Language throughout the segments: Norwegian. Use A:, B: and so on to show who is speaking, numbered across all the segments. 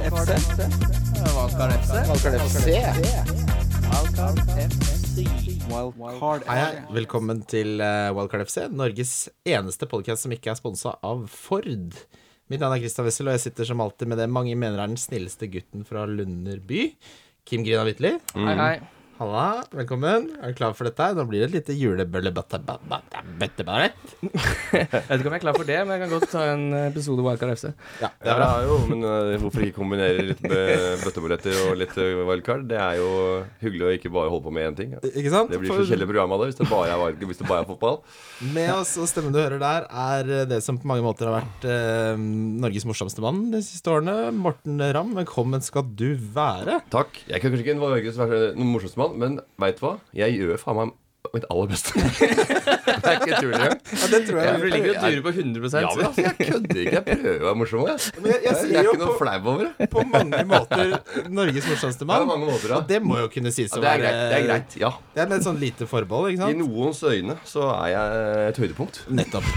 A: FC? Wildcard FC? Wildcard
B: Hei, hei. Velkommen til eh, Wildcard FC, Norges eneste podkast som ikke er sponsa av Ford. Mitt navn er Christian Wessel, og jeg sitter som alltid med det mange mener er den snilleste gutten fra Lunder by. Kim Grina Wittli.
C: Hei, hei.
B: Halla, velkommen. Er du klar for dette? Nå blir det et lite julebøllebøttebarett.
C: Jeg vet ikke om jeg er klar for det, men jeg kan godt ta en episode Wildcard FC.
B: Ja, det
D: Ja,
B: er bra.
D: jo, men eh, hvorfor ikke kombinere litt med bøtteballetter og litt eh, wildcard? Det er jo hyggelig å ikke bare holde på med én ting. Ja.
B: Ikke sant?
D: Det blir så kjedelig program av det hvis det bare er, wild- hvis det bare er fotball.
B: Med oss og stemmen du hører der, er det som på mange måter har vært eh, Norges morsomste mann de siste årene. Morten Ramm, velkommen skal du være.
D: Takk. Jeg kan kanskje ikke være Norges verste- noen morsomste mann, men veit du hva? Jeg gjør faen meg mitt aller beste. det er ikke tull engang.
B: Ja, det tror
C: Du ligger og durer på 100
D: Ja, men altså, jeg kødder ikke. Jeg prøver å være morsom. Jeg,
B: Men jeg- jeg
D: jeg,
B: sier
D: er
B: jo
D: ikke noe
B: på-
D: flau over det.
B: på mange måter Norges morsomste
D: På
B: mann.
D: mange måter, da.
B: Og det må jo kunne sies
D: Ja,
B: å
D: det er
B: være
D: greit. Det er greit. Ja.
B: Det er med et sånn lite forbehold, ikke
D: I
B: sant?
D: noens øyne så er jeg et høydepunkt.
B: Nettopp.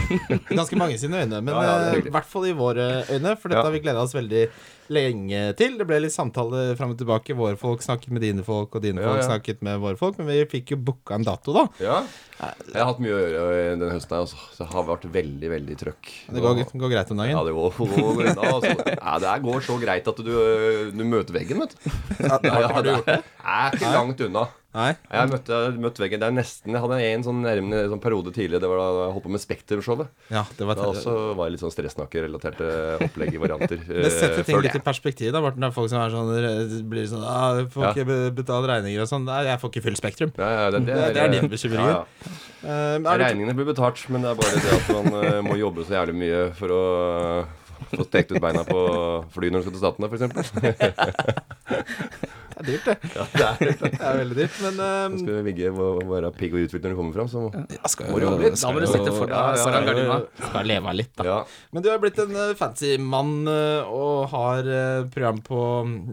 B: Ganske mange sine øyne, men
D: Ja, ja, det er
B: eh, i
D: hyggelig.
B: hvert fall i våre øyne, for dette
D: Ja.
B: har vi gleda oss veldig lenge til. Det ble litt samtale fram og tilbake. Våre folk snakket med dine folk, og dine
D: Ja,
B: folk
D: ja.
B: snakket med våre folk, men vi fikk jo booka en dato, da.
D: Ja. Jeg har hatt mye å gjøre denne høsten her, altså. Så det har vært veldig, veldig trøkk.
B: Det går,
D: Og-
B: går greit om
D: Ja,
B: dagen.
D: det går, går unna. Altså. Ja, det her går så greit at du, øh, du møter veggen, vet du.
B: Har, har du gjort det?
D: Jeg er ikke langt unna.
B: Nei?
D: Jeg møtte, jeg møtte veggen. Det er nesten Jeg hadde en sånn nærmende sånn periode tidligere. Det var da jeg holdt på med Spektrum-showet.
B: Ja, det var
D: Da også var det litt sånn stressnakkerelaterte opplegg i varianter.
B: Det setter
D: eh,
B: ting
D: før
B: litt i
D: det.
B: perspektiv. da, Morten. Det er folk som er sånn, eh, blir sånn ah, 'Får
D: Ja.
B: ikke be- betalt regninger' og sånn. Nei, jeg får ikke fullt spektrum.
D: Ja, ja, det,
B: Det- det er din bekymring.
D: Ja, ja.
B: Eh, men er det-
D: Regningene blir betalt, men det er bare det at man eh, må jobbe så jævlig mye for å få stekt ut beina på fly når du skal til Statene, f.eks.
B: Det er dyrt, det.
D: Ja, det er det.
B: Det er veldig dyrt, men
D: Man
B: ehm,
D: skal ligge og være pigg og uthvilt når du kommer fram, så
B: jeg skal
D: må du jobbe litt.
C: Da må du sette for deg
D: Ja, ja,
C: foran
D: ja, ja.
C: gardina.
B: Skal leve av litt, da.
D: Ja.
B: Men du er blitt en eh, fancy mann eh, og har eh, program på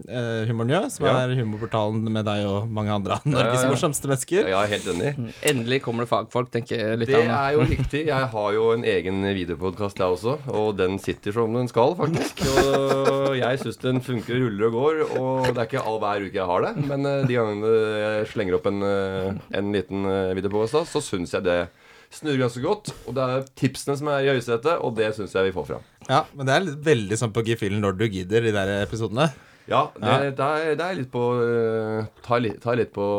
B: uh, Humornjø, som
D: Ja.
B: er humorportalen med deg og mange andre av Norges
D: Ja, ja, ja.
B: morsomste mennesker.
D: Jeg er helt enig.
C: Endelig kommer det fagfolk, tenker
D: Det
C: lytterne.
D: er jo riktig. Jeg har jo en egen videopodkast, jeg også, og den sitter som den skal, faktisk. Og jeg syns den funker, ruller og går, og det er ikke all hver uke jeg har det, men eh, de gangene jeg slenger opp en, eh, en liten eh, videopodkast, da, så syns jeg det snurrer ganske godt. Og det er tipsene som er i høysetet, og det syns jeg vi får fram.
B: Ja, Men det er litt- veldig sånn på gefühlen når du gidder, de der episodene.
D: Ja, det, det, er, det er litt på eh, ta, litt, ta litt på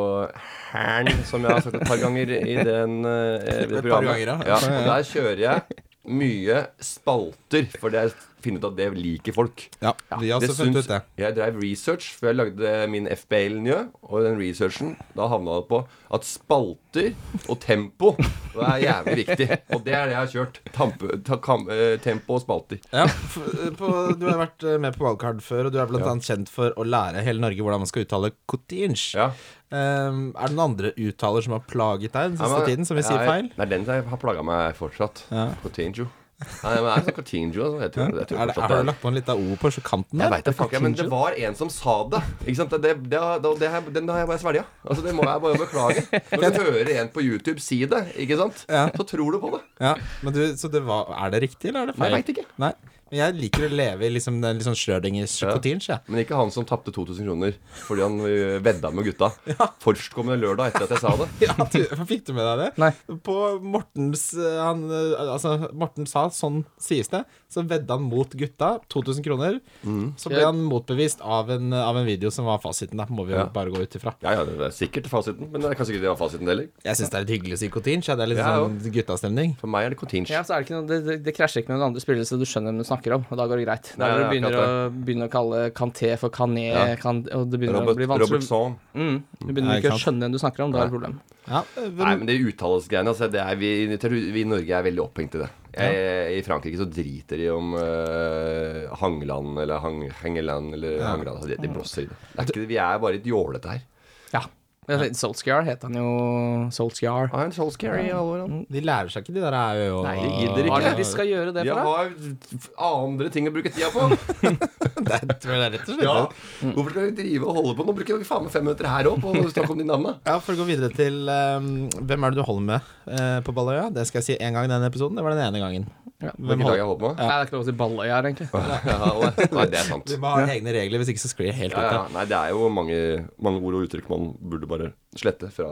D: hælen, som jeg har sagt et par ganger i den, eh, i det
B: Et par
D: programmet.
B: ganger, ja.
D: ja. og der kjører jeg mye spalter, for det er funnet ut at det liker folk.
B: Ja, vi har også
D: syns-
B: funnet ut det.
D: Jeg dreiv research før jeg lagde min FBL-njø, og den researchen da havna det på at spalter og tempo det er jævlig viktig. Og det er det jeg har kjørt. Tampe, ta, kam, eh, tempo og spalter.
B: Ja, f- eh, på, Du har vært eh, med på Wildcard før, og du er blant
D: Ja.
B: annet kjent for å lære hele Norge hvordan man skal uttale Kutinch.
D: Ja.
B: Ehm, er det noen andre uttaler som har plaget deg den siste
D: Ja, men-
B: tiden, som vi
D: ja,
B: sier
D: jeg-
B: feil?
D: Det er den som har plaga meg fortsatt.
B: Ja.
D: Cotinjo. Nei, men det er sånn Cotinjo. Altså. Jeg tror, jeg tror
B: Er det,
D: fortsatt
B: har du lagt på en liten O på kanten
D: Jeg
B: der?
D: vet det, fuck, jeg, men det var en som sa det. Ikke sant? Det, det, det, det, det her, den har jeg bare svelga. Altså, det må jeg bare beklage. Når du hører en på YouTube si det, ikke sant,
B: Ja.
D: så tror du på det.
B: Ja, men du, så det var, er det riktig, eller er det
D: Nei,
B: feil?
D: jeg vet ikke.
B: Nei, men jeg liker å leve i liksom den litt sånn Schrødingers
D: Ja.
B: kotinch, jeg.
D: Men ikke han som tapte 2000 kroner fordi han ø, vedda med gutta førstkommende lørdag etter at jeg sa det.
B: Ja, du, fikk du med deg det?
C: Nei.
B: På Mortens eh, han, eh, Altså, Morten sa, sånn sies det, så vedda han mot gutta, 2000 kroner.
D: Mm.
B: Så ble
C: Ja.
B: han motbevist av en, eh, av en video som var fasiten, da, må vi jo
D: Ja.
B: bare gå ut ifra.
D: Ja, ja, det er sikkert fasiten, men det er kanskje ikke det var fasiten heller.
B: Jeg syns det er litt hyggelig å si kotinch, ja. Det er litt
D: Ja,
B: sånn guttastemning.
D: For meg er det Cotinjo.
C: Ja, så er det, ikke noe, det, det, det krasjer ikke med noen andre spillere, så du skjønner hvem du snakker om. Og da går det greit. Da
D: Nei,
C: når du
D: nei,
C: begynner å, begynner å kalle Kanté for Kané,
D: Ja.
C: kan, og det begynner å
D: Robert,
C: bli vanskelig
D: Robert Song.
C: mm, Du begynner
B: Nei,
C: ikke å
B: ikke sant.
C: skjønne hvem du snakker om, da er det problem.
B: Ja, eh,
D: Nei,
B: hvem,
D: men det uttalelsesgreiene altså, det er vi, jeg tror vi i Norge er veldig opphengt i det. Jeg, I Frankrike så driter de om eh, Hangland eller hang, Hengeland eller Hangland. Altså, de, de blåser i det. det er ikke, vi er bare litt jålete her.
C: Ja. Men Solskjaer het han jo Solskjaer.
D: Ah, en Solskjaer i alle årene.
B: de lærer seg ikke de der eh, er jo
D: Nei, de gidder ikke.
C: Hva er det de skal gjøre det
D: De
C: for, da?
D: har f- andre ting å bruke tida på.
B: Det tror jeg det er rett og slett.
D: Ja. Mm.
B: det.
D: Hvorfor skal vi drive og holde på? Nå bruker vi faen meg fem minutter her òg på å snakke om de navnene.
B: Ja, For å gå videre ehm, til eh, hvem er det du holder med eh, på Balløya? Det skal jeg si én gang i denne episoden. Det var den ene gangen.
D: Hvilket lag jeg holder på med?
C: Nei, det er ikke lov å si Balløy her, egentlig.
D: Ja, nei, det er sant.
B: Vi må ha egne regler, hvis ikke så sklir det helt
D: Ja,
B: ut.
D: ja.
B: Ja.
D: Nei, det er jo mange, mange ord og uttrykk man burde bare slette fra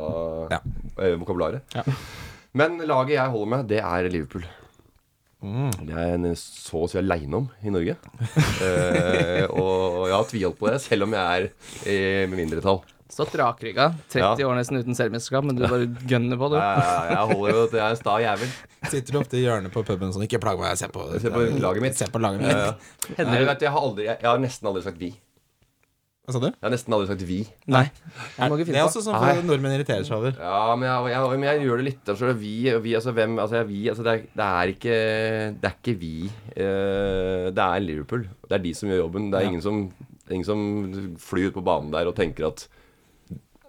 B: Ja.
D: eh, vokabularet. Men laget jeg holder med, det er Liverpool. Det er jeg en- så å si aleine om i Norge. Eh, og jeg har tviholdt på det, selv om jeg er i mindretall.
C: Stått rakrygga. 30 år nesten uten seriemesterskap, men du bare gønner på, du.
D: Jeg, Eh, jeg holder jo til jeg er en sta jævel.
B: Sitter du ofte i hjørnet på puben sånn Ikke plag meg, se på,
D: Se på laget mitt.
B: Se på laget mitt.
D: Ja, ja. Nei, vet, du, jeg, har aldri, jeg, jeg har nesten aldri sagt vi.
B: Hva
D: Jeg
B: sa du?
D: har nesten aldri sagt vi.
C: Nei. Det må
B: Det
C: ikke
B: er
C: finne på.
B: også sånn for nordmenn irriterer seg over.
D: Ja, men jeg, jeg, men jeg gjør det litt altså, Vi, vi altså hvem Altså, jeg, vi altså, det, er, det er ikke Det er ikke vi eh, Det er Liverpool Det er de som gjør jobben Det er ingen som Ingen som flyr ut på banen der Og tenker at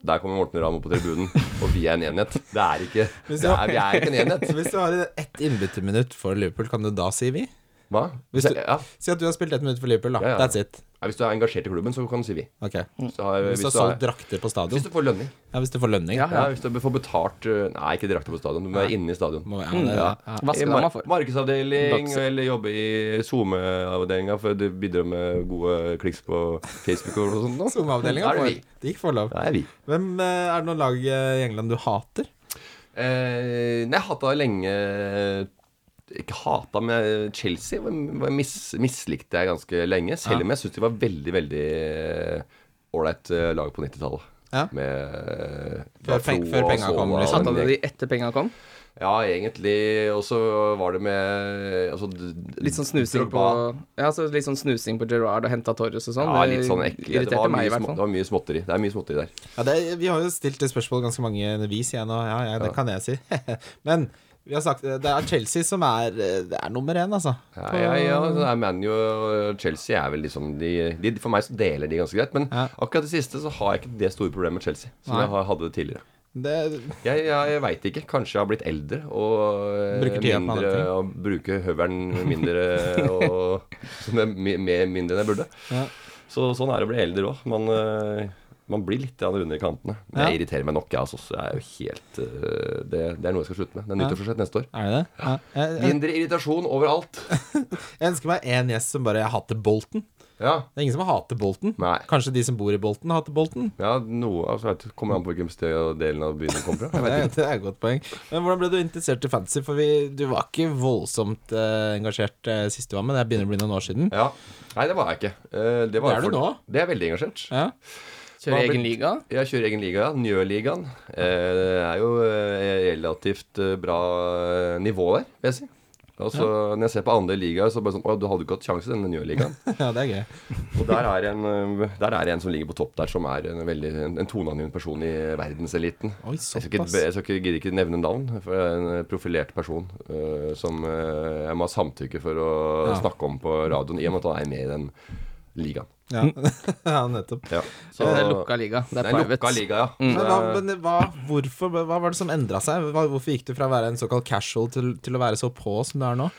D: Der kommer Morten Ramm opp på tribunen Og vi er en enhet Det er ikke
B: Hvis
D: det er, Vi er ikke en enhet
B: Så hvis du har ett innbytterminutt for Liverpool, kan du da si vi?
D: Hva?
B: Hvis du-
D: ja.
B: Si at du har spilt ett minutt for Liverpool, da.
D: Ja, ja.
B: That's it.
D: Nei, hvis du er engasjert i klubben Så kan du si vi
B: Ok Hvis
D: Så har-
B: du har solgt drakter på stadion.
D: Hvis du får lønning
B: Ja, hvis du får lønning.
C: Ja,
D: ja, Hvis du får betalt eh, Nei, ikke direkte på stadion Du må være inne i stadion
B: Må, ja, det, Mm. ja.
C: Vaskedama for.
D: Markedsavdeling,
B: Dags-
D: eller jobbe i SoMe-avdelinga for å bidra med gode kliks på Facebook og sånt. nå.
B: Zoom-avdelinga
D: Da er det
B: får
D: vi.
B: Det gikk for lov.
D: Da er vi.
B: Hvem eh, Er det noen lag eh, i England du hater?
D: Eh, nei, jeg hata lenge Ikke hata, men jeg- Chelsea var, var mis, mislikte jeg ganske lenge. Selv om jeg syns de var veldig, veldig ålreit eh, lag på 90-tallet.
B: Ja.
D: Med eh,
B: Før peng-
D: Flo
B: før
D: og
B: penga
D: Sova
B: kom, liksom.
D: og
C: Satte
D: den
C: du de etter penga kom?
D: Ja, egentlig. Og så var det med altså, d-
C: Litt sånn snusing på
D: Drogba.
C: Ja, så litt sånn snusing på Gerrard og henta Torres og sånn.
D: Ja,
C: det
D: litt sånn ekle. Det var,
C: Irriterte meg,
D: mye
C: i hvert
D: små, det
C: fall.
D: var mye småtteri. Det er mye småtteri der.
B: Ja, det, vi har jo stilt det spørsmålet ganske mange vis igjen, og ja, ja, det kan jeg si. Men vi har sagt eh, det er Chelsea som er, eh, det er nummer én, altså.
D: Ja, ja, ja det er ManU og Chelsea er vel liksom de, de For meg så deler de ganske greit. Men
B: Ja.
D: akkurat det siste så har jeg ikke det store problemet med Chelsea som
B: Nei.
D: jeg har- hadde tidligere.
B: Det,
D: Jeg, jeg, jeg veit ikke. Kanskje jeg har blitt eldre og eh,
B: Bruker tida på andre
D: mindre
B: ting.
D: Og bruker høvelen mindre og som er mi- mer mindre enn jeg burde.
B: Ja.
D: Så sånn er det å bli eldre òg. Man, eh, man blir litt grann rundere i kantene. Men
B: Ja.
D: jeg irriterer meg nok, jeg altså. Så jeg er jo helt eh, det, det er noe jeg skal slutte med. Det er nyttårsforsett neste år.
B: er det det? Ja. Jeg, jeg,
D: Mindre irritasjon overalt.
B: jeg ønsker meg én gjest som bare hater Bolten.
D: Ja.
B: Det er ingen som hater Bolten.
D: Nei.
B: Kanskje de som bor i Bolten, hater Bolten?
D: Ja, noe altså, jeg vet, ikke, Kommer an på hvilken sted og delen av byen du kommer fra. Jeg
B: Det
D: vet
B: er,
D: ikke.
B: det er et godt poeng. Men hvordan ble du interessert i fantasy? For vi, du var ikke voldsomt eh, engasjert eh, sist du var med. Det begynner å bli noen år siden.
D: Ja. Nei, det var jeg ikke. Eh, Det, var
B: Det er du
D: for-
B: nå.
D: Det er jeg veldig engasjert.
B: Ja.
C: Kjøre egen liga?
D: Jeg kjører egen liga, ja. Njø-ligaen. Eh, Det er jo eh, relativt eh, bra eh, nivå der, vil jeg si. Og så Når jeg ser på andre ligaer, så bare sånn Å, du hadde ikke hatt sjanse i denne Njø-ligaen.
B: ja, det er gøy.
D: Og der er, en, eh, der er en som ligger på topp der, som er en, veldig, en, en toneangivende person i verdenseliten.
B: Oi,
D: Jeg skal ikke,
B: såpass.
D: jeg skal ikke, gidder ikke nevne navn, for jeg er en eh, profilert person øh, som øh, jeg må ha samtykke for å
B: Ja.
D: snakke om på radioen, i og med at han er med i den ligaen.
B: Ja. ja, nettopp.
D: Ja.
C: Så det er lukka liga. Det
D: det
C: er
D: er en lukka
C: private. Mm.
D: liga, ja.
B: Men hva,
D: Så,
B: men hva, hvorfor, hva var det som endra seg? Hva, hvorfor gikk du fra å være en såkalt casual til, til å være så på som du er nå?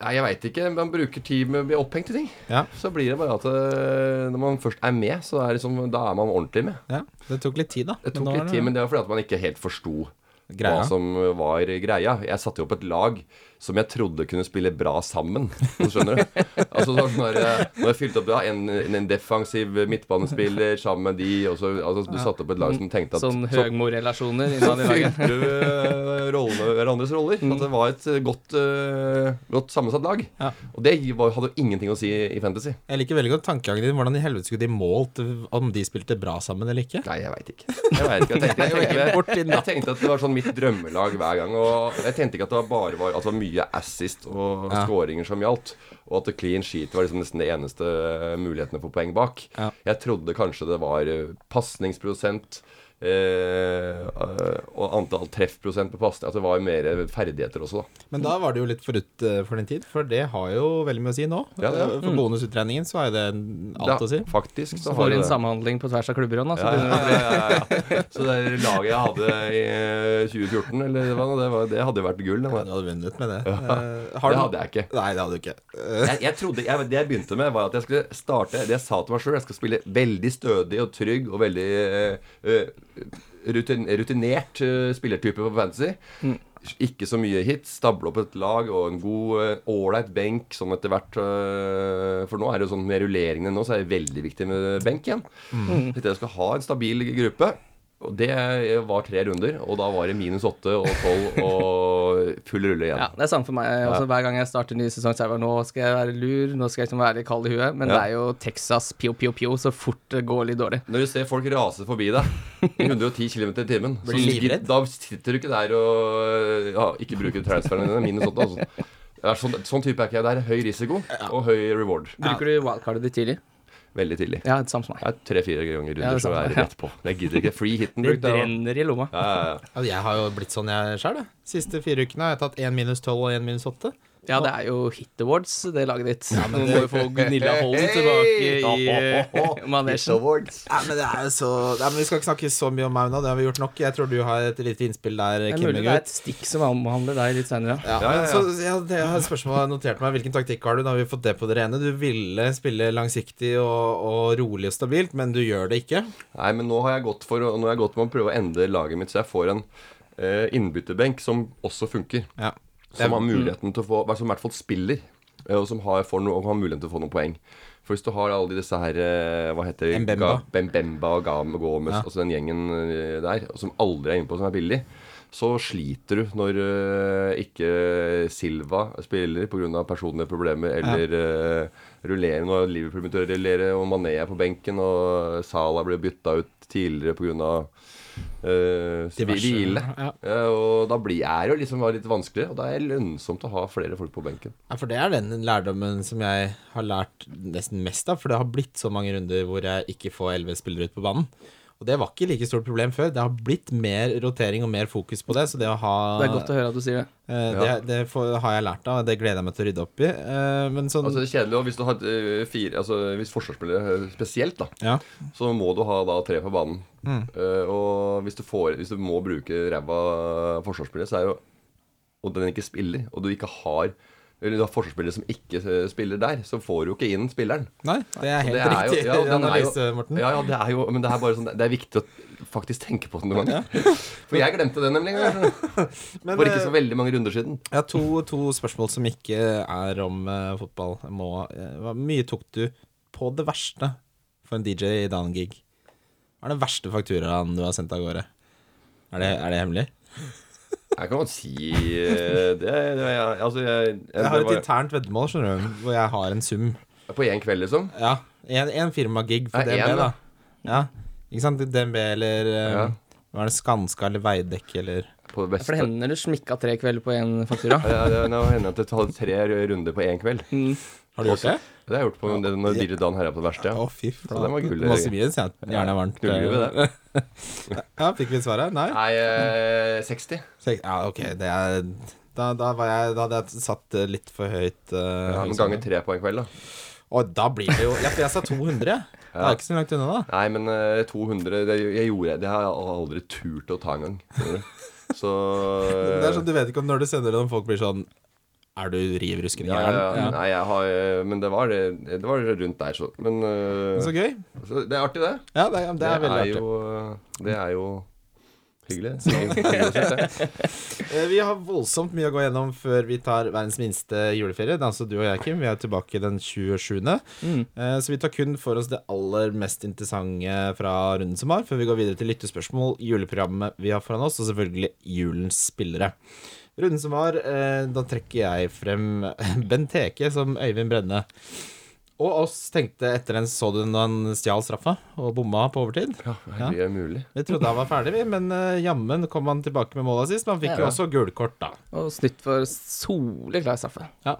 D: Nei, jeg veit ikke. Man bruker tid med å bli opphengt i ting.
B: Ja.
D: Så blir det bare at øh, når man først er med, så er, det liksom, da er man ordentlig med.
B: Ja, Det tok litt tid, da.
D: Det
B: Men
D: tok
B: nå er
D: litt tid, men det altså- var fordi at man ikke helt forsto
B: Greia.
D: hva som var greia. Jeg satte jo opp et lag som jeg trodde kunne spille bra sammen. om Du skjønner du? Altså, sånn når, jeg- når jeg fylte opp da, en, en defensiv midtbanespiller sammen med de og så, altså, Du satte opp et lag som tenkte at
C: Sånn
D: så
C: høgmorelasjoner innad i laget. Mm.
D: fylte du eh, rollene, hverandres roller. At det var et eh, godt, eh, godt sammensatt lag.
B: Ja.
D: Og det var, hadde jo ingenting å si i Fantasy.
B: Jeg liker veldig godt tankegangen din. Hvordan i helvete skulle de målt om de spilte bra sammen eller ikke?
D: Nei, jeg veit ikke. Jeg, vet ikke. Jeg, tenkte, jeg, tenkte, jeg, tenkte at det var sånn mitt drømmelag hver gang. Og jeg tenkte ikke at det var bare var, at det var mye assist og
B: Ja.
D: scoringer som gjaldt. Og at clean sheet var liksom nesten det eneste eh, mulighetene for poeng bak.
B: Ja.
D: Jeg trodde kanskje det var eh, pasningsprosent. eh, eh, og antall treffprosent på pasning. At det var mer ferdigheter også, da.
B: Men da var det jo litt forut eh, for den tid, for det har jo veldig mye å si nå.
D: Ja, det er.
B: Eh, For bonusutregningen så er jo det en- alt
D: Da-
B: å si.
D: Faktisk. Så,
C: Så
D: har
C: får
D: det
C: du
D: det.
C: en samhandling på tvers av klubber òg, da. Så
D: Ja,
C: begynner
D: ja, ja, ja, ja. Så det laget jeg hadde i eh, 2014, eller hva, det, var, det hadde jo vært gull. Det,
B: Du hadde vunnet med det. Eh, har
D: det
B: du-
D: hadde jeg ikke.
B: Nei, det hadde du ikke. Eh,
D: jeg, jeg trodde, jeg, Det jeg begynte med, var at jeg skulle starte Det jeg sa til meg sjøl. Jeg skal spille veldig stødig og trygg og veldig eh, eh, rutin, rutinert eh, spillertype på fantasy. ikke så mye hits, stable opp et lag og en god, eh, ålreit benk sånn etter hvert. eh, For nå er det jo sånn med rulleringene nå, så er det veldig viktig med benk igjen. Hvis dere skal ha en stabil gruppe og Det var tre runder, og da var det minus åtte og tolv og full rulle igjen.
C: Ja, det er samme for meg. Også, Hver gang jeg starter ny sesong, så er jeg bare nå skal jeg være lur, nå skal jeg liksom være litt kald i huet. Men
D: Ja.
C: det er jo Texas pio, pio, pio så fort det går litt dårlig.
D: Når du ser folk rase forbi deg i 110 km i timen, så
B: Blir du
D: ligger,
B: livredd?
D: da sitter du ikke der og ja, ikke bruker transferne dine. Minus åtte, altså. Det er Sånn, sånn type er ikke jeg. Det er høy risiko og høy reward.
C: Bruker du wildcardet ditt tidlig?
D: Veldig tidlig.
C: Ja, det samme som meg.
D: Det er tre-fire ganger
C: Ja, det er
D: runder, så
C: sant.
D: er det rett på. Jeg gidder ikke. Free hitten
C: Det
D: brukte jeg.
C: brenner i lomma.
D: Ja, ja, ja.
B: Altså, jeg har jo blitt sånn jeg sjøl, da. Siste fire ukene har jeg tatt én minus tolv og én minus åtte.
C: Ja, det er jo Hit Awards, det laget ditt. Nå må vi få Gunilla Holden tilbake i eh, manesjen.
B: Nei, men det er jo så Nei, men Vi skal ikke snakke så mye om meg nå, det har vi gjort nok. Jeg tror du har et lite innspill der,
C: Det er mulig det er
B: Kimmegutt.
C: et stikk som omhandler deg litt seinere.
B: Ja,
D: Ja, ja, ja.
B: Så, ja, det jeg har et spørsmål jeg har notert meg. Hvilken taktikk har du? Da har vi fått det på det rene. Du ville spille langsiktig og, og rolig og stabilt, men du gjør det ikke.
D: Nei, men nå har jeg gått, for, å- nå har jeg gått med å prøve å endre laget mitt, så jeg får en eh, innbytterbenk som også funker.
B: Ja.
D: Som
B: mm.
D: har muligheten til å få Som i hvert fall spiller, eh, og som har, får noe, og har muligheten til å få noen poeng. For hvis du har alle disse her eh, Hva heter det?
B: Mbemba.
D: Ga- Mbemba og Gam- Gomez,
B: Ja.
D: altså den gjengen eh, der, som aldri er innpå, som er billig, så sliter du når eh, ikke Silva spiller pga. personlige problemer, eller uh, rullere når Liverpool begynte å rullere, og Mané er på benken, og Salah ble bytta ut tidligere pga. Uh,
B: Diverse.
D: hvile.
B: Ja.
D: Ja, Eh, og da blir jeg jo liksom litt vanskelig, og da er det lønnsomt å ha flere folk på benken.
B: Ja, for det er den lærdommen som jeg har lært nesten mest av, for det har blitt så mange runder hvor jeg ikke får elleve spillere ut på banen. Og det var ikke like stort problem før. Det har blitt mer rotering og mer fokus på det, så det å ha
C: Det er godt å høre at du sier det.
B: eh, det,
D: Ja.
B: det får, har jeg lært av, og det gleder jeg meg til å rydde opp i. Eh, men sånn
D: Altså det er kjedelig, og hvis du har eh, fire, altså hvis forsvarsspillere eh, spesielt da,
B: Ja.
D: så må du ha da tre på banen.
B: Mm.
D: Eh, og hvis du, får, hvis du må bruke ræva forsvarsspillere, så er jo Og den ikke spiller, og du ikke har eller du har forsvarsspillere som ikke eh, spiller der, så får du jo ikke inn spilleren.
B: Nei, det er helt
D: Altså, Det er jo-
B: riktig
D: ja, og den er jo-
B: analyse, Morten.
D: Ja, ja, det er jo, men det er bare sånn, det er viktig å faktisk tenke på det noen ganger. For jeg glemte det nemlig.
B: Men,
D: For ikke
B: eh,
D: så veldig mange runder siden.
B: Jeg har to, to spørsmål som ikke er om eh, fotball. Jeg Må, eh, hvor mye tok du på det verste for en DJ i Dan Gig? Hva er den verste fakturaen du har sendt av gårde? Er det, er det hemmelig?
D: Jeg kan godt si eh, det. det jeg, altså, jeg,
B: Jeg har
D: det
B: et
D: var-
B: internt veddemål, skjønner du, hvor jeg har en sum.
D: På én kveld, liksom.
B: Ja, en, en firmagig for
D: Ja, en,
B: DNB,
D: da.
B: da. Ja, ikke sant? DNB eller eh,
D: Ja.
B: Var det Skanska eller Veidekke eller
D: På det beste.
C: For det hender du smikka tre kvelder på én faktura.
D: Ja, det, nå hender det at jeg tar tre runder på én kveld.
B: Mm. Har du gjort det?
D: Det har jeg gjort på det, når DJ Dan herja på det verste.
B: Å,
D: Ja.
B: fy
D: Så den var
B: flate.
D: gull,
B: Masse mye, sier jeg. Gjerne varmt. eh,
D: Knuller vi med det?
B: Ja, fikk vi svaret? Nei?
D: Nei, eh, 60.
B: Sek- Ja, ok, det er da, da, var jeg, da hadde jeg satt eh, litt for høyt eh,
D: Ja, men ganger tre på en kveld, da.
B: Og da blir det jo Ja, for jeg sa 200 Det er ikke så langt unna da
D: Nei, men eh, 200 det, Jeg gjorde det. Det har jeg aldri turt å ta engang. skjønner du. Så Eh.
B: Det er sånn, du vet ikke om når du sender det Om folk blir sånn Er du riv ruskende
D: ja,
B: gæren?
D: ja, ja. Nei, jeg har eh, Men det var, det, det var rundt der, så. Men eh,
B: Men Så gøy
D: så det er artig, det.
B: Ja, det, er- det er veldig artig
D: jo, det er jo hyggelig. Hyggelig å se det.
B: Eh, Vi har voldsomt mye å gå gjennom Før vi tar verdens minste juleferie Det er altså du og jeg, Kim Vi er tilbake den 27. Eh, Så vi tar kun for oss det aller mest interessante Fra runden som var Før vi går videre til lyttespørsmål Juleprogrammet vi har foran oss Og selvfølgelig julens spillere Runden som var, eh, da trekker jeg frem Bent Heke som Øyvind Brenne. Og oss tenkte etter den så du når han stjal straffa og bomma på overtid.
D: Ja, det er mulig.
B: Vi trodde han var ferdig, vi, men eh, jammen kom han tilbake med måla sist. Men han fikk jo
C: Ja.
B: også gulkort, da.
C: Og snytt for soleklar straffe.
B: Ja.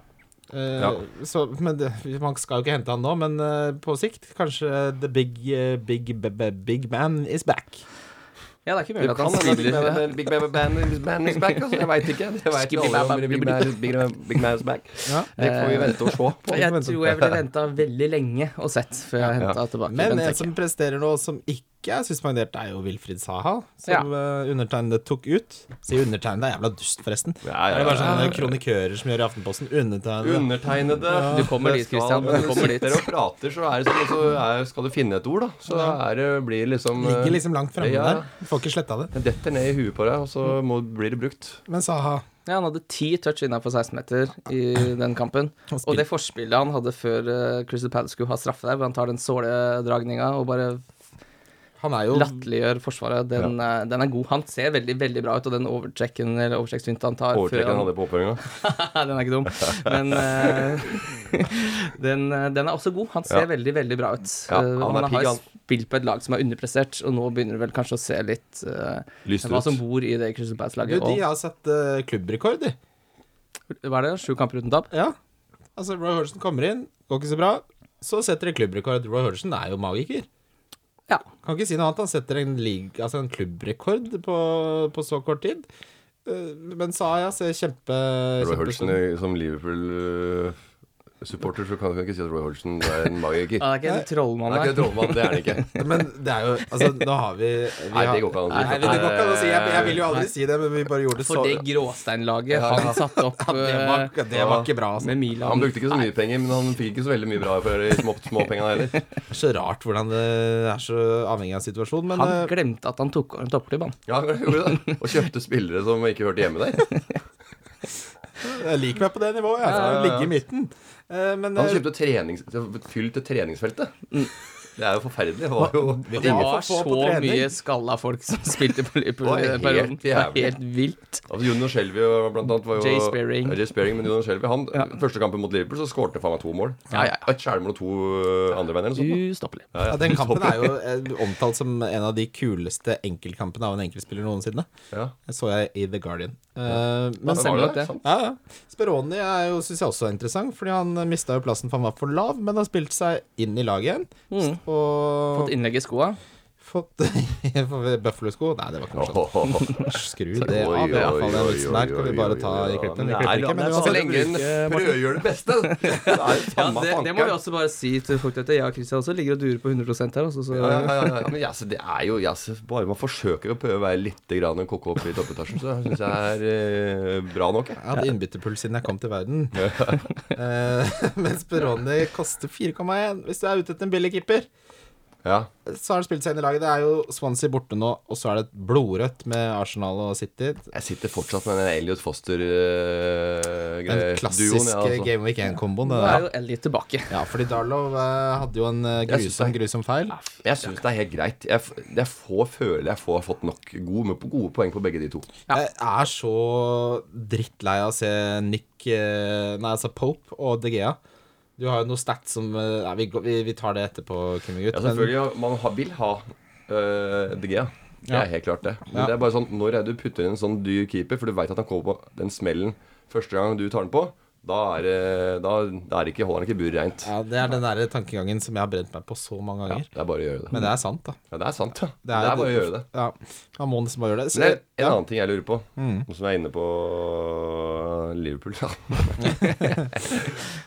B: Eh,
D: Ja.
B: Så, men det, man skal jo ikke hente han nå, men eh, på sikt kanskje the big, eh, big, b- b- big man is back.
C: Ja, det er ikke
D: Du
C: mulig at
D: kan
C: han
D: spille
C: spiller
D: med Big Bam Band is Band is back, altså. Jeg veit ikke. Det vet jo alle om Big Bam Big Bam Big Bam is back.
B: Ja.
D: Det får vi vente og se på.
C: Jeg tror jeg ville venta veldig lenge og sett før jeg henta tilbake.
B: Men
C: Bent
B: en
C: Heke.
B: som presterer nå, som ikke ikke er suspendert, er jo Wilfrid Saha, som eh, undertegnede tok ut. Sier undertegnede er jævla dust, forresten.
D: Ja,
B: Det
D: ja,
B: er bare
D: ja.
B: sånne kronikører som gjør i Aftenposten. Undertegnede.
D: Undertegnede.
C: Du kommer dit, Christian. Du kommer dit.
D: Dere og prater, så, er det sånn, så er, skal du finne et ord, da. Så er det, blir liksom eh,
B: Ligger liksom langt fremme
D: Ja.
B: der. Du får ikke sletta det.
D: Det detter ned i huet på deg, og så må, blir det brukt.
B: Men Saha
C: Ja, han hadde ti touch innafor 16-meter i den kampen.
B: Han spil-
C: Og det forspillet han hadde før eh, Crystal Palace skulle ha straffe der, hvor han tar den såledragninga og bare
B: Han er jo
C: latterliggjør Forsvaret, den, eh, den er god. Han ser veldig veldig bra ut, og den overtrekken eller overtrekksfinta han tar før
D: Overtrekken
C: han-
D: hadde på oppføringa.
C: den er ikke dum. Men eh, den, eh, den er også god. Han ser
D: Ja.
C: veldig, veldig bra ut.
D: Ja,
C: Eh,
D: han er
C: og han
D: pigg,
C: har
D: han.
C: spilt på et lag som er underprestert, og nå begynner det vel kanskje å se litt eh,
D: Lyst
C: hva som
D: ut.
C: bor i det Crystal
B: Du,
C: Palace-laget.
B: de har satt eh, klubbrekord, de.
C: Og Hva er det? Sju kamper uten tap?
B: Ja. Altså, Roy Hodgson kommer inn, går ikke så bra. Så setter de klubbrekord. Roy Hodgson er jo magiker.
C: Ja.
B: Kan ikke si noe annet. Han setter en, lig- altså en klubbrekord på, på så kort tid. Eh, Men Saya ser kjempe
D: Roy
B: kjempe-
D: Hodgson eh, som Liverpool-supporter, så kan du ikke si at Roy Hodgson er en magiker.
C: Han er ikke en trollmann,
D: Han er ikke en trollmann, det er han ikke.
B: Men det er jo Altså, nå har vi, vi
D: Nei, det
B: har-
D: går ikke an å si.
B: Nei, det går ikke an å si. Jeg, jeg vil jo aldri si det, men vi bare gjorde det så
C: For det gråsteinlaget han satte opp
B: Ja, det, var, det var ikke bra,
C: eh,
B: altså.
C: med
D: Han
C: Milan
D: brukte ikke så mye penger, men han fikk ikke så veldig mye bra for de små, småpengene heller.
B: Det er så rart hvordan det er så avhengig av situasjonen, men
C: Han
B: eh,
C: glemte at han tok over en toppklubb, han.
D: Ja, han gjorde det. Og kjøpte spillere som ikke hørte hjemme der.
B: jeg liker meg på det nivået. Jeg,
D: ja, ja.
B: ligger i midten. Eh, Men
D: Han
B: eh,
D: kjøpte trenings... fyll til treningsfeltet.
C: Mm.
D: Det er jo forferdelig. Det var jo
B: Vi
C: Det
B: har
C: var
B: for få
C: så
B: på trening.
C: mye skalla folk som spilte på Liverpool i
D: Det var
C: den perioden.
D: helt
C: Det var
D: jævlig.
C: helt vilt.
D: Altså Jon og Skjelvi og blant annet var jo
C: Jay Spearing.
D: Ja, Jay Spearing, men Jon og Skjelvi han,
C: Ja.
D: Første kampen mot Liverpool så skårte han faen meg to mål.
C: Ja, ja,
D: Et skjælmål og to øh, andre veien eller noe sånt.
C: Ustoppelig.
B: Ja, Den kampen er jo eh, omtalt som en av de kuleste enkeltkampene av en enkeltspiller noensinne.
D: Ja.
B: Det så jeg i The Guardian. Eh, men
D: Ja,
C: stemmer
D: var
C: nok det.
D: Sant?
B: ja, ja. Speroni er jo, syns jeg også er interessant, fordi han mista jo plassen for han var for lav, men har spilt seg inn i laget igjen.
D: Mm.
B: Og
C: Fått innlegg i skoa.
B: fått, fått Buffalo-sko. Nei, det var ikke morsomt. Skru det
D: Oi,
B: av. Det er
D: oi,
B: iallfall den
D: oi,
B: vitsen der.
D: oi,
B: Kan vi
D: oi,
B: bare
D: oi,
B: ta
D: oi,
B: i klippen? Vi eh,
D: Nei,
B: klipper
D: ja,
B: ikke,
D: men
B: men sånn-
D: Så
B: uansett.
D: lenge en prøver å gjøre det beste. Det er
C: Ja,
D: samme
C: det, det må vi
D: tanke.
C: også bare si til folk dette. Jeg og Christian også ligger og durer på 100 her. Også, så
D: Ja, ja, ja, ja. Men jaså, det er jo jaså, Bare man forsøker å prøve å være litt grann koko opp i toppetasjen, så syns jeg det er eh, bra nok. jeg.
B: Jeg hadde innbytterpuls siden jeg kom til verden. Eh, mens Peroni koster 4,1 hvis du er ute etter en billig keeper.
D: Ja.
B: Så har han spilt seg inn i laget. Det er jo Swansea borte nå, og så er det et blodrødt med Arsenal og City.
D: Jeg sitter fortsatt med den Elliot Eh,
B: Den
D: Foster-duoen.
B: klassiske eh, Game Week 1-komboen.
C: Nå er jo Elliot tilbake.
B: Ja, fordi Darlow eh, hadde jo en eh,
D: Jeg synes
B: grusom, grusom feil.
D: Jeg syns det er helt greit. Jeg, f- jeg får, føler jeg får fått nok gode, med, gode poeng på begge de to.
B: Jeg er så drittlei av å se Nick eh, Nei, altså Pope og De Gea. Du har jo noe stats som eh, Nei, vi, går- vi, vi tar det etterpå, Kimmy Gutt.
D: Ja,
B: men-
D: selvfølgelig. ja, Man har, vil ha øh, DG. ja. Det
B: Ja.
D: er helt klart det. Men
B: Ja.
D: det er bare sånn når er det du putter inn en sånn dyr keeper, for du veit at han kommer på den smellen første gang du tar den på, da er det, da, da er det ikke, holder han ikke buret reint.
B: Ja, Det er den der tankegangen som jeg har brent meg på så mange
D: Ja,
B: ganger.
D: det er bare å gjøre det.
B: Men det er sant, da.
D: Ja, det er sant, ja. Det er, bare å gjøre det.
B: Ja, Man må nesten bare gjøre det. Så,
D: Men det er en
B: ja. Mm.
D: annen ting jeg lurer på, som er inne på Liverpool. da.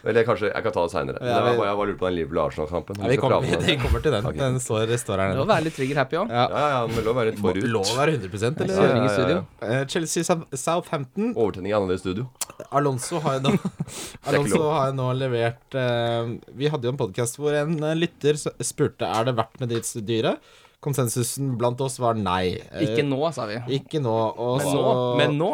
D: Eller kanskje Jeg kan ta det seinere.
B: Ja, vi-
D: jeg bare jeg bare lurer på den Liverpool-Arsenal-kampen.
B: Ja, vi,
D: skal
B: kommer,
D: prate om den.
B: vi kommer til den. Den står, står her
C: Det må
B: nede.
C: være litt trigger happy òg.
B: Ja.
D: Ja, ja, men det lå å være litt forut.
B: Lov å være 100 eller?
D: Ja, ja,
C: Kjøring i
D: ja,
C: studio.
D: ja.
B: Eh, Chelsea Sou- Southampton.
D: Overtenning i annerledes studio.
B: Alonso har jo nå, Alonso
D: lov.
B: har jo nå levert eh, Vi hadde jo en podkast hvor en eh, lytter s- spurte er det verdt med disse dyra. Konsensusen blant oss var nei. Eh,
C: Ikke nå, sa vi.
B: ikke nå. Og
C: Men
B: så,
C: nå. Men nå.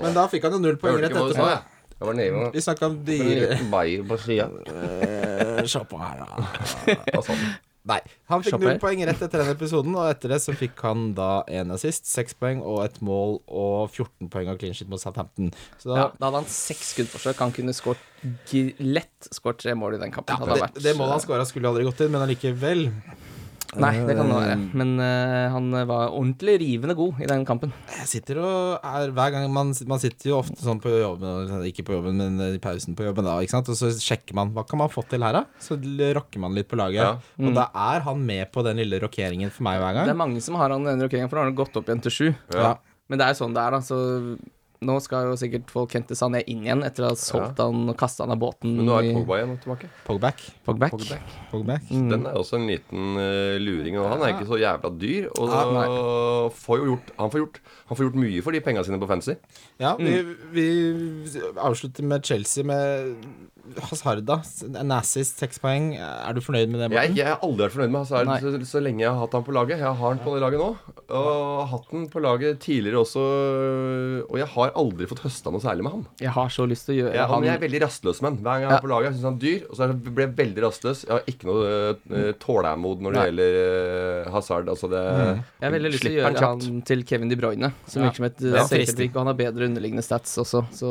B: Men da fikk han jo null poeng rett etterpå.
D: jeg. Jeg var nede med
B: Vi snakka om dyre...
D: veier på sida.
B: Eh, Se på her, da.
D: Hva
B: Nei. Han fikk
C: Kjappere.
B: null poeng rett etter den episoden, og etter det så fikk han da en assist, seks poeng og et mål og 14 poeng av clean shit mot Southampton. Så da,
C: Ja, da hadde han seks skuddforsøk. Han kunne skåret gi- lett skåret tre mål i den kampen. Hadde han
B: det,
C: vært- eh,
B: det målet han skåra, skulle aldri gått inn, men allikevel
C: Nei, det kan det være. Men eh, han var ordentlig rivende god i den kampen.
B: Jeg sitter og er Hver gang man, man sitter jo ofte sånn på jobben Ikke på jobben, men i pausen på jobben, da, ikke sant? og så sjekker man hva kan man få til her, da? Så l- rocker man litt på laget.
D: Ja.
B: Og
C: Mm.
B: da er han med på den lille rockeringen for meg hver
C: Det
B: gang.
C: er mange som har han i den rokeringen, for nå har han gått opp igjen til sju.
B: Ja.
C: Men det er jo sånn det er, da. Så Nå skal jo sikkert folk hente Sané inn igjen etter å ha solgt han og kasta han av båten.
D: Men nå er
C: i
D: Pogba igjen tilbake.
B: Pogback.
C: Pogback.
B: Pogback.
C: Mm.
D: Den er også en liten eh, luring. Og han er ikke så jævla dyr. Og
C: Ja, Ah, nei.
D: får jo gjort, han, får gjort, han får gjort mye for de pengene sine på fancy.
B: Ja, vi,
C: Mm.
B: vi avslutter med Chelsea med Hazarda. Nazis, seks poeng. Er du fornøyd med det?
D: Jeg,
B: Morten?
D: jeg har aldri vært fornøyd med Hazard
C: Nei.
D: så, så lenge jeg har hatt han på laget. Jeg har han på det laget nå, og har hatt han på laget tidligere også. Og jeg har aldri fått høsta noe særlig med han.
C: Jeg har så lyst til å gjøre
D: Jeg, han
C: han
D: jeg er veldig rastløs med han. Hver gang jeg er på laget, jeg syns han er dyr. Og så er- blir jeg veldig rastløs. Jeg har ikke noe eh, tålmod når det
C: Nei. Mm.
D: gjelder eh, Hazard. Altså det
C: Jeg har veldig lyst til å
D: slipper han
C: gjøre
D: kjapt.
C: han til Kevin De Bruyne, som
B: Ja.
C: virker som et
B: er
C: eh,
B: trist.
C: selvtilfrikk, og han har bedre underliggende stats også, så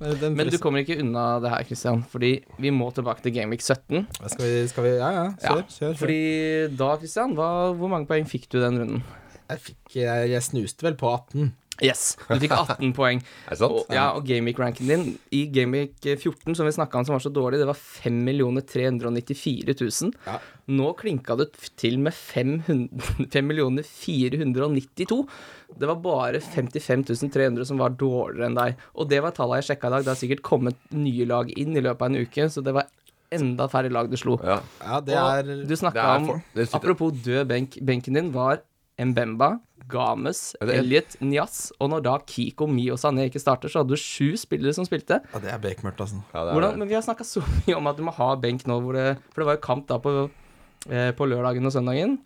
B: Den
C: Men
B: forresten-
C: du kommer ikke unna det her, Christian, fordi vi må tilbake til Gameweek 17.
B: skal, vi, skal vi Ja, ja. Kjør.
C: Ja,
B: kjør, kjør.
C: Fordi da, Christian, hva, hvor mange poeng fikk du den runden?
B: Jeg, fikk, jeg, jeg snuste vel på 18.
C: Yes, du fikk 18 poeng.
D: Er det sant?
C: Og, ja, og Gameweek-ranken din i Gameweek 14, som vi snakka om som var så dårlig, det var 5 394 000.
B: Ja.
C: Nå klinka det f- til med 500 5 492. Det var bare 55 300 som var dårligere enn deg. Og det var tallet jeg sjekka i dag. Det har sikkert kommet nye lag inn i løpet av en uke, så det var enda færre lag du slo.
D: Ja.
B: Ja, det
C: Og
B: er
C: Du
D: Det
C: snakka
D: er
C: om
D: for- det sitter-
C: Apropos død benk. Benken din var Mbemba, Games,
D: Ja, det er-
C: Elliot, Nias. Og når da Kiko, Mi og Sané ikke starter, så hadde du sju spillere som spilte.
B: Ja, det er bekmørkt, altså.
D: Ja, det er
C: Hvordan, men vi har snakka så mye om at du må ha benk nå, hvor det, for det var jo kamp da på, eh, på lørdagen og søndagen.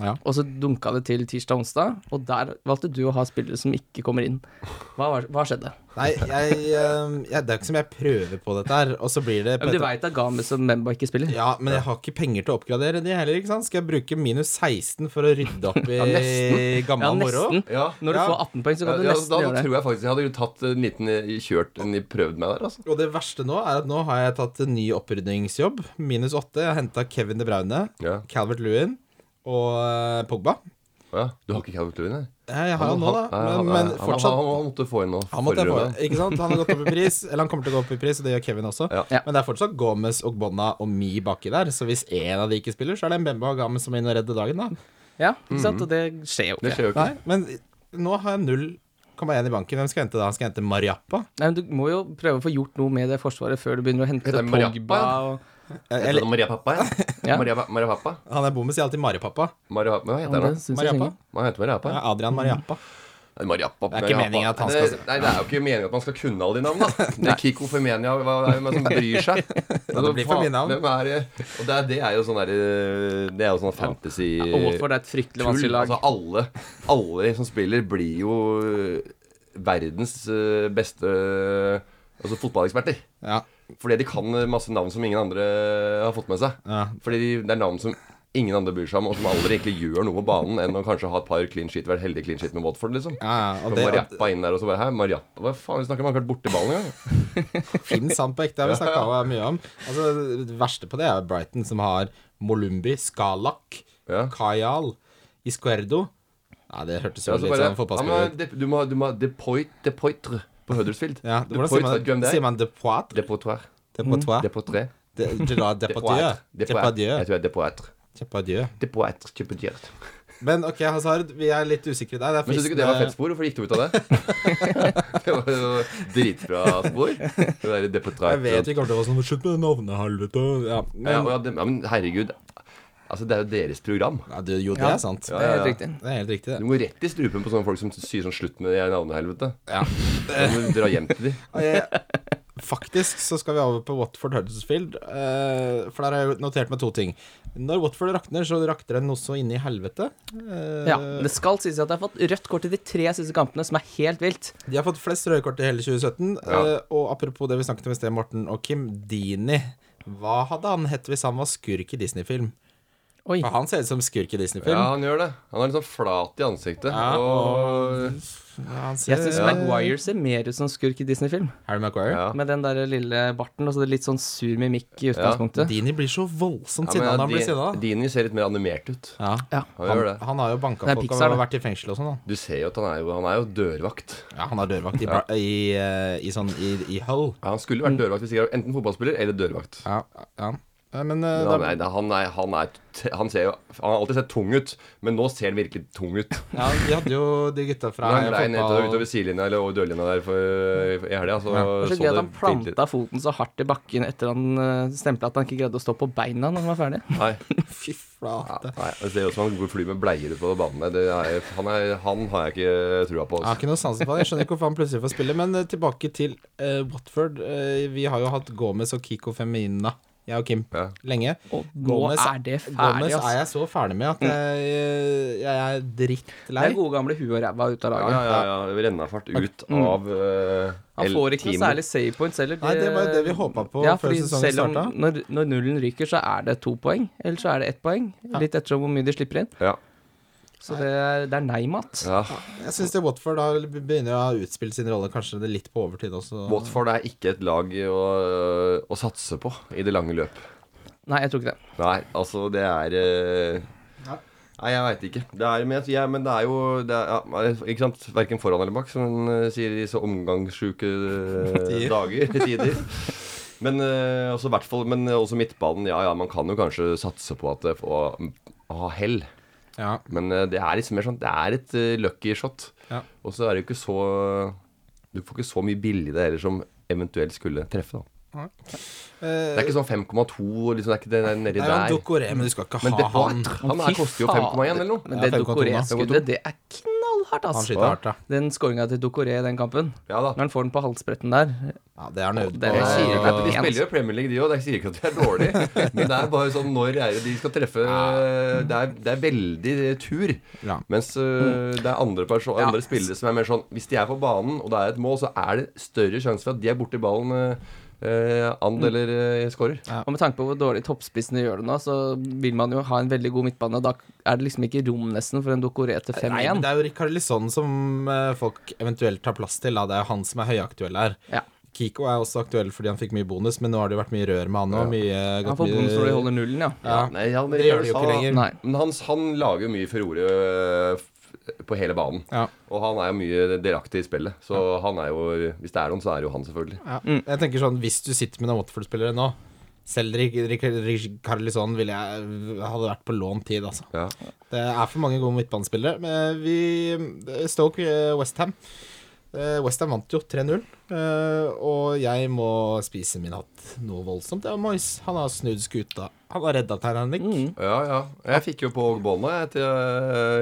B: Ja.
C: Og så dunka det til tirsdag og onsdag, og der valgte du å ha spillere som ikke kommer inn. Hva, var- hva skjedde?
B: Nei, jeg, eh, jeg, det er ikke som jeg prøver på dette her, og så blir det
C: Ja, men du veit at Games og Mbemba ikke spiller?
B: Ja, men jeg har ikke penger til å oppgradere de heller, ikke sant? Skal jeg bruke minus 16 for å rydde opp i gammel moro?
C: nesten.
D: Ja.
C: Når du
B: Ja.
C: får 18 poeng, så kan du
D: Ja, altså,
C: nesten
D: da,
C: gjøre
D: da
C: det.
D: tror jeg faktisk jeg hadde jo tatt en liten eh, kjørt en i- prøvd med der, altså.
B: Og det verste nå er at nå har jeg tatt en ny opprydningsjobb. Minus 8. Jeg har henta Kevin De Bruyne,
D: Ja.
B: Calvert Lewin og eh, Pogba.
D: ja. Du har ikke Calvert Lewin, nei?
B: Ja, Jeg har han nå, da.
D: han-
B: Men, men
D: han-
B: fortsatt
D: han, han, han måtte få inn noe.
B: Han måtte jeg få, ikke sant? Han har gått opp i pris, eller han kommer til å gå opp i pris, og det gjør Kevin også.
D: Ja.
C: Ja.
B: Men det er fortsatt Gomez og Bonna og Mi baki der, så hvis én av de ikke spiller, så er det Mbemba og Gomez som er inne og redder dagen, da.
C: Ja, ikke
D: Mhm.
C: sant? Og det skjer jo
D: Det
C: ikke.
D: skjer jo ikke.
B: Nei, men nå har jeg 0,1 i banken. Hvem skal jeg hente da? Skal jeg hente Mariappa?
C: Nei, men Du må jo prøve å få gjort noe med det forsvaret før du begynner å hente
D: Heter han Mariappa,
C: Pogba.
D: ja?
C: Og,
B: Eh,
D: Heter
B: Eller
D: han Maria Pappa?
C: Ja.
D: Ja. Maria, Maria Pappa?
B: han er bomme, sier alltid Maripappa.
D: Maria, hva
C: Ja,
D: heter
C: det
D: han? da?
C: synes jeg
B: Mariappa.
C: skjønner.
D: Hva heter Maria Pappa?
B: Ja, Adrian Mariappa.
D: Nei, Maria Pappa.
B: Det er ikke
D: Maria
B: meningen at han
D: Pappa.
B: skal-
D: det, Nei, det er jo ikke meningen at man skal kunne alle de navnene. da. Det er Kiko Femenia, hva er det som bryr seg? Altså,
B: blir
D: faen,
B: Femenia.
D: Hvem er det? Og det er, det er jo sånn der, eh, Det er jo sånn fantasy
C: og Watford er et fryktelig
D: Tull.
C: vanskelig lag.
D: Altså, alle, alle som spiller, blir jo eh, verdens eh, beste eh, altså fotballeksperter.
B: Ja.
D: Fordi de kan eh, masse navn som ingen andre eh, har fått med seg.
B: Ja.
D: Fordi de, det er navn som ingen andre bryr seg om, og som aldri egentlig gjør noe på banen, enn å kanskje ha et par clean sheet, være heldig clean sheet med Watford, liksom.
B: Ja, ja, og
D: Og
B: det
D: Mariappa inn der og så bare Hæ, Mariappa? Hva faen, vi snakker om? Han har ikke vært borti ballen engang.
B: fins han på ekte, det har vi snakka mye om. Altså, det verste på det er Brighton, som har Molumbi, Skalak,
D: Ja.
B: Kajal, Iscuerdo Nei, det hørtes jo
D: Ja, så
B: litt
D: bare,
B: sånn
D: ja,
B: fotballspiller ut.
D: men, det- du må ha- du må ha Depoit Depoitre på Huddersfield.
B: Ja, det, hvordan sier
D: Depoit, vet du hvem
B: man, Ah.
D: det
B: sier
D: er?
B: man de poitre?
D: Depoitre.
B: De poitre?
D: Depoitre.
B: De, de la departieu.
D: Depoitre. Jeg tror det er Depoitre.
B: Depardieu.
D: Depoitre. Depoitre.
B: Men ok, Hazard, vi er litt usikre der. Det er
D: Men syns du ikke det var fett spor? Hvorfor gikk du ut av det? det var jo dritbra spor. Det der Depoitre.
B: Jeg vet vi kommer til å få sånn Slutt med det navnet, helvete. Ja,
D: ja,
B: men,
D: ja, det- ja, men herregud. Altså, det er jo deres program.
B: ja, det, jo, det
C: Ja.
B: er sant.
C: Det er helt riktig.
B: Det er helt riktig,
D: Du
B: det.
D: må rett i strupen på sånne folk som sier sånn 'slutt med det navnehelvete'. Ja. Du må dra hjem til de.
B: Og jeg, faktisk så skal vi over på Watford Huddersfield, eh, for der har jeg jo notert meg to ting. Når Watford rakner, så rakner den også inne i helvete. Eh,
C: Ja, men Det skal sies at jeg har fått rødt kort i de tre siste kampene, som er helt vilt.
B: De har fått flest røde kort i hele 2017.
D: Ja.
B: eh, Og apropos det vi snakket om i sted, Morten og Kim. Dini. Hva hadde han hett hvis han var skurk i Disney-film?
C: Oi.
B: For han ser ut som skurk i Disney-film.
D: Ja, han gjør det. Han er litt sånn flat i ansiktet.
B: Ja,
D: og
B: Ja, han ser-
C: Jeg syns Maguire ser mer ut som skurk i Disney-film.
B: Harry Maguire.
D: Ja.
C: Med den der lille barten og så det litt sånn sur mimikk i utgangspunktet.
B: Dini blir så voldsomt
D: Ja,
B: sinna
D: men
B: når han blir
D: Di-
B: sinna.
D: Dini ser litt mer animert ut.
B: Ja.
C: Ja.
D: Han,
B: Han,
D: gjør det.
B: han har jo banka
C: Det er
B: folk
C: Pixar,
B: og
C: da.
B: vært i fengsel og sånn. han.
D: Du ser jo at han er jo, han er jo dørvakt.
B: Ja, han har dørvakt i, bra- i, eh, i, sånn, i, i Hull. Mm.
D: Ja, Han skulle vært dørvakt hvis ikke han var enten fotballspiller eller dørvakt.
B: Ja, ja. Eh, Men eh,
D: Men
B: da,
D: han, nei, han, er, han, er, t- han, ser jo, han har alltid sett tung ut, men nå ser han virkelig tung ut.
B: ja, vi hadde jo de gutta fra
D: Han glei nedover
B: fotball
D: utover sidelinja eller over dørlinja der for, i helga. Så,
B: Ja.
C: Det var
D: så
C: så gøy at han
D: det virkelig-
C: planta foten så hardt i bakken etter han uh, stempla at han ikke greide å stå på beina når han var ferdig.
D: Nei,
B: Fy
D: ja,
B: flate.
D: nei, det ser ut som han går fly med bleier på banen. der. Det er, han, er, han har jeg ikke trua på.
B: Jeg har
D: Altså.
B: ikke noe sansen for det. Jeg skjønner ikke hvorfor han plutselig får spille. Men eh, tilbake til eh, Watford. Eh, vi har jo hatt Gomez og Kiko Femina, jeg og Kim,
D: Ja.
B: lenge.
C: Og nå er det ferdig,
B: Gomez
C: altså.
B: er jeg så ferdig med
D: Mm.
B: at jeg, jeg er drittlei.
C: Det er gode gamle huet og ræva ut av
D: Ja,
C: laget.
D: ja, ja, ja. Rennafart ut av eh,
C: Mm. Han
D: El
C: får ikke noe
D: Timo.
C: særlig save points heller.
B: Nei, det var jo det vi håpa på
C: Ja,
B: før
C: fordi
B: sesongen
C: selv om
B: starta.
C: når, når nullen ryker, så er det to poeng. Eller så er det ett poeng. Litt ettersom hvor mye de slipper inn.
D: Ja.
C: Så det er, det er nei-mat.
D: Ja.
B: Jeg syns Watford da begynner å ha utspilt sin rolle, kanskje det er litt på overtid også.
D: Watford er ikke et lag å, eh, å satse på i det lange løp.
C: Nei, jeg tror ikke det.
D: Nei, altså, det er eh, Nei, jeg veit ikke. Det er, men, jeg, men det er jo det er, ja, Ikke sant? Verken foran eller bak, som hun eh, sier i så omgangssjuke eh,
B: Tider.
D: dager. Tider. Men eh, også, i hvert fall, men også midtbanen. Ja, ja, man kan jo kanskje satse på at det får ha hell.
B: Ja.
D: Men eh, det er liksom mer sånn Det er et eh, lucky shot.
B: Ja.
D: Og så er det jo ikke så Du får ikke så mye billig det heller som eventuelt skulle treffe, da.
B: Eh,
D: Det er ikke sånn 5,2 og liksom, det er ikke det der nedi
B: det er jo
D: der.
B: en Dokoré, men du skal ikke
D: Men det
B: ha
D: var,
B: han.
D: han er, koster jo 5,1 eller noe.
C: Men
B: Ja, 5,2
C: det
B: da.
C: Dokoré-skuddet, det er knallhardt,
B: Han
C: ass.
B: skyter hardt, da.
C: Den skåringa til Dokoré i den kampen,
D: Ja da.
C: når han får den på halsbretten der
B: Ja, det er han øvd på.
C: Det er
D: Jeg sier ikke at De
C: Ja.
D: spiller jo i Premier League, de òg. Jeg sier ikke at de er dårlige. Men det er bare sånn når er det de skal treffe Det er, det er veldig tur.
B: Ja.
D: Mens øh, det er andre, perso-
C: Ja.
D: andre spillere som er mer sånn Hvis de er på banen, og det er et mål, så er det større sjanse for at de er borti ballen øh, and eller øh, scorer.
C: Og med tanke på hvor dårlig toppspissene gjør det nå, så vil man jo ha en veldig god midtbane. og Da er det liksom ikke rom nesten for en Dokoré til
B: Nei, men
C: 5-1.
B: det er jo Rikard Lisson som eh, folk eventuelt tar plass til. Da. Det er jo han som er høyaktuell her.
C: Ja.
B: Kiko er også aktuell fordi han fikk mye bonus, men nå har det jo vært mye rør med han òg. Mye
C: Han får bonus når de holder nullen, ja.
B: ja.
D: Nei, han,
B: Det gjør de jo
D: han-
B: ikke lenger.
C: Nei.
D: Men han, han lager jo mye furore øh, f- på hele banen.
B: Ja.
D: Og han er jo mye delaktig i spillet. Så han er jo Hvis det er noen, så er det jo han, selvfølgelig.
B: Ja. Jeg tenker sånn, Hvis du sitter med noen Watford-spillere nå Selv Rik- Rik- Rik- Carlisson ville jeg hadde vært på lånt tid, altså.
D: Ja.
B: Det er for mange gode midtbanespillere. Men vi Stoke eh, Westham. Westham vant jo 3-0, eh, og jeg må spise min hatt noe voldsomt. Ja, Moyes, han har snudd skuta. Han har redda Terran Nick.
C: Mm.
D: Ja, ja. Jeg fikk jo på båndet etter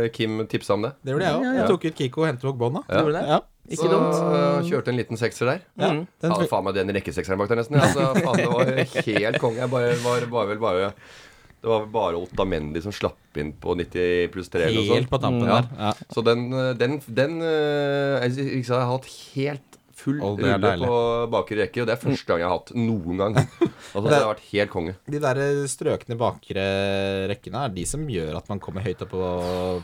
D: øh, Kim tipsa om det.
B: Det gjorde jeg òg. Jeg tok ut Kiko og hentet Ogbonna.
D: Ja.
C: Gjorde det? Mm.
B: Ja.
C: Ikke
D: så
C: dumt.
D: øh, kjørte en liten sekser der.
B: Ja. Den
D: Ja,
B: fikk-
D: faen meg den rekkesekseren bak der nesten. ja. Altså, faen, det var helt konge. Jeg bare, var, var vel bare Det var vel bare Otamendi som slapp inn på 90 pluss 3 eller noe
B: Helt på tampen
D: sånt. altså. Ja.
B: der. Ja.
D: Så den, eh, den, den eh, Jeg synes ikke jeg har hatt helt full
B: Å, det er
D: rulle
B: deilig.
D: på bakre rekke, og det er første gang jeg har hatt noen gang. Altså, det har vært helt konge.
B: De der eh, strøkne bakre rekkene er de som gjør at man kommer høyt opp på,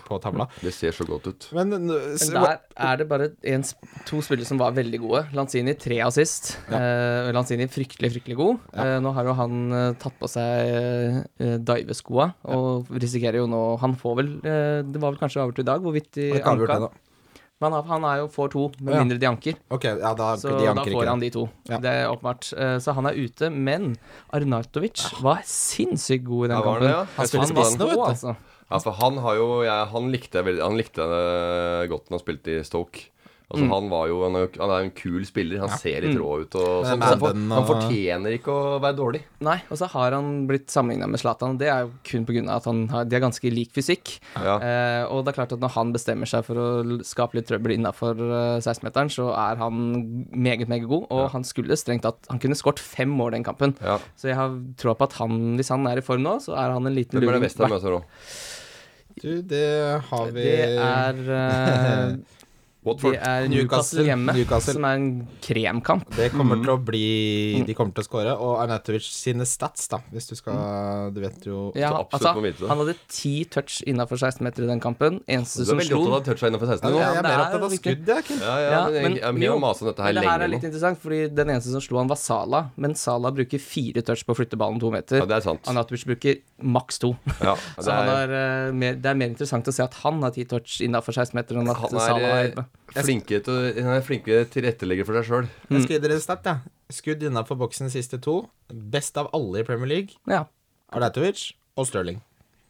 B: på tavla.
D: Det ser så godt ut.
B: Men n-
C: Men
B: s-
C: der er det bare en, sp- to spillere som var veldig gode. Lanzini tre assist. Eh, og Lanzini fryktelig, fryktelig god. Eh, nå har jo han eh, tatt på seg eh, diveskoa og risikerer jo nå Han får vel eh, Det var vel kanskje avgjort i dag hvorvidt de
B: Det er ikke avgjort
C: anka.
B: ennå.
C: Men han, han er jo får to, med
B: Ja.
C: mindre de anker.
B: Ok, ja, da,
C: Så
B: de
C: da
B: anker
C: får
B: ikke.
C: han de to.
B: Ja.
C: Det er åpenbart. Eh, så han er ute. Men Arnautovic var sinnssykt god i den
D: Ja, var
C: kampen.
D: han det, ja?
B: Ah. Han
C: Han,
B: spiller
C: var
B: spiss nå, vet
C: god,
B: du.
C: altså.
D: Ja, for han har jo jeg, Han likte jeg veldig Han likte jeg godt når han spilte i Stoke. Altså, han, var jo, han, er jo, han er jo en kul spiller. Han ser litt rå ut. Og,
B: Men
D: sånn,
B: er
D: så han, for,
B: den
D: han
B: og-
D: fortjener ikke å være dårlig.
C: Nei, og så har han blitt sammenligna med Zlatan. og Det er jo kun pga. at han har, de har ganske lik fysikk.
D: Ja.
C: Eh, og det er klart at når han bestemmer seg for å l- skape litt trøbbel innafor eh, 16-meteren, så er han meget, meget god. Og han skulle strengt tatt Han kunne skåret fem mål den kampen.
D: Ja.
C: Så jeg har troa på at han, hvis han er i form nå, så er han en liten
D: Hvem er det
C: luring.
D: beste han møter nå?
B: Du, det har vi
C: Det er, eh, det
D: Watford.
C: er
B: Newcastle.
C: Newcastle hjemme,
B: Newcastle.
C: som er en kremkamp.
B: Det kommer til å bli De kommer til å skåre. Og Arnautovic sine stats, da, hvis du skal Du vet jo
C: Mm. Ja,
D: Så absolutt
C: altså,
D: må vite det.
C: han hadde ti touch innafor 16-meter i den kampen.
D: Du
C: Eneste
D: er
C: som
D: veldig
C: slo
D: opptatt av å touche innenfor 16
B: Jeg
D: nå.
C: Ja,
B: er
C: det
B: mer
C: er
B: opptatt av
C: viktig.
B: skudd, jeg, Kim.
D: Ja, ja, men jeg, jeg, jeg
C: jo,
D: har mast om dette her
C: men det her
D: lenge
C: er litt
D: nå.
C: interessant, fordi den eneste som slo han, var Sala. Men Sala bruker fire touch på å flytte ballen to meter.
D: Ja, det er sant.
C: Anatovic bruker maks to.
D: Ja,
C: Så
D: det
C: han
D: er,
C: har, eh, mer, det er mer interessant å se at han har ti touch innafor 16-meteren enn at
D: han
C: Sala har
D: er
C: elleve.
D: eh, flinke til å- han er flinke tilrettelegger for seg sjøl.
C: Mm.
B: Jeg skal gi dere en stat, jeg. Skudd innafor boksen siste to. Best av alle i Premier League.
C: Ja.
B: Arnautovic og Stirling.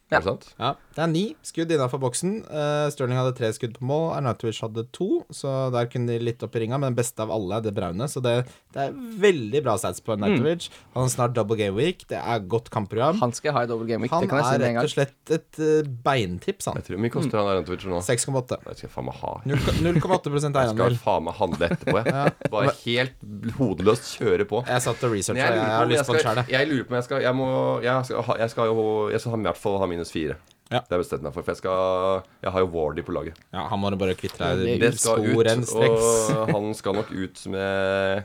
C: Ja.
D: Er det sant?
B: Ja, Det er ni skudd innafor boksen. Uh, Stirling hadde tre skudd på mål, Arnautovic hadde to, så der kunne de litt opp i ringa. Men den beste av alle er det braune, så det, det er veldig bra sats på Arnautovic. Han har snart double game week, det er godt kampprogram.
C: Mm. Han skal ha i double game week, det
B: Han
C: kan jeg si
B: er
C: med en
B: rett og
C: gang.
B: slett et eh, beintips, han.
D: Jeg tror Hvor mye koster han der en Twitcher nå?
B: 6,8.
D: Jeg skal faen meg ha.
B: 0,8
D: Jeg skal
B: eiendel.
D: faen meg handle etterpå, jeg. Bare helt hodeløst kjøre på.
B: Jeg satt og
D: Men
B: researcha,
D: Jeg
B: jeg, jeg har
D: lurer
B: lyst
D: på
B: på den
D: om jeg skal,
B: sjæl, jeg.
D: jeg lurer på om jeg skal Jeg, må, jeg, skal, ha- jeg, skal, jo, jeg skal ha, i hvert fall ha minus fire.
B: Ja.
D: Det har jeg bestemt meg for. For jeg, skal, jeg har jo Wardy på laget.
B: Ja, han må du bare kvitte deg
D: Det
B: med
D: skal ut,
B: sporenstreks.
D: og han skal nok ut med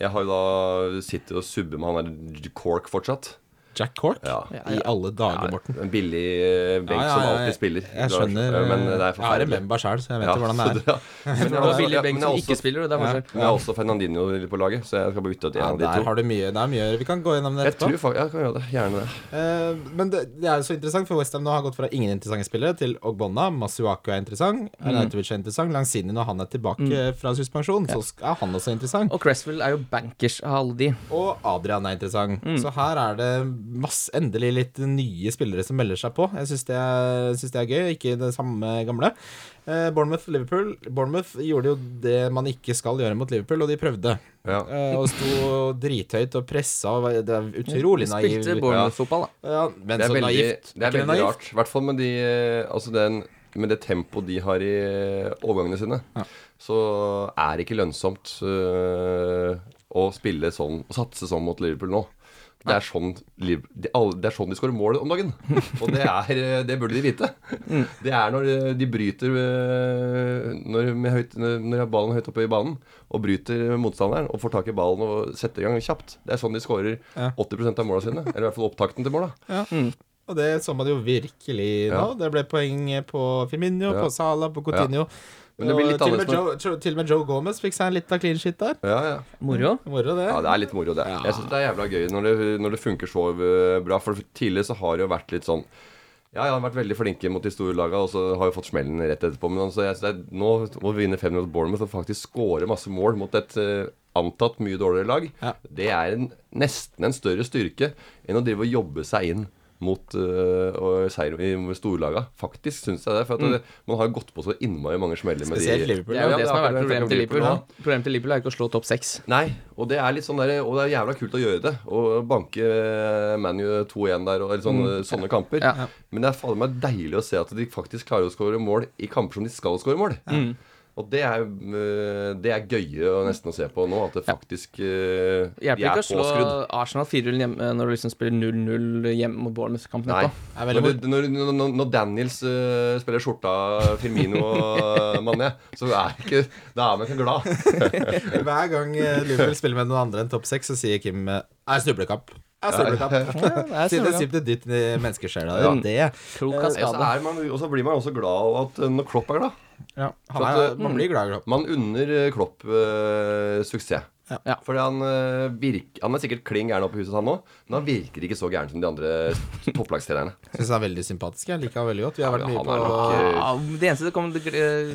D: Jeg har jo da sitter og subber med han der Cork fortsatt.
B: Jack Cork?
D: Ja.
B: I alle dager, Morten.
D: En billig eh, benk
B: Ja, ja,
D: som
B: ja,
D: alltid spiller.
B: Jeg skjønner. eh,
D: Ja, Men det er
B: jeg har en
D: forferdelig.
B: member sjøl, så jeg vet
D: Ja,
B: jo hvordan det
D: så
B: er.
D: det- Men jeg har
C: Og
D: også-
C: Billy
D: ja,
C: Bengt
D: men jeg
C: som
D: har
C: ikke
D: også-
C: spiller, og det er forskjell.
D: men jeg har også Fernandinho på laget, så jeg skal bare bytte ut en
B: Ja,
D: av de
B: der
D: to.
B: har du mye. Det er mye Vi kan gå gjennom det
D: Jeg
B: etterpå.
D: tror faktisk Jeg kan gjøre det. Gjerne det.
B: Eh, men det, det er jo så interessant, for Westham nå har gått fra ingen interessante spillere til Ogbonna. Masuaku er interessant.
D: Mm.
B: Arnautovic er interessant. Langzini, når han er tilbake fra suspensjon, så sk- er han også interessant.
C: Og Cresswell er jo bankers av alle de.
B: Og Adrian er interessant.
D: Mm.
B: Så her er det masse, endelig litt nye spillere som melder seg på. Jeg syns det, er- synes det er gøy, ikke det samme gamle. Eh, Bournemouth-Liverpool Bournemouth gjorde jo det man ikke skal gjøre mot Liverpool, og de prøvde.
D: Ja.
B: Eh, og sto drithøyt og pressa. og var- Det er utrolig Mm. naivt.
C: Spilte Bournemouth-fotball, da.
B: Ja, men
D: Det
B: så
D: er veldig,
B: naivt.
D: det er
B: Ikke
D: veldig rart. I hvert fall med, de, eh, altså den, med det tempoet de har i eh, overgangene sine, så er det ikke lønnsomt eh, å spille sånn og satse sånn mot Liverpool nå. Det er, sånn, Liv- de, alle- det er sånn de skårer mål om dagen. Og det, er, eh, det burde de vite.
B: Mm.
D: Det er når eh, de bryter eh, Når, med høyt, når ballen er høyt oppe i banen, og bryter motstanderen og får tak i ballen og setter i gang kjapt. Det er sånn de skårer 80 av måla sine. Eller i hvert fall opptakten til måla.
B: Og det så man jo virkelig nå. Det ble poeng på Firmino,
D: Ja.
B: på Salah, på Coutinho.
D: Men det blir
B: og
D: litt
B: til og, med
D: annerledes
B: Joe, Joe- til og med Joe Gomez fikk seg en liten clean shit der.
D: Ja, ja.
C: Moro.
B: Moro, det.
D: ja, det er litt moro, det. Jeg syns det er jævla gøy når det, når det funker så øh, bra. For tidligere så har det jo vært litt sånn ja, jeg har vært veldig flinke mot de store laga, og så har vi fått smellen rett etterpå. Men altså, jeg, synes det er, nå må vi vinne 5 mot Bournemouth og faktisk skåre masse mål mot et eh, antatt mye dårligere lag.
B: Ja.
D: Det er en, nesten en større styrke enn å drive og jobbe seg inn mot eh, og seier i storlaga. Faktisk syns jeg det. For at det, man har gått på så innmari mange smeller med
B: Spesielt
D: de
B: Liverpool.
C: Det er jo
D: Ja,
C: Mm. det som har vært
D: akkurat det jeg
C: problemet
D: tenker
C: til
D: om
C: Liverpool.
D: ja.
C: da. Problemet til Liverpool er jo ikke å slå topp seks.
D: Nei, og det er litt sånn der, og det er jævla kult å gjøre det. Og banke ManU 2-1 der, og eller sånne, sånne kamper.
C: Mm. Ja.
D: Men det er fader meg deilig å se at de faktisk klarer å skåre mål i kamper som de skal skåre mål.
C: Mm.
D: Og det er, øh, det er gøye å nesten å se på nå, at det faktisk øh, De
C: Hjelper
D: er
C: ikke å slå
D: påskrudd.
C: Arsenal 4-0 hjemme når du liksom spiller 0-0 hjemme mot Bournemouth-kampen
D: Nei.
C: etterpå.
B: er veldig
D: Når, du- når, når, når Daniels øh, spiller skjorta Firmino og Mané, så er det ikke, da er man ikke glad.
B: Hver gang eh, Liverpool spiller med noen andre enn topp seks, så sier Kim eh, er snublekamp. Er snublekamp.
C: Ja, det er Eh,
B: Siden det eh,
C: snublekamp.
B: sitter dypt i menneskesjela. Ja. Det.
C: Krok har
D: Og så
C: skade.
D: er man- Og så blir man også glad av at øh, når Klopp er glad.
B: Han
D: eh,
B: er, man
D: mm.
B: blir glad i Klopp.
D: Man unner eh, Klopp eh, suksess.
B: Ja.
C: Ja.
D: Fordi han, eh, virk, han er sikkert kling gæren oppe i huset, han òg, men han virker ikke så gæren som de andre topplagsstjernerne.
B: Syns han er veldig sympatisk. Jeg liker han veldig godt. Vi har vært
D: men
B: mye
D: han
B: på
D: er nok, eh,
C: Ja, det eneste som kom til eh,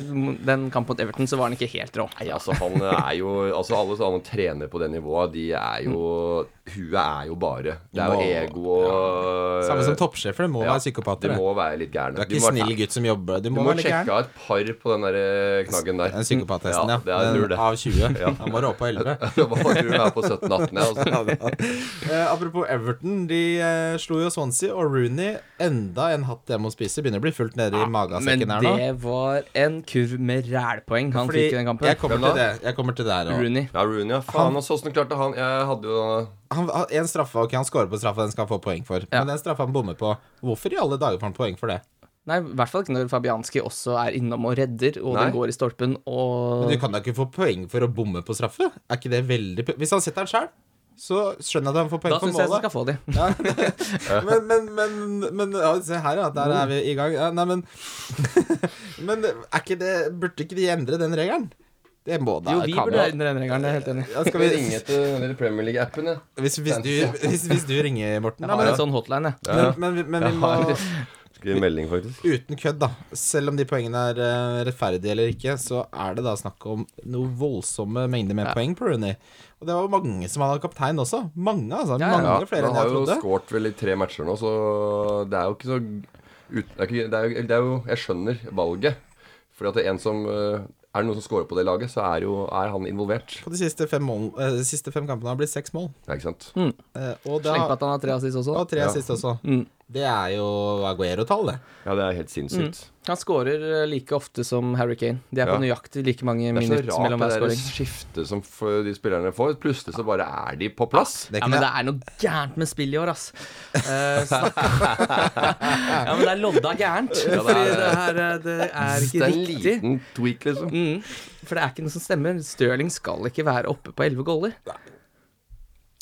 C: den kampen mot Everton, så var han ikke helt rå.
D: Nei, altså, han er jo Altså, alle sånne trenere på det nivået, de er jo Huet er jo bare Det er jo ego og
B: eh,
D: eh,
B: Samme som toppsjefer, det må
D: Ja,
B: være psykopater.
D: De
B: det.
D: må være litt gærne.
B: Du er
D: De
B: ikke
D: må-
B: snill gutt som jobber. Du
D: Du
B: må,
D: må
B: være litt
D: sjekke
B: gæren.
D: av et par på den der eh, knaggen der.
B: Den psykopattesten, ja.
D: Ja, det er
B: Den
D: lur, det.
B: Av 20. Han må rå på 11.
D: Hva tror du er på 17-18? Ja, altså.
B: Eh, apropos Everton, de eh, slo jo Swansea, og Rooney, enda en hatt jeg må spise, begynner å bli fullt nede i
C: Men
B: magesekken her nå.
C: det var en kurv med rælpoeng han fikk i den kampen.
B: jeg kommer
D: Hvem da?
B: til det. Jeg kommer til det her òg.
C: Rooney.
D: Ja, Rooney, ja. Faen, altså, åssen klarte han Jeg hadde jo
B: Han har en straffe, ok, han scorer på straffa, den skal han få poeng for.
C: Ja.
B: Men den straffa han bommer på, hvorfor i alle dager får han poeng for det?
C: Nei, i hvert fall ikke når Fabianski også er innom og redder, og
D: Nei.
C: den går i stolpen, og
B: Men du kan da ikke få poeng for å bomme på straffe? Er ikke det veldig p- Hvis han setter den sjøl, så skjønner jeg at han får poeng
C: Da
B: for
C: syns jeg han
B: målet.
C: skal få de.
B: Ja, men men, men, men ja, se her, ja. Der er vi i gang. Ja, nei, men Men er ikke det Burde ikke de endre den regelen? Det må da
C: Jo, vi
B: kan
C: burde være under den regelen, jeg er helt enig.
B: ja, skal
D: Skal vi
B: vi,
D: ringe til den der Premier League-appen, ja?
B: hvis, hvis, du, hvis, hvis du ringer, Morten
C: Jeg har
B: da,
C: en sånn hotline, jeg.
B: men, men, men, men vi må
D: Skriv melding, faktisk.
B: Uten kødd, da. Selv om de poengene er eh, rettferdige eller ikke, så er det da snakk om noe voldsomme mengder med poeng på Rooney. Og det var jo mange som hadde kaptein også. Mange, altså.
C: Ja, ja.
B: mange flere
D: han
B: enn
D: har
B: jeg
D: jo
B: trodde.
D: skåret vel i tre matcher nå, så det er jo ikke så ut, det, er ikke, det, er, jo- det er jo Jeg skjønner valget. Fordi at det er en som eh, Er det noen som scorer på det laget, så er jo er han involvert.
B: På de siste fem, mål, eh, de siste fem kampene har det blitt seks mål.
D: Ja, ikke sant?
C: Mm.
B: Eh, og, da,
C: Sleng på at han har tre assist også.
B: og tre
D: Ja.
B: sist også. Det er jo Aguero-tall, det.
D: Ja, det er helt sinnssykt.
C: Han skårer eh, like ofte som Harry Kane. De er
D: Ja.
C: på nøyaktig like mange
D: Det er
C: minutter
D: så
C: mellom
D: rart
C: hver
D: det der
C: skåring.
D: skiftet som f- de spillerne får. Plutselig så bare er de på plass.
B: Det
C: Ja,
B: kunne
C: men det er noe gærent med spill i år, ass. Eh, snakk Ja, men det er lodda gærent.
D: det er
C: fordi
D: det.
C: det er, eh, det er
D: det
C: ikke
D: er en
C: riktig.
D: liten tweak, liksom.
C: Mm, for det er ikke noe som stemmer. Stirling skal ikke være oppe på elleve goller.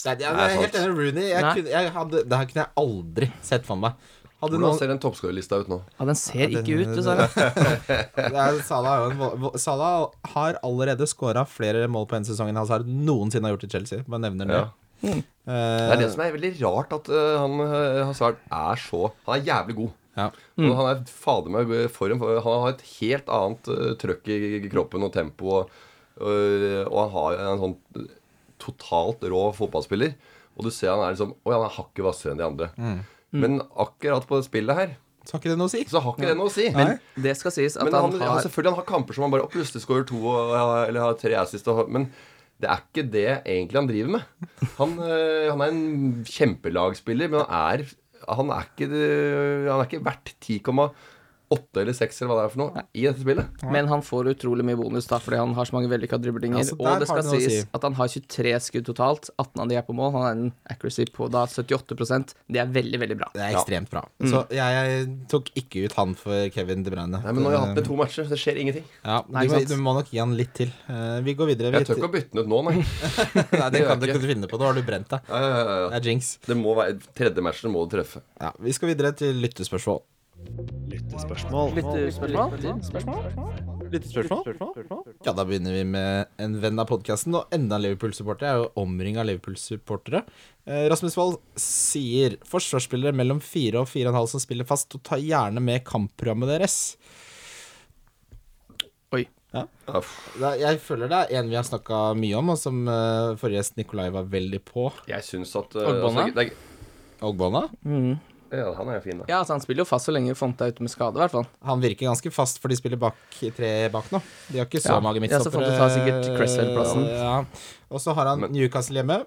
B: Nei, jeg
D: Nei,
B: er helt
D: sant.
B: enig med Rooney. Jeg
C: Nei.
B: kunne, jeg hadde, det her kunne jeg aldri sett for meg. Hadde
D: Hvordan
B: noen,
D: ser den toppskårerlista ut nå?
C: Ja, den ser ikke ut, dessverre.
B: det er, Salah, er jo en, vo- vo- Salah har allerede skåra flere mål på en sesong enn Hazard noensinne har gjort i Chelsea. Bare nevner det.
D: Ja. Det er det som er veldig rart, at eh, han eh, Hazard er så Han er jævlig god.
B: Ja.
D: Og han er fader meg god i form. for Han har et helt annet eh, trøkk i, i kroppen og tempo. Og, eh, og- og han har en sånn totalt rå fotballspiller. Og du ser han er liksom Å ja, han er hakket hvassere enn de andre. Men akkurat på det spillet her,
B: Så har ikke det noe å si.
D: så har ikke det noe å si.
B: Men-
C: Det skal sies at
D: Men han,
C: han altså,
D: han,
C: har
D: selvfølgelig han har kamper som han bare «Å, plutselig skårer to og, eller har tre assist. Og, men det er ikke det egentlig han driver med. Han, øh, han er en kjempelagspiller, men han er, han er, ikke, øh, han er ikke verdt 10,8 eller 6 eller hva det er for noe i dette spillet.
C: Men han får utrolig mye bonus da fordi han har så mange vellykka driblinger.
B: Ja, så der
C: og
B: har
C: det skal
B: det noe å
C: sies
B: si.
C: at han har 23 skudd totalt. 18 av de er på mål. Han har en accuracy på da 78 Det er veldig, veldig bra.
B: Det er ekstremt bra.
D: Mm.
B: Så jeg, jeg tok ikke ut han for Kevin De Bruyne.
D: Nei, men nå har jeg hatt med to matcher, så det skjer ingenting.
B: ja, du,
C: Nei,
B: må,
C: sant.
B: du må nok gi han litt til. Eh, vi går videre. Vi
D: Jeg tør ikke å bytte den ut nå, nei.
B: Nei, det kan du
D: Det gjør jeg
B: ikke finne på. Nå har du brent deg.
D: Ja, ja, ja,
B: Det
D: ja.
B: er jinx.
D: Det må være, tredje matchen må du treffe.
B: Ja, vi skal videre til lyttespørsmål.
E: Lyttespørsmål.
B: eh, Ja, da begynner vi med en venn av podkasten, og enda en Liverpool-supporter. Jeg er jo omringa av Liverpool-supportere. Eh, Rasmus Wold sier forsvarsspillere mellom fire og fire og en halv som spiller fast, og ta gjerne med kampprogrammet deres.
C: Oi.
D: Ja, pff.
B: Da, jeg føler det er en vi har snakka mye om, og som eh, forrige gjest Nikolai var veldig på.
D: Jeg syns at øh,
C: Ogbonna?
D: altså, det er-
B: Ogbonna.
D: Ja, han er jo fin, da.
C: Ja, altså han spiller jo fast så lenge Font er ute med skade, i hvert fall.
B: Han virker ganske fast, for de spiller bak, tre bak nå. De har ikke så
C: Ja.
B: mange
C: Ja, så får
B: midtstoppere.
C: du ta sikkert Cresswell-plassen.
B: Ja. Og så har han
D: Men-
B: Newcastle hjemme,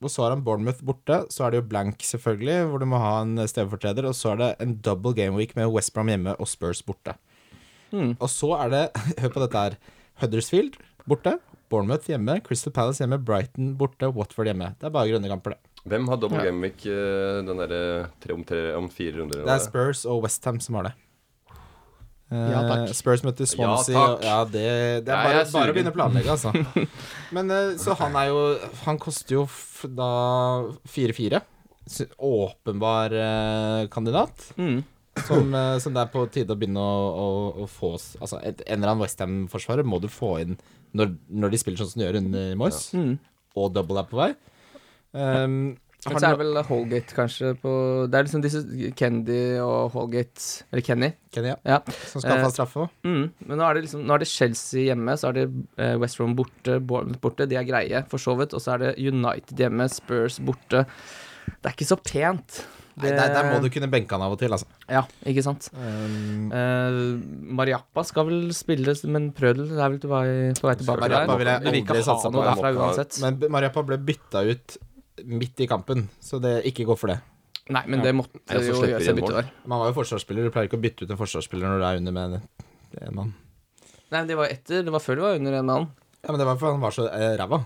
B: og så har han Bournemouth borte. Så er det jo blank, selvfølgelig, hvor du må ha en stedfortreder. Og så er det en double game week med West Brom hjemme og Spurs borte.
C: Hmm.
B: Og så er det, hør på dette her, Huddersfield borte, Bournemouth hjemme, Crystal Palace hjemme, Brighton borte, Watford hjemme. Det er bare grønne kamper, det.
D: Hvem har double game week øh, den derre tre- om, tre- om fire runder?
B: Det er Spurs og Westham som har det.
C: Ja, takk.
B: Eh, Spurs møter Swansea.
D: Ja,
B: Ja,
D: takk.
B: ja, det, det
D: Nei,
B: er bare,
D: jeg
B: bare
D: er
B: å
D: sugen.
B: begynne å planlegge, altså. Men eh, så han er jo Han koster jo f da 4-4. Så Åpenbar eh, kandidat. Som, eh, som det er på tide å begynne å, å, å få s- Altså, et, en eller annen Westham-forsvarer må du få inn når, når de spiller sånn som de gjør under Moyes, og double er på vei. Um,
C: Men så er det vel Holgate, kanskje, på Det er liksom disse Kendy og Holgate Eller Kenny.
B: Kenya,
C: Ja.
B: som skal
C: Eh,
B: ha straffe òg.
C: Mm. Men nå er det liksom Nå er det Chelsea hjemme, så er det eh, West Brom borte, Bournemouth borte. De er greie, for så vidt. Og så er det United hjemme, Spurs borte. Det er ikke så pent.
B: Nei, der, der må du kunne benke han av og til, altså.
C: Ja, ikke sant.
B: Um,
C: Eh, Mariappa skal vel spille, men Prødel er vel på vei, på vei tilbake
B: Mariappa vil jeg
C: der. Du vil ikke
B: aldri
C: ha
B: satse på.
C: noe
D: Jeg må
C: derfra
D: ikke ha-
C: uansett.
B: men B- Mariappa ble bytta ut midt i kampen, så det ikke gå for det.
C: Nei, men det måtte
D: Ja, så
C: jo
D: slipper
C: gjøre
D: inn
C: seg
D: mål.
C: bytte der.
B: Man var jo forsvarsspiller, du pleier ikke å bytte ut en forsvarsspiller når du er under med en, en mann.
C: Nei, men det var etter. Det var før det var under en mann.
B: Ja, men det var fordi han var så eh, ræva.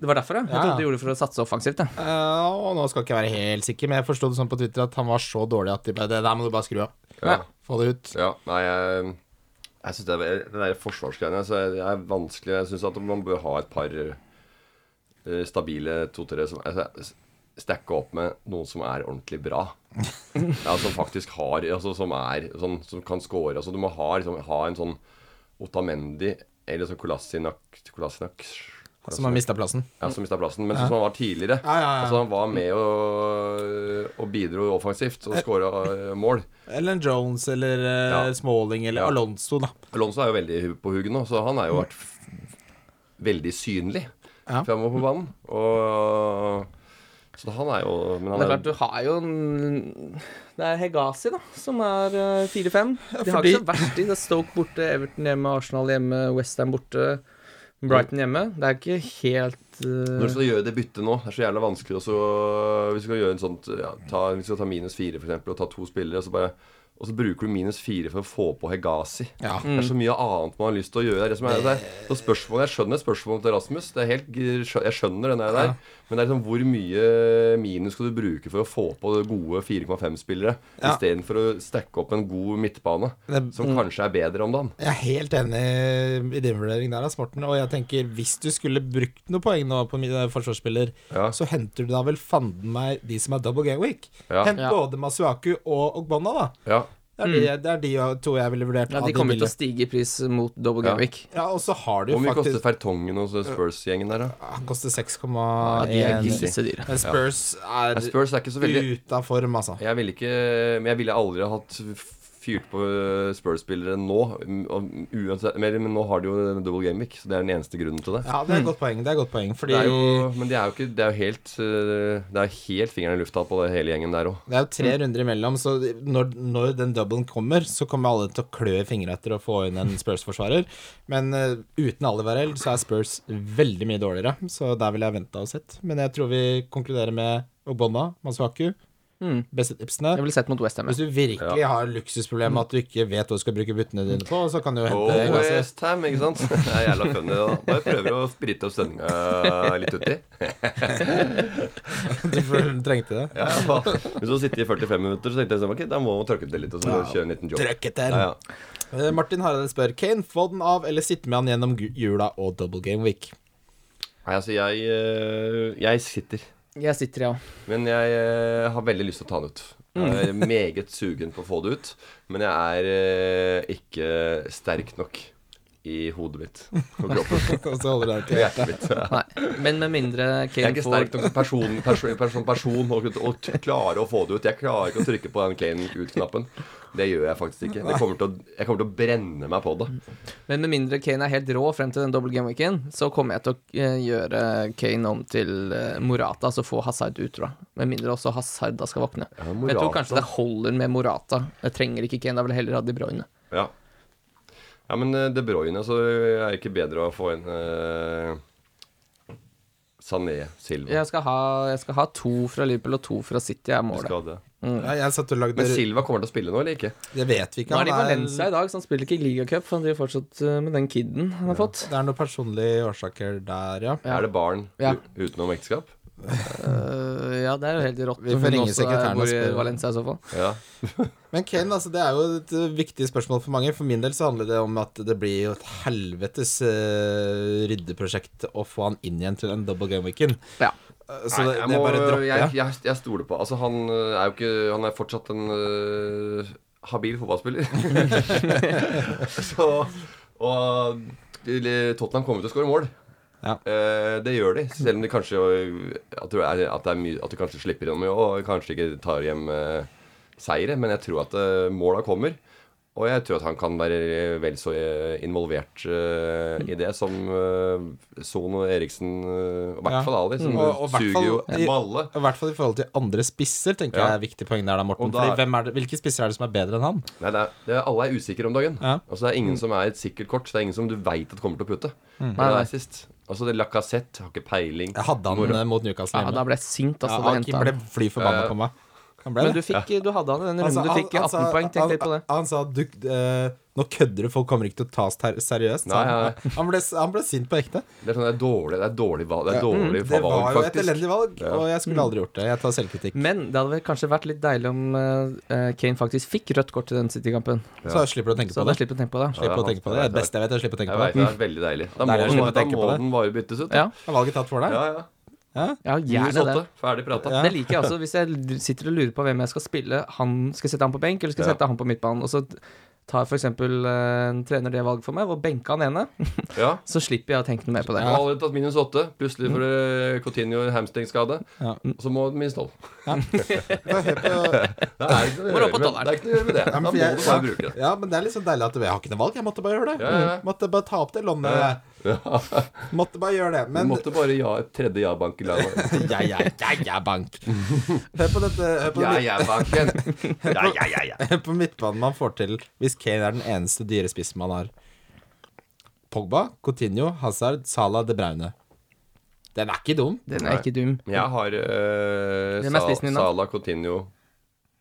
C: Det var derfor, ja. Jeg
B: Ja.
C: trodde de gjorde det for å satse offensivt. jeg.
B: Eh, og nå skal ikke jeg være helt sikker, men jeg forsto det sånn på Twitter at han var så dårlig at de bare Det der må du bare skru av.
D: Ja.
B: Få det ut.
D: Ja, nei, jeg, jeg syns det er Den der forsvarsgreiene så er, det er vanskelig. Jeg syns at man bør ha et par eh, stabile to-tre som altså, Stacke opp med noen som er ordentlig bra. Ja, som faktisk har altså, Som er sånn, Som kan score. Altså, du må ha, liksom, ha en sånn Otamendi eller sånn Kolasinac Kolasinac
B: som har mista plassen.
D: Ja, som mista plassen, men sånn som han var tidligere.
B: Ja, ja, ja.
D: Altså Han var med og, og bidro offensivt
B: Eh.
D: og skåra mål.
B: Eller en Jones eller eh,
D: Ja.
B: Smalling eller
D: Ja.
B: Alonso, da.
D: Alonso er jo veldig på hugget nå, så han har jo vært f- veldig synlig
B: Ja.
D: framover på banen. Og, så han er jo Men han
C: Det er
D: er,
C: klart, du har jo en Det er Hegazi, da, som er eh, 4-5. De har
B: fordi-
C: ikke så verst i det. er Stoke borte, Everton hjemme, Arsenal hjemme, Westham borte, Brighton hjemme. Det er ikke helt eh,
D: Når du skal gjøre det byttet nå, det er så jævla vanskelig også Hvis du skal gjøre en sånn ja, ta, Hvis du skal ta minus fire, for eksempel, og ta to spillere, og så bare og så bruker du minus fire for å få på Hegazi.
B: Ja.
D: Det er så mye annet man har lyst til å gjøre. Det er det som er det er, og spørsmålet, Jeg skjønner spørsmålet til Rasmus. Det er helt, gr- skjø- jeg skjønner den der, Men det er liksom hvor mye minus skal du bruke for å få på gode 4,5-spillere, i
B: Ja.
D: istedenfor å stacke opp en god midtbane,
B: Det-
D: som kanskje er bedre om dagen.
B: Jeg er helt enig i din vurdering der, ass, Morten. Og jeg tenker, hvis du skulle brukt noen poeng nå på min eh, forsvarsspiller,
D: Ja.
B: så henter du da vel fanden meg de som er double game week.
D: Ja.
B: Hent
C: Ja. Mm.
B: både Masuaku og Ogbonna, da.
D: Ja.
B: Det er, de, det er de to jeg ville vurdert.
C: ja,
B: av
C: De kommer
B: billige.
C: til å stige i pris mot Double
D: Ja.
C: Game Week.
B: ja, og så har du
D: Hvor mye koster
B: faktisk
D: Fertongen og så Spurs-gjengen der, da?
B: Han koster
D: de er
B: 6,1.
D: gisselig.
C: Disse dyra.
B: Men Spurs er
D: Nei, Spurs er ikke så veldig
B: ute av form, altså.
D: Jeg ville ikke Men jeg ville aldri hatt fyrt på eh, Spurs-spillere nå. um, og Uansett, men, men nå har de jo double game week, så det er den eneste grunnen til det.
B: Ja, det er et godt poeng. Det er et godt poeng fordi
D: Mm. Det er jo, men det er jo ikke Det er jo helt uh, Det er helt fingeren i lufta på det hele gjengen der òg.
B: Det er jo
C: Mm.
B: tre runder imellom, så når, når den doublen kommer, så kommer alle til å klø i fingra etter å få inn en Spurs-forsvarer. Men eh, uten Alivarel så er Spurs veldig mye dårligere, så der ville jeg venta og sett. Men jeg tror vi konkluderer med Obonna, Masuaku,
C: Mm.
B: beste tipsene.
C: Jeg ville sett mot Westham.
B: Hvis du virkelig har luksusproblemet at du ikke vet hva du skal bruke buttene dine på, så kan du jo
D: Og
B: hente Gassi.
D: Westham, ikke sant? Det er jævla funny. Da. Bare prøver å sprite opp stemninga litt uti.
B: Du får- trengte det.
D: Ja, ja. Hvis du sitter i 45 minutter, så tenkte jeg sånn, ok, da må man tørke ut det litt, og så kjøre en liten job.
B: Trykk etter.
D: Ja, ja.
B: Eh, Martin Hareide spør Kane, få den av eller sitte med han gjennom gu- jula og double game week.
D: Nei, altså, jeg eh, Jeg sitter.
C: Jeg sitter, ja.
D: Men jeg eh, har veldig lyst til å ta den ut. Jeg er meget sugen på å få det ut. Men jeg er eh, ikke sterk nok i hodet mitt og kroppen
B: Og så holder du deg
D: og
B: til
D: hjertet mitt. Jeg
C: Nei. Men med mindre
D: er
C: Kane
D: ikke
C: får
D: sterk nok som person, person, person, person og, og t- klare å få det ut. Jeg klarer ikke å trykke på den clean ut-knappen. Det gjør jeg faktisk ikke. Det kommer til å, jeg kommer til å brenne meg på det.
C: Men med mindre Kane er helt rå frem til den double game-weeken, så kommer jeg til å eh, gjøre Kane om til eh, Morata, altså få Hazard ut, tror jeg. Med mindre også Hazard da skal våkne.
D: Ja,
C: Men jeg tror kanskje
D: Morata.
C: det holder med Morata. Jeg trenger ikke Kane, da vil jeg heller ha De Bruyne.
D: Ja. ja, men eh, De Bruyne så er det ikke bedre å få en eh, Sané Silva.
C: Jeg skal, ha, jeg skal ha to fra Liverpool og to fra City, er
D: Du
C: målet.
D: skal ha det.
B: Ja, jeg satt og lagde
D: Men Silva kommer til å spille nå, eller ikke?
B: Det vet vi ikke.
C: Nå er de i
B: Han er-
C: Valencia i dag, så han spiller ikke ligacup, for han driver fortsatt eh, med den kiden han har fått.
B: Det er noen personlige årsaker der, ja.
D: Er det barn
C: Ja.
D: u- utenom ekteskap?
C: Eh, ja, det er jo helt rått.
B: Vi får
C: Hun
B: ringe
C: også er-
B: sekretæren og
C: bor i
B: spørre.
C: Valencia i så fall.
D: Ja.
B: Men Kane, altså, det er jo et uh, viktig spørsmål for mange. For min del så handler det om at det blir jo et helvetes uh, ryddeprosjekt å få han inn igjen til en double game-weekend.
C: Ja.
B: så det,
D: jeg,
B: det
D: må-
B: bare dropper
D: jeg,
B: jeg.
D: jeg, jeg stoler på Altså, han øh, er jo ikke Han er fortsatt en øh, habil fotballspiller. så Og eller, Tottenham kommer til å skåre mål.
B: Ja.
D: Eh, det gjør de, selv om de kanskje øh, At det er, at det er mye At de kanskje slipper gjennom og kanskje ikke tar hjem eh, seire, men jeg tror at eh, måla kommer. Og jeg tror at han kan være vel så eh, involvert eh, i det som eh, Son og Eriksen eh, og I hvert
B: Ja.
D: fall Ali, som
B: Mm. Og- og hvert
D: suger
B: fall
D: jo
B: i-
D: balle.
B: I hvert fall i forhold til andre spisser, tenker
D: Ja.
B: jeg er viktig poeng der, da, Morten.
D: Og da-
B: Fordi hvem er det, hvilke spisser er det som er bedre enn han?
D: Nei, det er, det er, alle er usikre om dagen.
B: Ja.
D: Altså, det er ingen som er et sikkert kort. Det er ingen som du veit at kommer til å putte. Mm.
C: Nei,
D: Det
C: nei.
D: er sist. Altså, det er Lacassette har ikke peiling.
B: Jeg hadde han eh, mot Newcastle
C: ja,
B: hjemme.
C: da ble jeg sint,
B: Ja,
C: altså. da
B: Hakim
C: hentet han.
B: ble fly forbanna
D: Eh,
B: på meg. Han ble
C: Men
B: det.
C: du, fikk, du hadde han i den runden.
B: Altså,
C: du fikk 18
B: han- altså,
C: poeng. Tenk
B: han-
C: litt på det.
B: Han sa du, eh, nå kødder du, folk kommer ikke til å ta oss ter- seriøst. sa
D: Nei,
B: han. Han, ble, han ble sint på ekte.
D: Det er sånn det er dårlig, det er dårlig, valg, det er dårlig
B: Mm. Det
D: valg,
B: var jo et
D: faktisk. Mm.
B: elendig valg, og jeg skulle aldri gjort det. Jeg tar selvkritikk.
C: Men det hadde vel kanskje vært litt deilig om eh, Kane faktisk fikk rødt kort til den City-kampen.
B: Så jeg slipper å tenke
C: Så
B: på det.
C: hadde jeg sluppet å tenke på det.
B: Slipper å tenke på det. Det er det beste jeg vet. Jeg slipper å tenke på
D: Jeg vet,
B: det.
D: det er veldig deilig. Da
B: Det er
D: må,
B: det jeg
D: den,
B: slipper å
D: da
B: tenke
D: må
B: på det.
D: den bare byttes ut.
C: Ja,
D: da.
B: Er valget tatt for deg?
D: Ja, ja.
C: ja
D: Minus
C: gjerne det.
D: åtte. Ferdig prata.
B: Ja.
C: Det liker jeg også. Hvis jeg l- sitter og lurer på hvem jeg skal spille han, Skal jeg sette han på benk, eller skal jeg
D: Ja.
C: sette han på midtbanen? Og så tar f.eks. en trener det valget for meg, hvor benka han ene,
D: Ja.
C: så slipper jeg å tenke noe mer på det.
D: Han har allerede tatt minus åtte, plutselig for uh, Coutinho hamstringskade.
B: Mm. Ja.
D: Og så må han minst tolv.
B: Får jeg se på
D: Det er ikke noe
C: Må
D: å gjøre
C: opp på
D: med-
C: talleren.
D: det er ikke noe å gjøre med det. Da
B: men
D: må
B: for
D: du
B: jeg-
D: bare bruke det.
B: Ja, men det er litt sånn deilig at jeg har ikke noe valg. Jeg måtte bare gjøre det.
D: Ja, ja, ja.
B: Måtte bare ta opp det lånet. Måtte bare gjøre det.
D: Du
B: Men
D: måtte bare ja et tredje ja-bank i landet.
B: ja, ja, ja, ja, bank. Hør på dette. Hør på,
D: Ja, ja-banken. Ja, ja, ja, ja.
B: hør på midtbanen man får til hvis Kane er den eneste dyre spissen man har. Pogba, Coutinho, Hazard, Salah, De Braune. Den er ikke dum.
C: Den er ikke dum.
D: Jeg har eh,
C: Hvem er
D: Sa-
C: spissen din da?
D: Salah Coutinho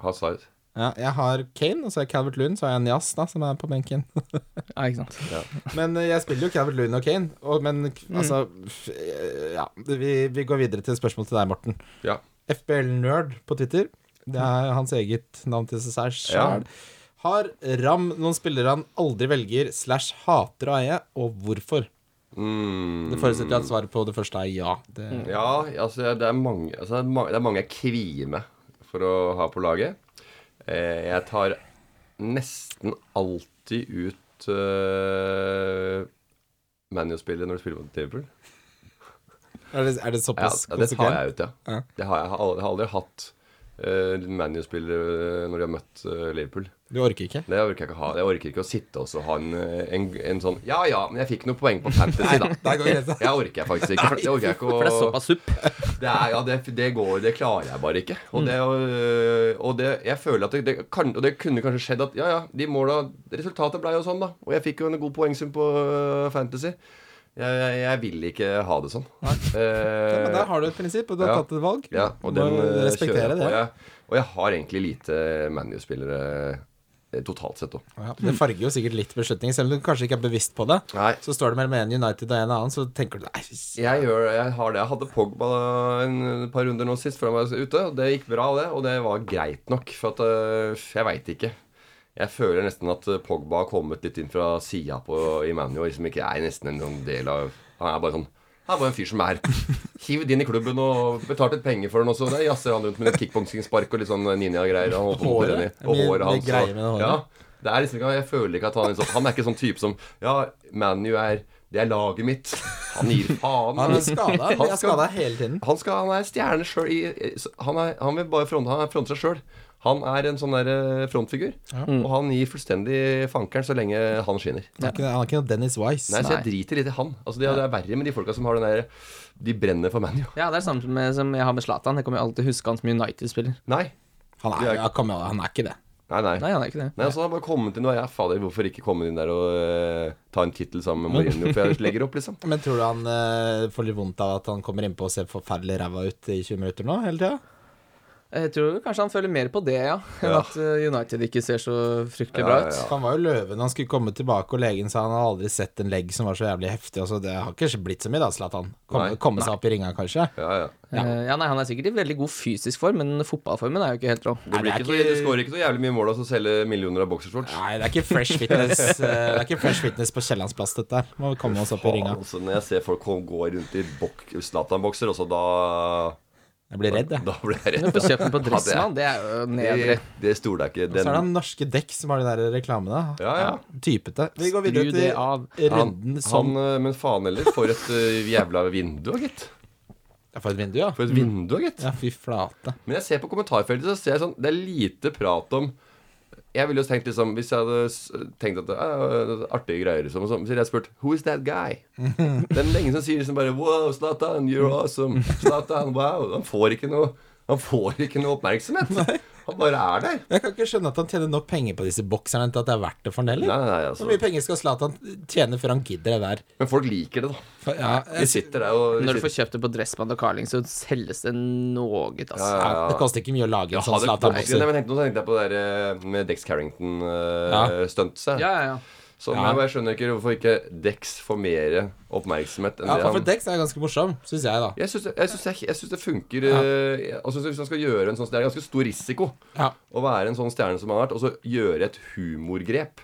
D: Hazard.
B: Ja, jeg har Kane, og så har jeg Calvert Lund, så har jeg Nias, da, som er på benken.
C: Ja, ikke sant.
B: Men eh, jeg spiller jo Calvert Lund og Kane, og, men k- altså f- eh, Ja, vi, vi går videre til et spørsmål til deg, Morten.
D: Ja.
B: FBL-nerd på Twitter. Det er hans eget navn til seg sjæl. Har Ram noen spillere han aldri velger slash hater å eie, og hvorfor? Det forutsetter at svaret på det første er ja. Det,
D: Mm. Ja, altså, det, er mange, altså, det er ma- det er mange jeg kvier meg for å ha på laget. Eh, jeg tar nesten alltid ut eh, ManU-spillet når du spiller mot Liverpool.
B: er, det, er det
D: Ja,
B: såpass
D: ja, det tar jeg ut, ja.
B: Ja.
D: Det har jeg, jeg har aldri, jeg har aldri hatt uh, ManU-spillere når de har møtt eh, Liverpool.
B: Du orker ikke?
D: Det orker jeg ikke å ha. Jeg orker ikke å sitte og så ha en, eh, en, en sånn Ja ja, men jeg fikk noen poeng på Fantasy, da.
B: Der går grensa.
D: Jeg orker jeg faktisk ikke. For, det orker jeg ikke å
C: For det er såpass supp.
D: det er, ja, det, det går, det klarer jeg bare ikke. Og det, øh, og det jeg føler at det, det kan, Og det kunne kanskje skjedd at Ja, ja, de måla Resultatet blei jo sånn, da. Og jeg fikk jo en god poengsum på øh, Fantasy. Jeg, jeg, jeg vil ikke ha det sånn.
B: Ja, men der
D: Eh,
B: har du et prinsipp, og du har
D: Ja.
B: tatt et valg.
D: ja, og
B: Du må
D: den øh,
B: respektere
D: kjører jeg på.
B: det.
D: Jeg, og jeg har egentlig lite ManU-spillere eh, totalt sett òg.
B: Ja, det farger jo sikkert litt beslutning, selv om du kanskje ikke er bevisst på det.
D: Nei.
B: Så står det mellom en United og en annen, så tenker du nei,
D: Jeg, gjør, jeg har det. Jeg hadde Pogba en et par runder nå sist før han var ute. Og det gikk bra, det. Og det var greit nok. For at øh, Jeg veit ikke. Jeg føler nesten at øh, Pogba har kommet litt inn fra sida på Imanu. Og liksom ikke er nesten en sånn del av Han er bare sånn han er bare en fyr som er. Hiv det inn i klubben og betalt litt penger for den også. Det jazzer han rundt med litt kickboksingspark og litt sånn ninja-greier. han holder på med
B: Håret?
D: trening. Og
B: Mye-
D: håret
B: mye
D: hans.
B: greier med det håret.
D: og- Ja, det er liksom ikke, jeg føler ikke at han er sånn Han er ikke sånn type som Ja, ManU er Det er laget mitt. Han gir faen.
B: Han er skada.
D: Han
B: Jeg er
D: skal-
B: skada hele tiden.
D: Han, skal, han er stjerne sjøl. Han, er- han vil bare fronte, han er fronte seg sjøl. Han er en sånn der eh, frontfigur. Og han gir fullstendig fankeren så lenge han skinner.
B: Han er ikke- han er ikke noe Dennis Wise.
D: Nei, så jeg driter litt i han. Altså, det, det er verre med de folka som har den der De brenner for ManU.
C: Ja, det er det samme som- som jeg har med Zlatan. Jeg kommer jo alltid til å huske han som United-spiller.
D: Nei.
B: Han
D: Det
B: er,
D: er-
B: ja, kom igjen, han er ikke det.
D: Nei, nei.
C: Nei, han er ikke det.
D: Nei, altså, han har bare kommet inn og jeg, fader, hvorfor ikke komme inn der og eh, ta en tittel sammen med Mourinho? For jeg legger opp, liksom.
B: Men tror du han eh, får litt vondt av at han kommer innpå og ser forferdelig ræva ut i 20 minutter nå hele tida?
C: Jeg tror kanskje han føler mer på det, ja, enn
D: Ja.
C: at eh, United ikke ser så fryktelig
D: Ja,
C: bra
D: ja,
C: ut.
D: ja.
B: Han var jo løven han skulle komme tilbake, og legen sa han hadde aldri sett en legg som var så jævlig heftig. Altså, det har ikke blitt så mye, da, Zlatan.
D: Nei.
B: Komme, komme seg opp i ringa, kanskje.
D: Ja, ja.
C: Ja. Eh, ja, nei, Han er sikkert i veldig god fysisk form, men fotballformen er jo ikke helt rå.
D: Du, blir
B: det er
D: ikke så, du skårer ikke så jævlig mye mål av å selge millioner av boksershorts.
B: Nei, det er ikke Fresh Fitness, eh, det er ikke fresh fitness på Kiellandsplass, dette her. Må komme oss opp i ringa.
D: Faen, altså, når jeg ser folk kom- gå rundt i bok- Zlatan-bokser, også da
B: Jeg blir redd, jeg.
D: Da blir jeg
C: Du
D: redd.
C: får kjøpt den på
D: Ja,
C: Dressmann, det er jo nedre.
D: Det, det stoler jeg ikke.
B: Så er det
D: Den,
B: han norske dekk som har de der reklamene.
D: Ja, ja.
B: Typete. Vi går videre
C: Skru det av.
B: til
D: han,
B: runden
D: han,
B: som
D: eh, men faen heller, for et eh, jævla vindu, gitt.
B: Ja, For et vindu, ja.
D: For et vindu, gitt.
B: Ja, fy flate.
D: Men jeg ser på kommentarfeltet, så ser jeg sånn Det er lite prat om Jeg ville jo tenkt liksom Hvis jeg hadde s- tenkt at det er artige greier, liksom, og sånn, så ville jeg spurt Who is that guy? Det er ingen som sier liksom bare Wow, Zlatan, you're awesome. Zlatan, wow. Han får ikke noe Han får ikke noe oppmerksomhet. Han bare er der.
B: Jeg kan ikke skjønne at han tjener nok penger på disse bokserne til at det er verdt det for han
D: Nei,
B: heller.
D: nei, nei,
B: Hvor
D: altså.
B: mye penger skal Zlatan tjene før han gidder det der?
D: Men folk liker det, da.
B: For, ja,
D: De sitter der og
C: Når du
D: sitter,
C: får kjøpt det på Dressmann og Carling, så selges det noe, altså.
D: ja,
B: ja,
D: ja, ja.
B: det koster ikke mye å lage en
D: Ja,
B: sånn
D: det- Nei,
B: Zlatan-bokser.
D: men jeg tenkte, nå tenkte jeg på det der eh, med Dex eh,
B: Ja.
D: Carrington-stuntet.
C: Ja, ja, ja.
B: Ja.
D: Som Sånn, jeg bare skjønner ikke hvorfor ikke Dex får mer oppmerksomhet enn
B: Ja,
D: det
B: for
D: han
B: Dex er ganske morsom, syns jeg, da.
D: jeg syns, jeg, synes det er- jeg synes det funker eh, altså, Hvis man skal gjøre en sånn Det er ganske stor risiko
B: Ja.
D: å være en sånn stjerne som han har vært, og så gjøre et humorgrep.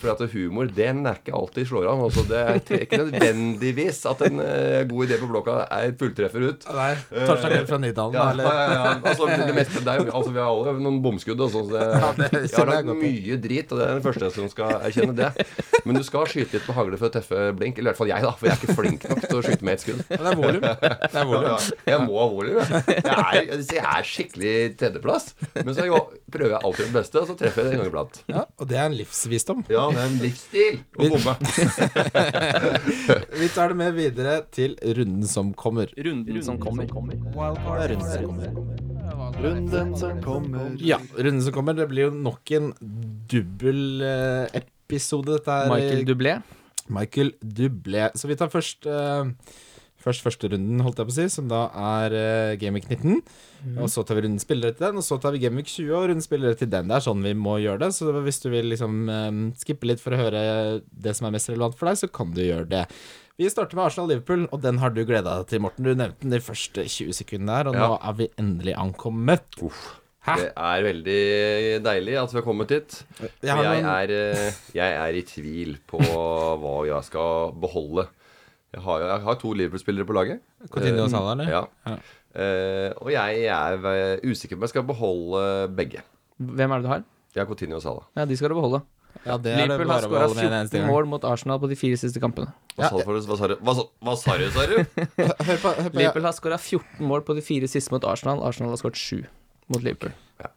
D: For at humor, den er ikke alltid slår an. Altså, det er ikke nødvendigvis at en eh, god idé på blokka er sånn et fulltreffer ut.
B: Nei, Torstein Hell fra Nydalen, da,
D: Ja, ja,
B: eller?
D: ja, ja. Altså, det meste, det er, jo- altså, vi har alle noen bomskudd. og sånn, så det,
B: det
D: jeg har
B: kjenner jeg
D: lagt
B: godt
D: mye drit, og det er den første som skal erkjenne det. Men du skal skyte litt med hagle for å tøffe blink. Eller i hvert fall jeg, da, for jeg er ikke flink nok til å skyte med ett skudd.
B: Men Det er volum. Det er volum.
D: Ja, jeg må ha volum. Jeg. Jeg, er- jeg er skikkelig tredjeplass. Men så jo, prøver jeg alltid det beste, og så treffer jeg det en gang iblant.
B: Ja, og det er en livsvisdom.
D: Ja, det er en livsstil å bomme.
B: Vi tar det med videre til runden som kommer.
A: Runden som kommer.
B: Runden som kommer.
E: Runden som kommer.
B: Ja, runden som kommer. Det blir jo nok en dubbel eh, episode, dette her.
C: Michael Dublé.
B: Michael Dublé. Så vi tar først eh, Først første runden, holdt jeg på å si, som da er uh, Gameweek 19. Og så tar vi runden spillere til den, og så tar vi Gameweek 20 og runden spillere til den. Det er sånn vi må gjøre det, så hvis du vil liksom eh, skippe litt for å høre det som er mest relevant for deg, så kan du gjøre det. Vi starter med Arsenal-Liverpool, og den har du gleda deg til, Morten. Du nevnte den de første 20 sekundene her, og nå
D: Ja.
B: er vi endelig ankommet.
D: Uff.
B: Hæ?
D: Det er veldig deilig at vi har kommet hit.
B: Jeg
D: For
B: har
D: jeg
B: noen-
D: er, eh, jeg er i tvil på hva jeg skal beholde. Jeg har, jeg har to Liverpool-spillere på laget.
B: Coutinho og
D: Eh,
B: Salah, eller?
D: Ja.
B: Ja.
D: Eh, og jeg er eh, usikker på om jeg skal beholde begge.
C: Hvem er det du har?
D: Jeg har Coutinho og Salah.
C: Ja, de skal du beholde.
B: Ja, det er det
C: Liverpool har
B: bare å
C: skåra
B: holde med en eneste
C: 14
B: gang.
C: mål mot Arsenal på de fire siste kampene.
D: Hva sa du, for noe? hva sa du? Hva sa- Hva sa du, sa du?
B: Hør på, hør på
C: Liverpool har skåra 14 mål på de fire siste mot Arsenal. Arsenal har skåret 7 mot Liverpool.
B: I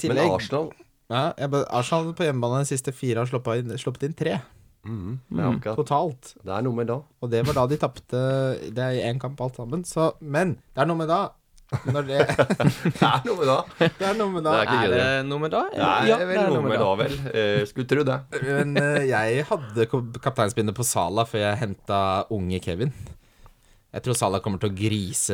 B: tillegg
D: Arsenal
B: Ja, jeg bare, Arsenal på hjemmebane de siste fire har sluppet inn, sluppet inn tre
D: ja, akkurat.
B: totalt.
D: Det er noe med da.
B: Og det var da de tapte Det er i én kamp alt sammen. Så, men det er noe med da når det,
D: Det er noe med da.
B: det er noe med da
D: Det er ikke
C: Er
D: gøy,
C: det
D: det.
C: nummer da?
D: Nei,
C: Ja,
D: vel, noe med da, vel. Eh, skulle tro det.
B: Men eh, jeg hadde ko- kapteinspinnet på Sala før jeg henta unge Kevin. Jeg tror Sala kommer til å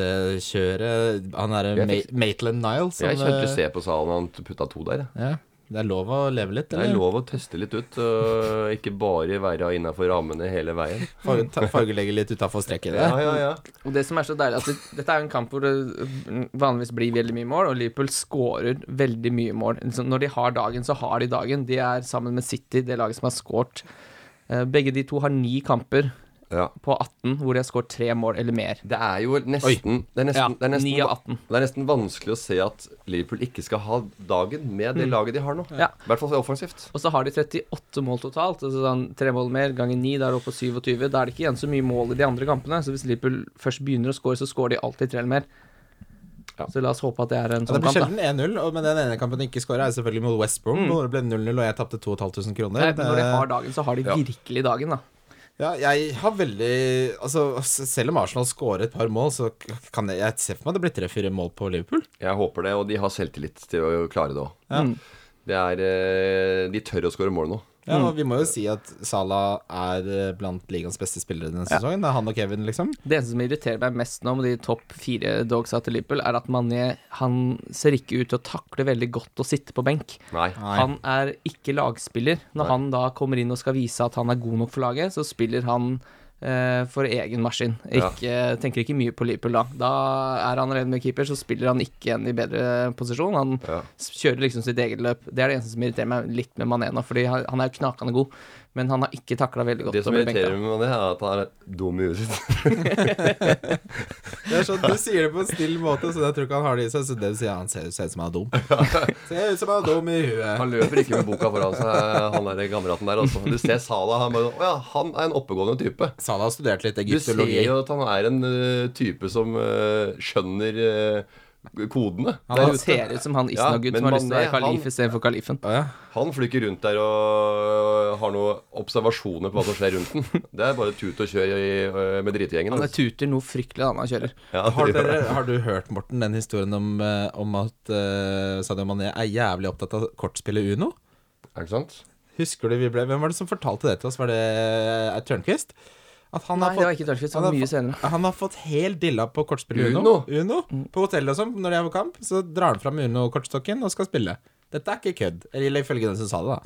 B: grisekjøre han derre
D: Jeg fikk-
B: Ma Maitland Niles.
D: Jeg kjente å se på salen han putta to der. jeg.
B: ja, Det er lov å leve litt,
D: Det er
B: eller?
D: lov å teste litt ut. og ikke bare være innafor rammene hele veien.
B: Farge- ta- Fargelegge litt utafor streken.
D: Ja,
B: der.
D: ja, ja.
C: Og det som er så deilig, at det, dette er jo en kamp hvor det øh, vanligvis blir veldig mye mål, og Liverpool skårer veldig mye mål. Liksom, når de har dagen, så har de dagen. De er sammen med City, det laget som har skåret. Eh, Begge de to har ni kamper
D: ja.
C: på 18 hvor de har skåret tre mål eller mer.
D: Det er jo nesten, det er nesten,
C: Ja,
D: det er nesten
C: ni av 18.
D: Det er nesten vanskelig å se at Liverpool ikke skal ha dagen med det laget de har nå.
C: Ja.
D: I hvert fall offensivt.
C: Og så har de 38 mål totalt. Altså sånn, tre mål mer ganger ni, da er det oppe på 27. Da er det ikke igjen så mye mål i de andre kampene. Så hvis Liverpool først begynner å score, så scorer de alltid tre eller mer.
D: Ja.
C: Så la oss håpe at det er en
B: Ja, det
C: sånn
B: blir
C: kamp, da.
B: sjelden 1-0, og- men den ene kampen de ikke skåra, er selvfølgelig mot West Brom. Hvor det ble 0-0, og jeg tapte 2500 kroner.
C: Nei, men når de
B: Det-
C: har dagen, så har de
D: Ja.
C: virkelig dagen, da.
B: ja, jeg har veldig Altså, s- selv om Arsenal scorer et par mål, så k- kan jeg, jeg ser for meg det blir tre-fire mål på Liverpool.
D: Jeg håper det, og de har selvtillit til å klare det òg. Det er eh, De tør å skåre mål nå.
B: Ja, og Vi må jo si at Salah er eh, blant ligaens beste spillere denne sesongen. Det er han og Kevin, liksom.
C: Det eneste som irriterer meg mest nå med de topp fire dogsa til Liverpool, er at Mané han ser ikke ut til å takle veldig godt å sitte på benk.
D: Nei.
B: Nei.
C: Han er ikke lagspiller. Når han da kommer inn og skal vise at han er god nok for laget, så spiller han eh, for egen maskin.
D: Ja.
C: Ikke, Tenker ikke mye på Liverpool da. Da er han alene med keeper, så spiller han ikke en i bedre posisjon. Han
D: Ja.
C: s- kjører liksom sitt eget løp. Det er det eneste som irriterer meg litt med Mané nå, fordi han, han er jo knakende god, men han har ikke takla veldig godt
D: Det som
C: å bli benka.
D: irriterer meg med det, er at han er dum i huet sitt.
B: Det er sånn, Du sier det på en snill måte, så jeg tror ikke han har det i seg. Så det vil si at han ser ser ut som han er dum. Ser ut som han er dum i huet.
D: Han løper ikke med boka foran seg, han der kameraten der. Altså. Du ser Salah, han bare Å ja, han er en oppegående type.
B: Salah har studert litt
D: Du ser
B: egyptologi.
D: jo at han er en ø, type som ø, skjønner ø, kodene.
B: Han
D: der
B: er
C: Han
D: ute.
C: ser ut som han
D: Ja,
C: Isnagut
D: men
C: som har lyst til å
D: Mané,
C: være kalif
D: han-
C: istedenfor kalifen.
B: Å, ja.
D: Han flyker rundt der og har noen observasjoner på hva som skjer rundt den. Det er bare tut og kjør i, ø, med dritgjengen.
C: Han
D: altså.
C: tuter noe fryktelig da når han kjører.
D: Ja,
B: Har,
D: det gjør
B: dere,
D: det.
B: har du hørt, Morten, den historien om, eh, om at eh, Sadio Mané er jævlig opptatt av kortspillet Uno?
D: Er det sant?
B: Husker du vi ble Hvem var det som fortalte det til oss? Var det eh, Tørnquist? At han
C: Nei,
B: har
C: det var
B: fått-
C: ikke Tørnquist. Det
B: han
C: var
B: har
C: mye
B: fått-
C: senere.
B: Han har fått helt dilla på kortspillet Uno.
D: Uno?
B: Uno.
C: Mm.
B: På hotellet og sånn, når de er på kamp, så drar han fram Uno-kortstokken og skal spille. Dette er ikke kødd. Eller ifølge den som sa det, da.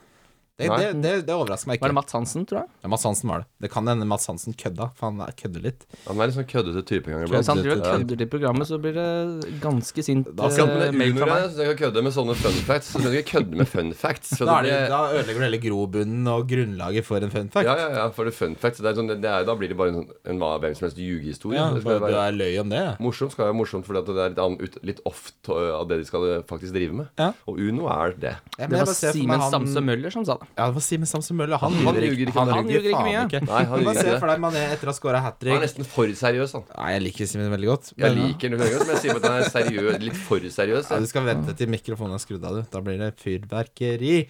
B: Det,
D: Nei.
B: det, det, det overrasker meg ikke.
C: Var det Mats Hansen, tror jeg?
B: Ja, Mats Hansen var det. Det kan hende Mats Hansen kødda, for han er- kødder litt.
D: Han er litt sånn køddete type en gang
C: Hvis han driver og
D: Ja.
C: kødder til programmet, så blir det ganske sint
B: Da skal
C: eh,
D: Men det
C: mail fra
D: unoer
C: meg.
D: jeg, så jeg kan kødde med sånne fun facts. Så skal jeg ikke kødde med fun facts. for
B: Da, er
D: det
B: det,
D: blir-
B: da ødelegger du hele grobunnen og grunnlaget for en fun fact.
D: ja, ja, ja, for det er fun facts. Det er sånn, det er, da blir det bare en, sånn- en hva- hvem som helst ljugehistorie.
B: Ja,
D: Det
B: bare
D: skal
B: du
D: være
B: er løy om det. ja.
D: Morsomt skal være morsomt fordi at det er litt, annet, ut- litt off to- av det de skal eh, faktisk drive med.
B: Ja.
D: Og Uno er det.
B: Ja, men
C: Det
B: jeg
C: var
B: bare ser for meg
C: Simen
B: han-
C: Stamse Møller som sa det.
B: Ja, det var Simen Samson Møller. Han
D: Han
B: lyver
D: ljuger
B: ikke.
D: ikke, han
B: ljuger
C: ljuger ikke
B: faen
C: mye.
D: Nei, han
B: Men Bare
D: ljuger
B: se
D: ikke.
B: for deg Mané etter å ha scora hat
D: Han er
B: trick.
D: nesten for seriøs, han.
B: Nei, jeg liker Simen veldig godt.
D: Jeg
B: men-
D: liker den, veldig godt, men jeg sier bare at han er seriøs, litt for seriøs.
B: Ja,
D: jeg.
B: du skal vente til mikrofonen er skrudd av, du. Da blir det fyrverkeri.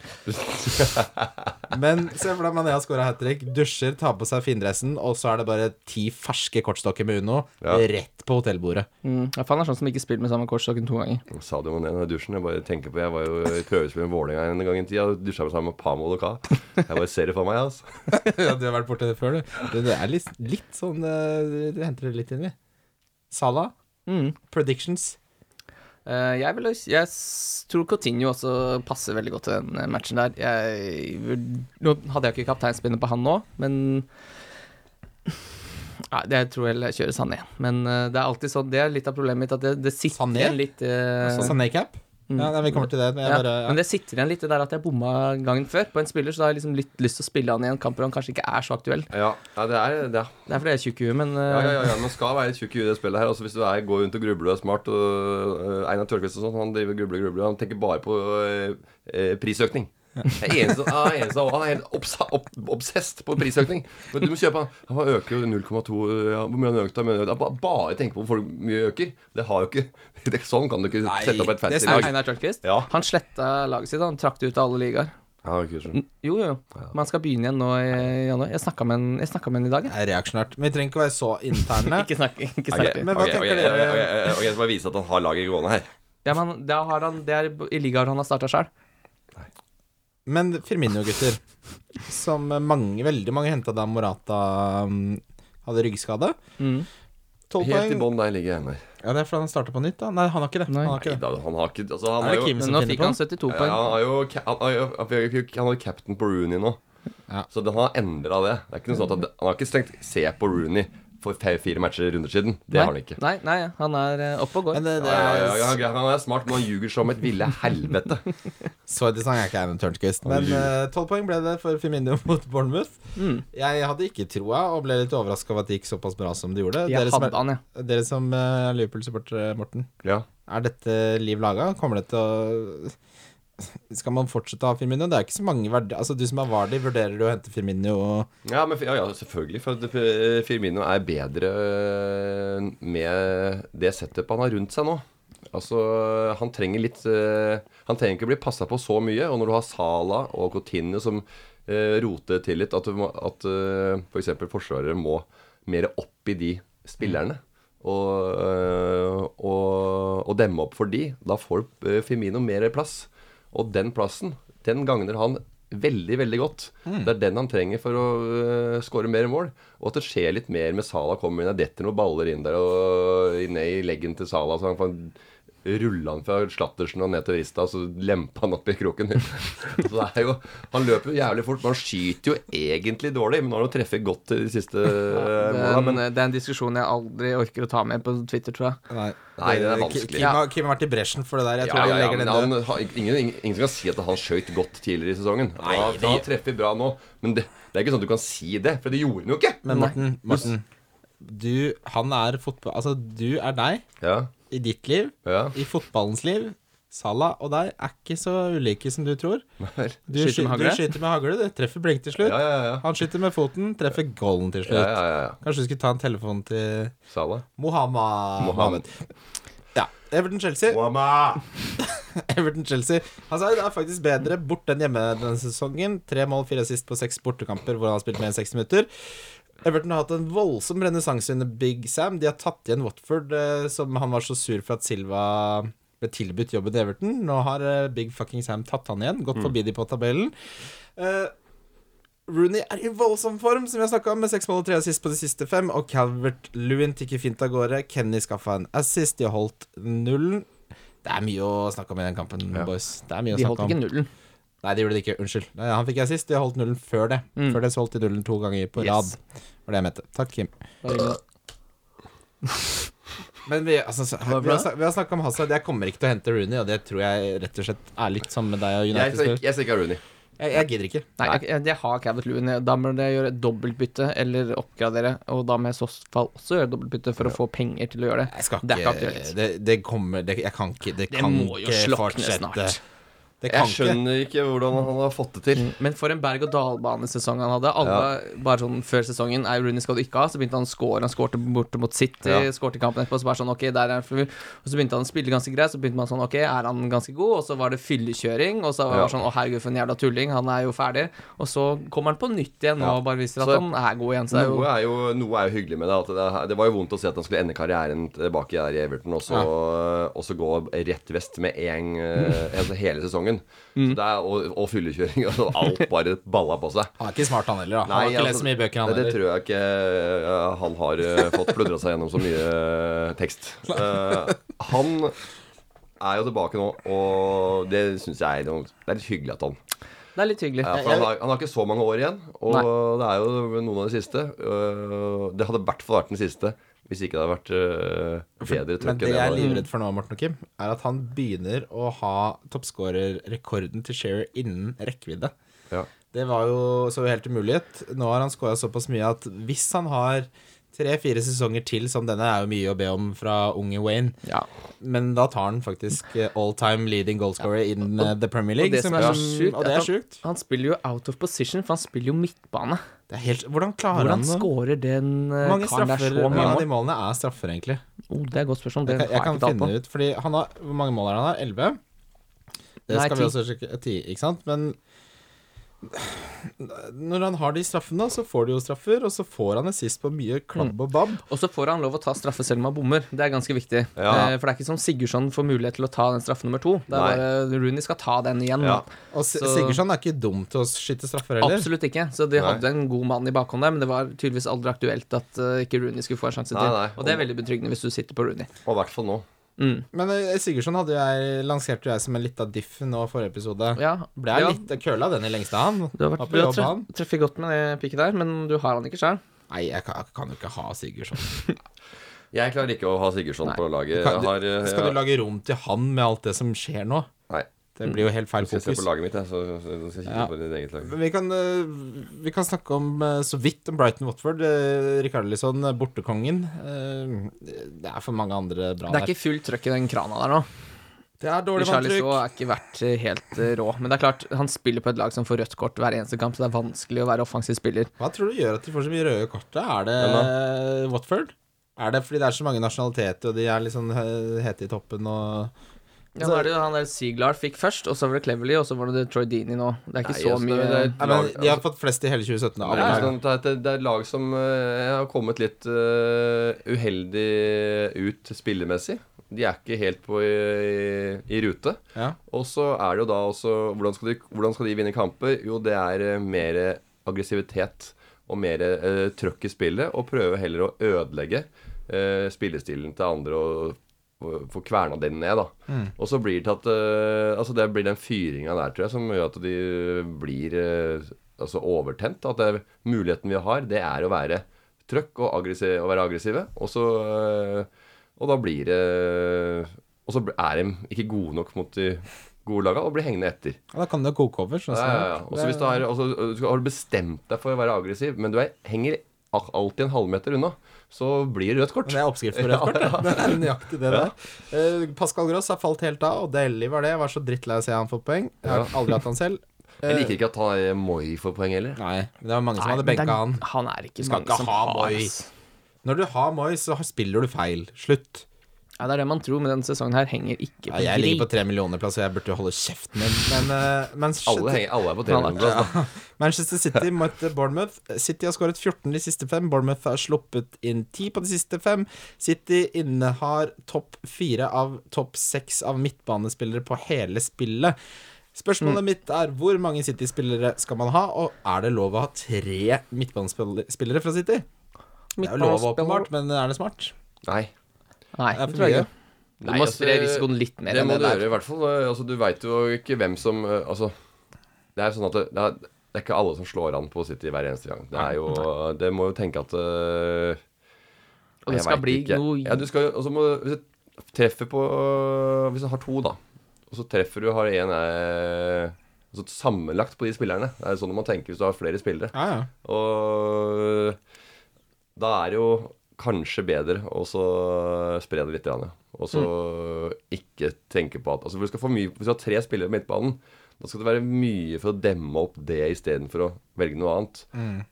B: Men se for deg Mané har scora hat trick, dusjer, tar på seg findressen, og så er det bare ti ferske kortstokker med Uno
D: Ja.
B: rett på hotellbordet.
C: Mm. Ja, for han er sånn som ikke spiller med samme kortstokken to ganger.
D: Sadio Mané i dusjen. Jeg bare tenker på Jeg var jo i prøvespill med Vålerenga en gang i tida. og Dusja meg sammen med Pamo og Ka. Jeg bare ser det for meg, altså.
B: Ja, du har vært borti det før, du. Det, det er litt, litt sånn eh, Du henter det litt inn, vi. Salah,
C: Mm.
B: predictions.
C: Eh, jeg, vil, jeg s- tror Coutinho også passer veldig godt til den eh, matchen der. Jeg, vurd- nå hadde jeg ikke kapteinspinnet på han nå, men Nei, det tror jeg heller jeg kjører Sané. Men eh, det er alltid sånn, det er litt av problemet mitt, at det, det sitter
B: Sané?
C: igjen litt eh,
B: Sånn Sané-cap.
D: mm.
B: Ja, nei, vi kommer til det. Men jeg
C: ja,
B: bare ja.
C: Men det sitter igjen litt det der at jeg bomma gangen før på en spiller, så da har jeg liksom litt lyst til å spille han i en kamp hvor han kanskje ikke er så aktuell.
D: Ja, ja det er det. er-
C: Det er fordi jeg er tjukk i huet, men eh,
D: Ja, ja, ja, ja, Man skal være litt tjukk i huet i det spillet her. Altså Hvis du er, går rundt og grubler og er smart og, øh, Einar Tørkvist og sånn, han driver og grubler og grubler. Han tenker bare på øh, øh, prisøkning. Det er eneste, ah, eneste, han er helt obsa, ob, obsessed på prisøkning. Men du må kjøpe han. Han øker jo 0,2 eh, ja, Hvor mye han økte han? økte. Ba- Bare tenke på hvor folk- mye øker. Det har jo ikke det, Sånn kan du ikke
B: Nei,
D: sette opp et
B: det
D: fancy
B: er
D: lag.
C: Einar Tørnquist.
D: Ja.
C: Han sletta laget sitt. Han trakk det ut av alle ligaer.
D: Ja, det er kult, sånn.
C: Jo, jo, jo. Man skal begynne igjen nå i januar. Jeg snakka med en jeg snakket med en i dag, jeg.
B: Det er reaksjonært. Men vi trenger ikke å være så interne.
C: Ikke snakk. Ikke
D: Ok,
C: snakk.
B: Men hva
D: ok,
B: tenker
D: ok,
B: dere?
D: ok, ok, ok, Jeg skal bare vise at han har laget gående her.
C: Ja, men da har han, det er i ligaer han har starta sjøl.
B: Men Firmino, gutter, som mange, veldig mange henta da Morata mm, hadde ryggskade. Tolv
D: Mm. Helt i
B: poeng.
D: bånn der ligger Einar.
B: Ja, det er fordi han starta på nytt, da. Nei, han har ikke det.
C: Nei.
B: Han har ikke
D: Nei
B: det.
D: da, han har ikke altså,
B: Er
D: han har
B: det
D: jo-
B: Kim
C: Men
B: som
C: nå
B: finner
C: fikk
B: på?
C: han 72
D: Ja,
C: poeng.
D: han har jo ca- han har jo han har jo captain på Rooney nå.
B: Ja.
D: Så den har endra det. Det er ikke noe sånt at Han har ikke stengt se på Rooney for fe- fire matcher i runder siden. Det
C: nei,
D: har han ikke.
C: Nei, nei, han er eh, oppe og går.
B: Men det, det
D: Ja, ja, ja,
B: er
D: ja, han er smart, men han ljuger som et ville helvete.
B: Så interessant er ikke Eivind Tørnquist. Men eh, tolv poeng ble det for Firmino mot Bournemouth.
D: Mm.
B: Jeg hadde ikke troa, og ble litt overraska over at det gikk såpass bra som det gjorde.
C: Jeg
B: som
C: hadde han, jeg.
B: er, dere som eh, er Liverpool-supportere, Morten.
D: Ja.
B: Er dette liv laga? Kommer det til å Skal man fortsette å ha Firmino? Det er ikke så mange verdi... Altså, du som er Vardi, vurderer du å hente Firmino og
D: Ja, men, ja, ja, selvfølgelig. For at eh, Firmino er bedre eh, med det setupet han har rundt seg nå. Altså, Han trenger litt eh, Han trenger ikke bli passa på så mye. Og når du har Sala og Coutinho som eh, roter til litt, at, du må- at eh, f.eks. forsvarere må mer opp i de spillerne. Og, eh, og, og demme opp for de. Da får eh, Firmino mer plass. Og den plassen, den gagner han veldig, veldig godt.
C: Mm.
D: Det er den han trenger for å øh, skåre mer mål. Og at det skjer litt mer med Sala kommer inn. Det detter noen baller inn der og inn i leggen til Sala. Så han får rulle han fra Slattersen og ned til Rista, så lempe han opp i kroken. så det er jo, Han løper jo jævlig fort, men han skyter jo egentlig dårlig. Men nå har han treffet godt til de siste øh,
C: det, er
D: måla.
C: en,
D: Men
C: eh, det er en diskusjon jeg aldri orker å ta med på Twitter, tror jeg.
B: Nei,
D: Nei, det er vanskelig.
B: Kim, har- Kim har vært i bresjen for det der. Jeg
D: ja,
B: tror
D: ja,
B: han
D: ja,
B: legger
D: men
B: den
D: han,
B: død.
D: har- ingen, ingen, ingen som kan si at han skøyt godt tidligere i sesongen. Nei, han, han treffer bra nå, men det, det er ikke sånn at du kan si det, for det gjorde han jo ikke.
B: Men Morten, Morten du, han er fotball... Altså, du er deg
D: Ja,
B: i ditt liv,
D: ja.
B: i fotballens liv. Salah og deg er ikke så ulike som du tror.
D: Vel.
B: Du
C: Skyter
B: skyter
C: med
B: med
C: hagle?
B: hagle, du skyter med hagle, det treffer blink til slutt.
D: Ja, ja, ja.
B: Han skyter med foten, treffer goalen til
D: ja,
B: slutt.
D: ja, ja, ja.
B: Kanskje du skulle ta en telefon til
D: Salah.
B: Mohammed.
D: Mohammed.
B: Ja. Everton-Chelsea. Everton-Chelsea Hazard er faktisk bedre borte enn hjemme denne sesongen. Tre mål, fire assist på seks bortekamper, hvor han har spilt mer enn 60 minutter. Everton har hatt en voldsom renessanse under Big Sam. De har tatt igjen Watford, eh, som han var så sur for at Silva ble tilbudt jobben til Everton. Nå har eh, Big fucking Sam tatt han igjen,
C: Mm.
B: gått forbi de på tabellen. Eh, Rooney er i voldsom form, som vi har snakka om, med seks mål og tre assist på de siste fem. Og Calvert Lewin tikker fint av gårde. Kenny skaffa en assist. De har holdt nullen. Det er mye å snakke om i den kampen, boys. Det er mye å
C: De holdt
B: snakke
C: ikke
B: om.
C: nullen.
B: Nei, det gjorde det ikke. Unnskyld. Nei, han fikk jeg sist. De holdt nullen før det.
C: Mm.
B: Før det så holdt de nullen to ganger på
C: Yes.
B: rad. Var det jeg mente. Takk, Kim.
C: Bare hyggelig.
B: Men vi, altså, så, vi, har, snak- vi har snakket om Hazard. Jeg kommer ikke til å hente Rooney, og det tror jeg rett og slett er litt sammen med deg og
D: Jeg
B: United.
D: ser
B: Jeg,
D: jeg ser ikke Rooney.
B: jeg, jeg gidder ikke.
C: Nei, jeg, jeg, jeg har Cabot Lewin. Da må jeg gjøre et dobbeltbytte eller oppgradere. Og da må jeg i så fall også gjøre et dobbeltbytte for å få penger til å gjøre det.
B: Jeg skal
C: Det
B: ikke
C: er ikke aktuelt.
B: Det, det kommer det, Jeg kan ikke Det,
C: Det
B: kan
C: må jo
B: ikke
C: slokne
B: fortsette.
C: snart.
B: Det kan
D: Jeg skjønner ikke hvordan han har fått det til.
C: Mm. Men for en berg-og-dal-banesesong han hadde Alle, bare sånn Før sesongen er Rooney skal du ikke ha, så begynte han å score. Han skårte borte mot City,
D: Ja.
C: skårte i kampen etterpå, så bare sånn Ok, der er han fl- Og så begynte han å spille ganske greit, så begynte man sånn Ok, er han ganske god? Og så var det fyllekjøring, og så var det
D: Ja.
C: bare sånn Å, herregud, for en jævla tulling, han er jo ferdig. Og så kommer han på nytt igjen
D: Ja.
C: og bare viser at
D: Så-
C: han er god igjen. Så det er jo
D: Noe
B: Mm.
D: er, jo, noe er jo hyggelig med det. At det, er- det var jo vondt å se at han skulle ende karrieren tilbake der i Everton, og så, og så gå rett vest med en,
B: Mm.
D: eh, altså hele sesongen. Så det er, og, og fyllekjøring. Altså, alt bare balla på seg.
B: Han er ikke smart, han heller. Da. han har ikke
D: altså,
B: lest så mye bøker, han
D: det, det
B: heller.
D: tror jeg ikke eh, han har eh, fått pludra seg gjennom så mye eh, tekst. Eh, han er jo tilbake nå, og det syns jeg er noe, Det er litt hyggelig at han
C: Det er litt hyggelig.
D: ja, for han, har, han har ikke så mange år igjen, og det er jo noen av de siste. øh, det hadde i hvert fall vært den siste hvis ikke det hadde vært øh, bedre trøkk
B: Men
D: enn
B: det
D: det
B: jeg er
D: var.
B: livredd for nå, Morten og Kim, er at han begynner å ha toppskårerrekorden til Shearer innen rekkevidde.
D: Ja.
B: Det var jo så helt umulighet. Nå har han skåra såpass mye at hvis han har tre-fire sesonger til som denne, er jo mye å be om fra unge Wayne,
C: Ja.
B: men da tar han faktisk eh, all time leading goalscorer in eh, the Premier League.
C: det som er så sjukt,
B: og
C: er
B: det
C: at
B: er sjukt.
C: Han spiller jo out of position, for han spiller jo midtbane.
B: Det er helt, hvordan klarer
C: Hvordan
B: han det?
C: scorer den eh,
B: Mange
C: karen der
B: straffer,
C: så
B: mange
C: mye
B: av
C: mål?
B: de målene er straffer, egentlig.
C: Oh, det er et godt spørsmål. Det
B: Jeg,
C: har
B: jeg
C: jeg
B: kan
C: ikke tall på.
B: finne ut, fordi han har, Hvor mange mål er det han har? 11? Det
C: Nei,
B: skal
C: ti.
B: vi også sjekke. 10, ikke sant? Men når han har de straffene, så får de jo straffer, og så får han assist på mye klabb og babb.
C: Og så får han lov å ta straffe selv om han bommer. Det er ganske viktig.
D: Ja.
C: Eh, for det er ikke som Sigurdsson får mulighet til å ta den straffe nummer to. Det
D: Nei.
C: er bare Rooney skal ta den igjen.
D: Ja.
B: Og S-
C: Så-
B: Sigurdsson er ikke dum til å skyte straffer heller.
C: Absolutt ikke. Så de
D: Nei.
C: hadde en god mann i bakhånd der, men det var tydeligvis aldri aktuelt at eh, ikke Rooney skulle få en sjanse
D: Nei,
C: til.
D: nei.
C: Og det er veldig betryggende hvis du sitter på Rooney.
D: Og i hvert fall nå.
B: Men eh, Sigurdsson hadde jo jeg, lanserte jo jeg som en lita diff nå forrige episode.
C: Ja,
B: Ble
C: det
B: jeg
C: var-
B: litt køla den i lengste, han.
C: Du har, vært,
B: Var på
C: du har
B: jobb, han.
C: treff, treffet godt med det pikket der, men du har han ikke sjøl.
B: Nei, jeg kan, jeg kan jo ikke ha Sigurdsson.
D: Jeg klarer ikke å ha Sigurdsson på laget.
B: Kan,
D: Jeg har,
C: eh,
D: øh,
B: skal
D: ja,
B: du lage rom til han med alt det som skjer nå?
D: Nei.
B: Det
C: Mm.
B: blir jo helt feil
D: Hvis jeg ser
B: fokus.
D: på laget mitt, jeg, så, så, så, så kikker
B: Ja.
D: jeg på ditt eget lag.
B: Men Vi kan, eh, vi kan snakke om eh, så vidt om Brighton Watford. Eh, Rikard Lisson, bortekongen. Eh, det er for mange andre bra
C: Det er ikke fullt trøkk i den krana der nå.
B: det er dårlig
C: Charlize
B: vanntrykk.
C: er ikke vært eh, helt eh, rå. Men det er klart, han spiller på et lag som får rødt kort hver eneste kamp, så det er vanskelig å være offensiv spiller.
B: Hva tror du gjør at de får så mye røde kort? da? Er det eh, Watford? Er det fordi det er så mange nasjonaliteter, og de er litt sånn eh, hete i toppen og
C: Ja, nå er det jo han der Siglar fikk først, og så var det Cleverly, og så var det Troy Deeney nå. Det er ikke
D: Nei,
C: så
D: altså,
C: mye
D: det er-
B: Nei, men De har fått flest i hele 2017. av
D: Nei,
B: alle
D: sånn
B: lag.
D: at det, det er lag som øh, har kommet litt øh, uheldig ut spillemessig. De er ikke helt på i, i, i rute.
B: Ja.
D: Og så er det jo da også Hvordan skal de, hvordan skal de vinne kamper? Jo, det er eh, mer aggressivitet og mer eh, trøkk i spillet. Og prøve heller å ødelegge eh, spillestilen til andre og, og få kverna den ned, da. Og så blir det til at eh, Altså, det blir den fyringa der, tror jeg, som gjør at de blir eh, altså overtent. At det er, muligheten vi har, det er å være trøkk og aggressiv, å være aggressive. Og så eh, og da blir det Og så er de ikke gode nok mot de gode lagene og blir hengende etter.
B: Og Da kan det jo koke over. Sånn,
D: Ja,
B: som det er.
D: ja, ja. Og så hvis du har, og så- og så har du bestemt deg for å være aggressiv, men du er, henger ak- alltid en halvmeter unna, så blir det rødt kort.
B: Det er oppskrift på rødt kort. det. Det er nøyaktig det der. Eh, Pascal Gross har falt helt av, og Deli var det. Jeg var så drittlei av å se han få poeng. Jeg har aldri hatt han selv.
D: Jeg liker ikke at han er Moi får poeng heller.
B: Nei, men det var mange som
C: Nei,
B: hadde
C: men det er-
B: benka han.
C: Han er ikke
B: Skal
C: mange
B: ikke
C: som
B: ha
C: har
B: Moi.
C: ass.
B: Når du har Moi, så har- spiller du feil. Slutt.
C: Ja, det er det man tror, men denne sesongen her henger ikke på
B: Ja, jeg ligger på
C: grip.
B: tre millioner-plass, og jeg burde jo holde kjeften min, men, eh, men
D: Alle, henger, alle er på altså. TV-plass. da.
B: Manchester City mot Bournemouth. City har skåret 14 de siste fem. Bournemouth har sluppet inn 10 på de siste fem. City innehar topp fire av topp seks av midtbanespillere på hele spillet. Spørsmålet mitt er hvor mange City-spillere skal man ha, og er det lov å ha tre midtbanespillere fra City? Det er jo lov, åpenbart, men er det smart?
D: Nei.
C: Nei,
B: Det er
C: det
B: for
C: tror jeg
B: mye.
C: ikke. Du må spre risikoen litt mer
D: altså, det
C: enn
D: må
C: det
D: du gjøre,
C: der.
D: i hvert fall. Altså, du veit jo ikke hvem som eh, Altså, det er sånn at det, det, er, det er ikke alle som slår an på City hver eneste gang. Det er jo, det må jo tenke at øh,
C: Og det
D: jeg
C: skal
D: vet
C: bli
D: ikke.
C: noe
D: Ja, du skal, og så må, Hvis du treffer på Hvis du har to, da, og så treffer du har én altså Sammenlagt på de spillerne. Det er sånn man tenker hvis du har flere spillere.
B: Ja, ja.
D: Og da er det jo kanskje bedre å så spre det litt. grann, Og så ikke tenke på at altså hvis, du skal få mye, hvis du har tre spillere på midtbanen, da skal det være mye for å demme opp det istedenfor å velge noe annet.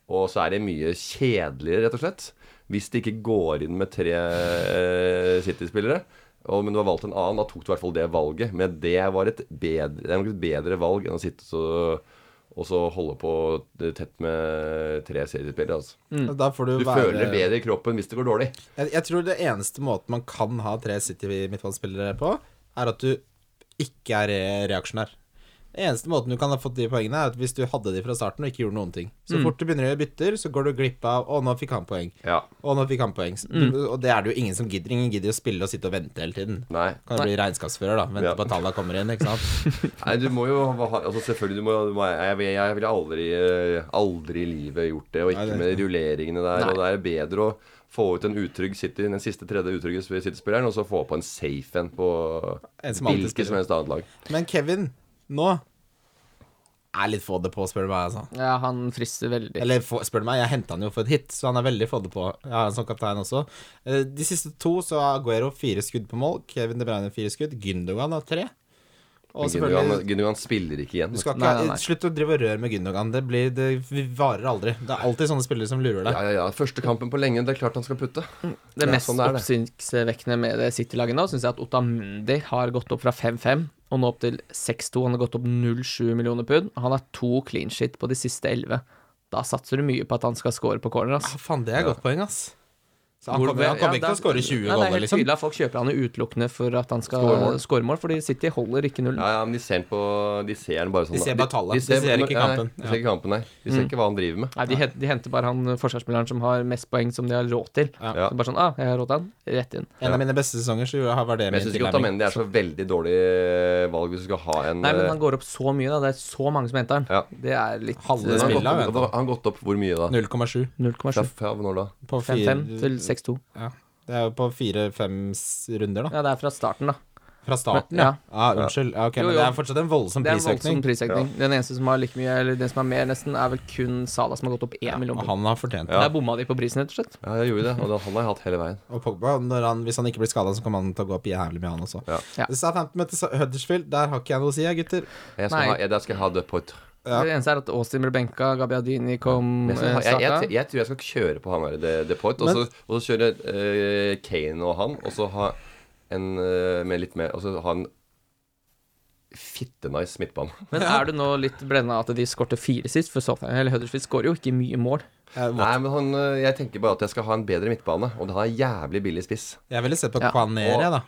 D: Og så er det mye kjedeligere, rett og slett, hvis det ikke går inn med tre eh, City-spillere. Og, men du har valgt en annen, da tok du i hvert fall det valget. Men det var et bedre, det er nok et bedre valg enn å sitte så, og så holde på tett med tre seriespillere. Altså.
B: Da får du,
D: Du
B: være
D: føler det bedre i kroppen hvis det går dårlig.
B: Jeg, jeg tror det eneste måten man kan ha tre City-midtbanespillere på, er at du ikke er re- reaksjonær. Den eneste måten du kan ha fått de poengene, er at hvis du hadde de fra starten og ikke gjorde noen ting. Så fort du begynner å gjøre bytter, så går du glipp av 'Å, nå fikk han poeng'.
D: Ja.
B: 'Å, nå fikk han poeng'. Så- Og det er det jo ingen som gidder. Ingen gidder å spille og sitte og vente hele tiden.
D: Nei.
B: Kan jo bli regnskapsfører, da. Vente
D: Ja.
B: på at tallene kommer inn, ikke sant.
D: Nei, du må jo ha, ha- altså Selvfølgelig, du må, du må Jeg, jeg, jeg ville aldri, eh, aldri i livet gjort det, og ikke
B: Nei, det-
D: med rulleringene der. Og det er bedre å få ut en utrygg City, den siste tredje utrygge City-spilleren, og så få på en safe en på
B: En som alltid
D: hvilket som helst annet lag.
B: Men Kevin, nå er litt få det på, spør du meg, altså.
C: Ja, han frister veldig.
B: Eller få- spør du meg, jeg henta han jo for et hit, så han er veldig fådde på. Jeg har han som kaptein også. Eh, De siste to så har Aguero fire skudd på mål, Kevin De Bruyne fire skudd, Gündogan har tre. Og
D: Men
B: selvfølgelig
D: Gündogan- Gündogan spiller ikke igjen.
B: du skal ikke,
C: Nei, nei, nei.
B: Slutt å drive og røre med Gündogan. Det, blir, det varer aldri. Det er alltid sånne spillere som lurer deg.
D: Ja, ja, ja. Første kampen på lenge, det er klart han skal putte.
B: Mm.
C: Det
D: Ja,
C: mest
D: sånn er det.
C: oppsiktsvekkende med det City-laget nå, syns jeg at Otamendi har gått opp fra 5-5 og nå opp til 6-2. Han har gått opp 0,7 millioner pund. Han har to clean shit på de siste 11. Da satser du mye på at han skal score på corner, ass.
B: Ah, faen, det er et godt poeng, ass. Så han kommer, han kommer ikke til å skåre 20
C: Nei, Det er
B: goller,
C: helt
B: liksom.
C: tydelig at folk kjøper han jo utelukkende for at han skal
D: Skåre mål.
C: skåre mål, fordi City holder ikke null.
D: Ja, ja, men de ser han på De ser han bare sånn
B: De ser bare tallet. De ser ikke
D: nei,
B: kampen. Mm.
D: De ser ikke kampen, nei. De ser ikke hva han driver med.
C: Nei, de, hen- de henter bare han eh, forsvarsspilleren som har mest poeng, som de har råd til.
B: Ja.
C: Så bare sånn, ah, jeg har råd til han, rett inn.
B: En av mine beste sesonger så gjorde- var det
D: Men jeg
B: min
D: syns ikke
B: tilnærming.
D: Otamendi er så veldig dårlig eh, valg hvis du skal ha en
C: Nei, men
D: eh,
C: han går opp så mye, da. Det er så mange som henter han.
D: Ja.
C: Det er litt
B: Halve
C: eh,
D: Men han
B: spillet,
D: har
B: vet
D: gått,
B: du.
D: opp- han har gått opp hvor mye da?
B: 0,7
C: 0,7.
D: Fra, fra når da?
B: på
C: 5-5
B: fire
C: til 6-2.
B: ja. Det er jo på fire-fem s- runder, da.
C: Ja, det er fra starten, da.
B: Fra starten,
C: Men-
B: ja. Ja, Ah, unnskyld. Ja, ok,
C: Jo,
B: Men
C: jo.
B: det er fortsatt en voldsom
C: Det er en voldsom
B: prisøkning.
C: prisøkning. Den eneste som har like mye, eller den som har mer, nesten, er vel kun Salah som har gått opp 1 million.
B: Og
C: pund.
B: han har fortjent det.
C: Der bomma de på prisen, rett og slett.
D: Ja, jeg gjorde det. Og det, han har jeg hatt hele veien.
B: Og Pogba, når han, hvis han ikke blir skada, så kommer han til å gå opp jævlig mye, han også.
D: Ja.
C: Ja.
B: Southampton møter Sa- Huddersfield. Der har ikke jeg noe å si, jeg, gutter.
D: Jeg skal
C: Nei.
D: ha, jeg, der skal jeg ha det på et
B: Ja.
C: Det eneste er at Austin ble benka, Gabiadini kom
D: jeg, skal,
C: eh,
D: ha- jeg, jeg,
C: starta.
D: jeg tror jeg skal kjøre på han der det, det på et, og, så- og så kjøre eh, Kane og han, og så ha en eh, med litt mer Og så ha en fittenice midtbane.
C: Men er du nå litt blenda at de skårte fire sist? For Southampton eller Huddersfield skårer jo ikke mye mål.
B: Jeg,
D: Nei, men han, eh, jeg tenker bare at jeg skal ha en bedre midtbane, og det har en jævlig billig spiss.
B: jeg ville sett på
C: Ja.
B: ja. Kvanere, jeg, da.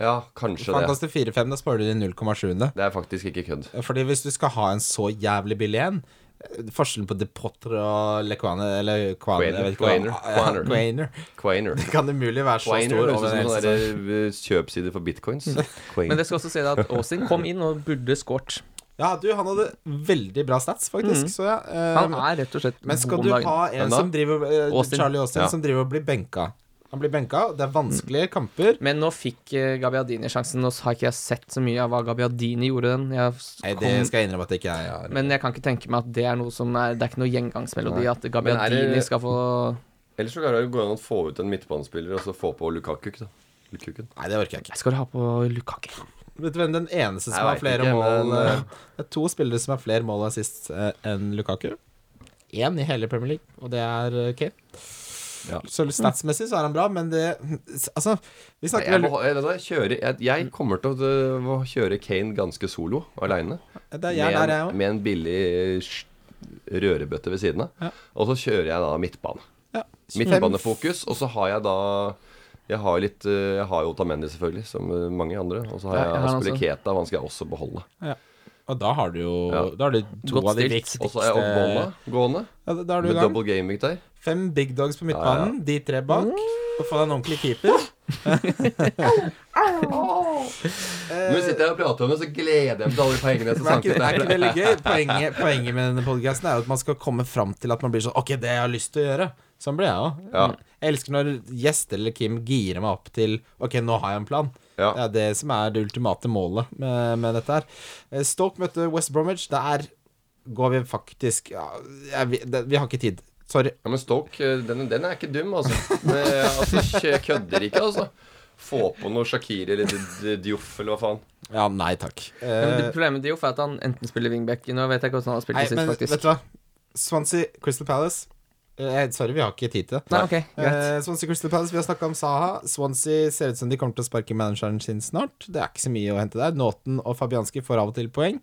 D: Ja, kanskje
B: Han
D: det.
B: kaster 4-5, da sparer du de 0,7.
D: Det er faktisk ikke kødd.
B: Eh, Fordi hvis du skal ha en så jævlig billig en eh, Forskjellen på Depotter og Lequane Eller Quaner, jeg vet ikke hva-
D: Quainer, Quaner.
B: Ja, Quaner.
D: Quainer.
B: Kan det mulig være så
D: Quainer
B: stor?
D: høres ut
B: over en
D: som
B: hel
D: en
B: sesong?
D: sånn der, eh, kjøpside for bitcoins.
C: Men
D: Quainer.
C: det skal også si at Austin kom inn og burde skåret.
B: Ja, du, han hadde veldig bra stats, faktisk. Så ja. eh,
C: Mhm. Han er rett og slett
B: Men skal
C: god om
B: du
C: dagen.
B: ha en
D: da?
B: som driver eh,
C: Austin.
B: Charlie Austin
D: Ja.
B: som driver og blir benka? Han blir benka, og det er vanskelige kamper.
C: Men nå fikk eh, Gabiadini sjansen. Nå har ikke jeg sett så mye av hva Gabiadini gjorde den. Jeg s-
B: Nei, det
C: kom,
B: skal jeg innrømme at det ikke jeg har.
C: men jeg kan ikke tenke meg at det er noe som er Det er ikke noe gjengangsmelodi at Gabiadini
D: Men er det-
C: skal få
D: Ellers så klarer jeg å gå an å få ut en midtbanespiller og så få på Lukakuk, da. Lukakuken.
B: Nei, det orker jeg ikke.
C: Jeg skal ha på Lukaku.
B: Vet du hvem den eneste
D: Jeg
B: som har
D: vet
B: flere
D: ikke,
B: mål
D: men,
B: eh, Det er to spillere som har flere mål enn sist eh, enn Lukaku. Én i hele Premier League, og det er eh, Kane.
D: Ja.
B: Så statsmessig så er han bra, men det Altså, vi snakker
D: Jeg,
B: vel
D: må, jeg, altså, jeg, kjører, jeg, jeg kommer til å øh, å kjøre Kane ganske solo, aleine.
B: Det er jeg
D: Med,
B: der, jeg
D: en-
B: òg.
D: med en billig øh, sj- rørebøtte ved siden av.
B: Ja.
D: Og så kjører jeg da midtbane.
B: Ja.
D: Midtbanefokus. Og så har jeg da Jeg har litt øh, Jeg har jo Otamendi, selvfølgelig, som øh, mange andre. Og så har
C: Ja,
D: jeg
C: jeg har han
D: Aspille
C: også.
D: Keta, og han skal jeg også beholde.
B: Og da har du jo
D: Ja.
B: Da har du to
C: Godt
B: av de
C: stilt.
B: viktigste
D: Og så har jeg Ogbonna gående,
B: Ja, da er du i
D: med
B: gang.
D: double gaming der.
B: Fem big dogs på midtbanen, de tre bak. Og få deg en ordentlig keeper.
D: Når vi sitter her og prater om det, så gleder jeg meg til alle de pengene som
B: Men er ikke,
D: sanket
B: er ikke
D: der.
B: det litt gøy? Poenget, poenget med denne podcasten er jo at man skal komme fram til at man blir sånn Ok, det jeg har lyst til å gjøre. Sånn blir jeg òg.
D: Ja.
B: Jeg elsker når gjester eller Kim girer meg opp til Ok, nå har jeg en plan.
D: Ja.
B: Det er det som er det ultimate målet med, med dette her. Eh, Stoke møtte West Bromwich. Der går vi faktisk ja, jeg, vi, det, vi har ikke tid. Sorry.
D: Ja, men Stoke, eh, den, den er ikke dum, altså. Det, altså kjø- kødder ikke, altså. Få på noe Shakiri eller D- D- Dioff eller hva faen.
B: Ja, nei takk.
C: Ja, men
B: Eh,
C: det- Problemet med Dioff er at han enten spiller wingback Nå vet jeg ikke hvordan han har spilt
B: nei,
C: det sist,
B: men vet
C: faktisk.
B: du hva? Swansea Crystal Palace. Eh, sorry, vi har ikke tid til det.
C: Nei, ok, greit.
B: Eh, Swansea Crystal Palace, vi har snakka om Saha. Swansea ser ut som de kommer til å sparke manageren sin snart. Det er ikke så mye å hente der. Naughton og Fabianski får av og til poeng.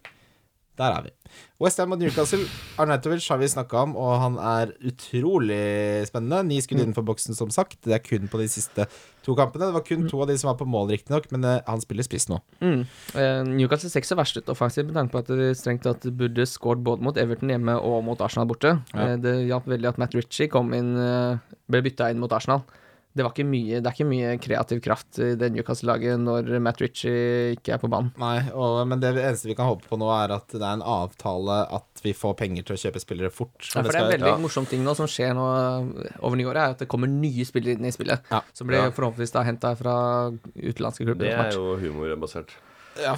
B: Der er vi. Westham mot Newcastle. Arnautovic har vi snakka om, og han er utrolig spennende. Ni skudd
C: Mm.
B: innenfor boksen, som sagt. Det er kun på de siste to kampene. Det var kun to av de som var på mål, riktignok, men eh, han spiller spiss nå.
C: Mm. Eh, Newcastle ser ikke så verst ut offensivt, med tanke på at de strengt tatt burde skåret både mot Everton hjemme og mot Arsenal borte.
B: Ja.
C: Eh, det hjalp veldig at Matt Ritchie kom inn, eh, ble bytta inn mot Arsenal. Det, var ikke mye, det er ikke mye kreativ kraft i det Newcastle-laget når Matt Ritchie ikke er på banen.
B: Nei, og, men det eneste vi kan håpe på nå, er at det er en avtale at vi får penger til å kjøpe spillere fort.
C: Ja, for det er
B: skal-
C: en veldig morsom ting nå som skjer nå eh, over nyåret, er at det kommer nye spillere inn i spillet.
B: Ja.
C: Som blir
D: Ja.
C: forhåpentligvis da henta fra utenlandske klubber.
D: Det er
C: snart.
D: jo humorbasert.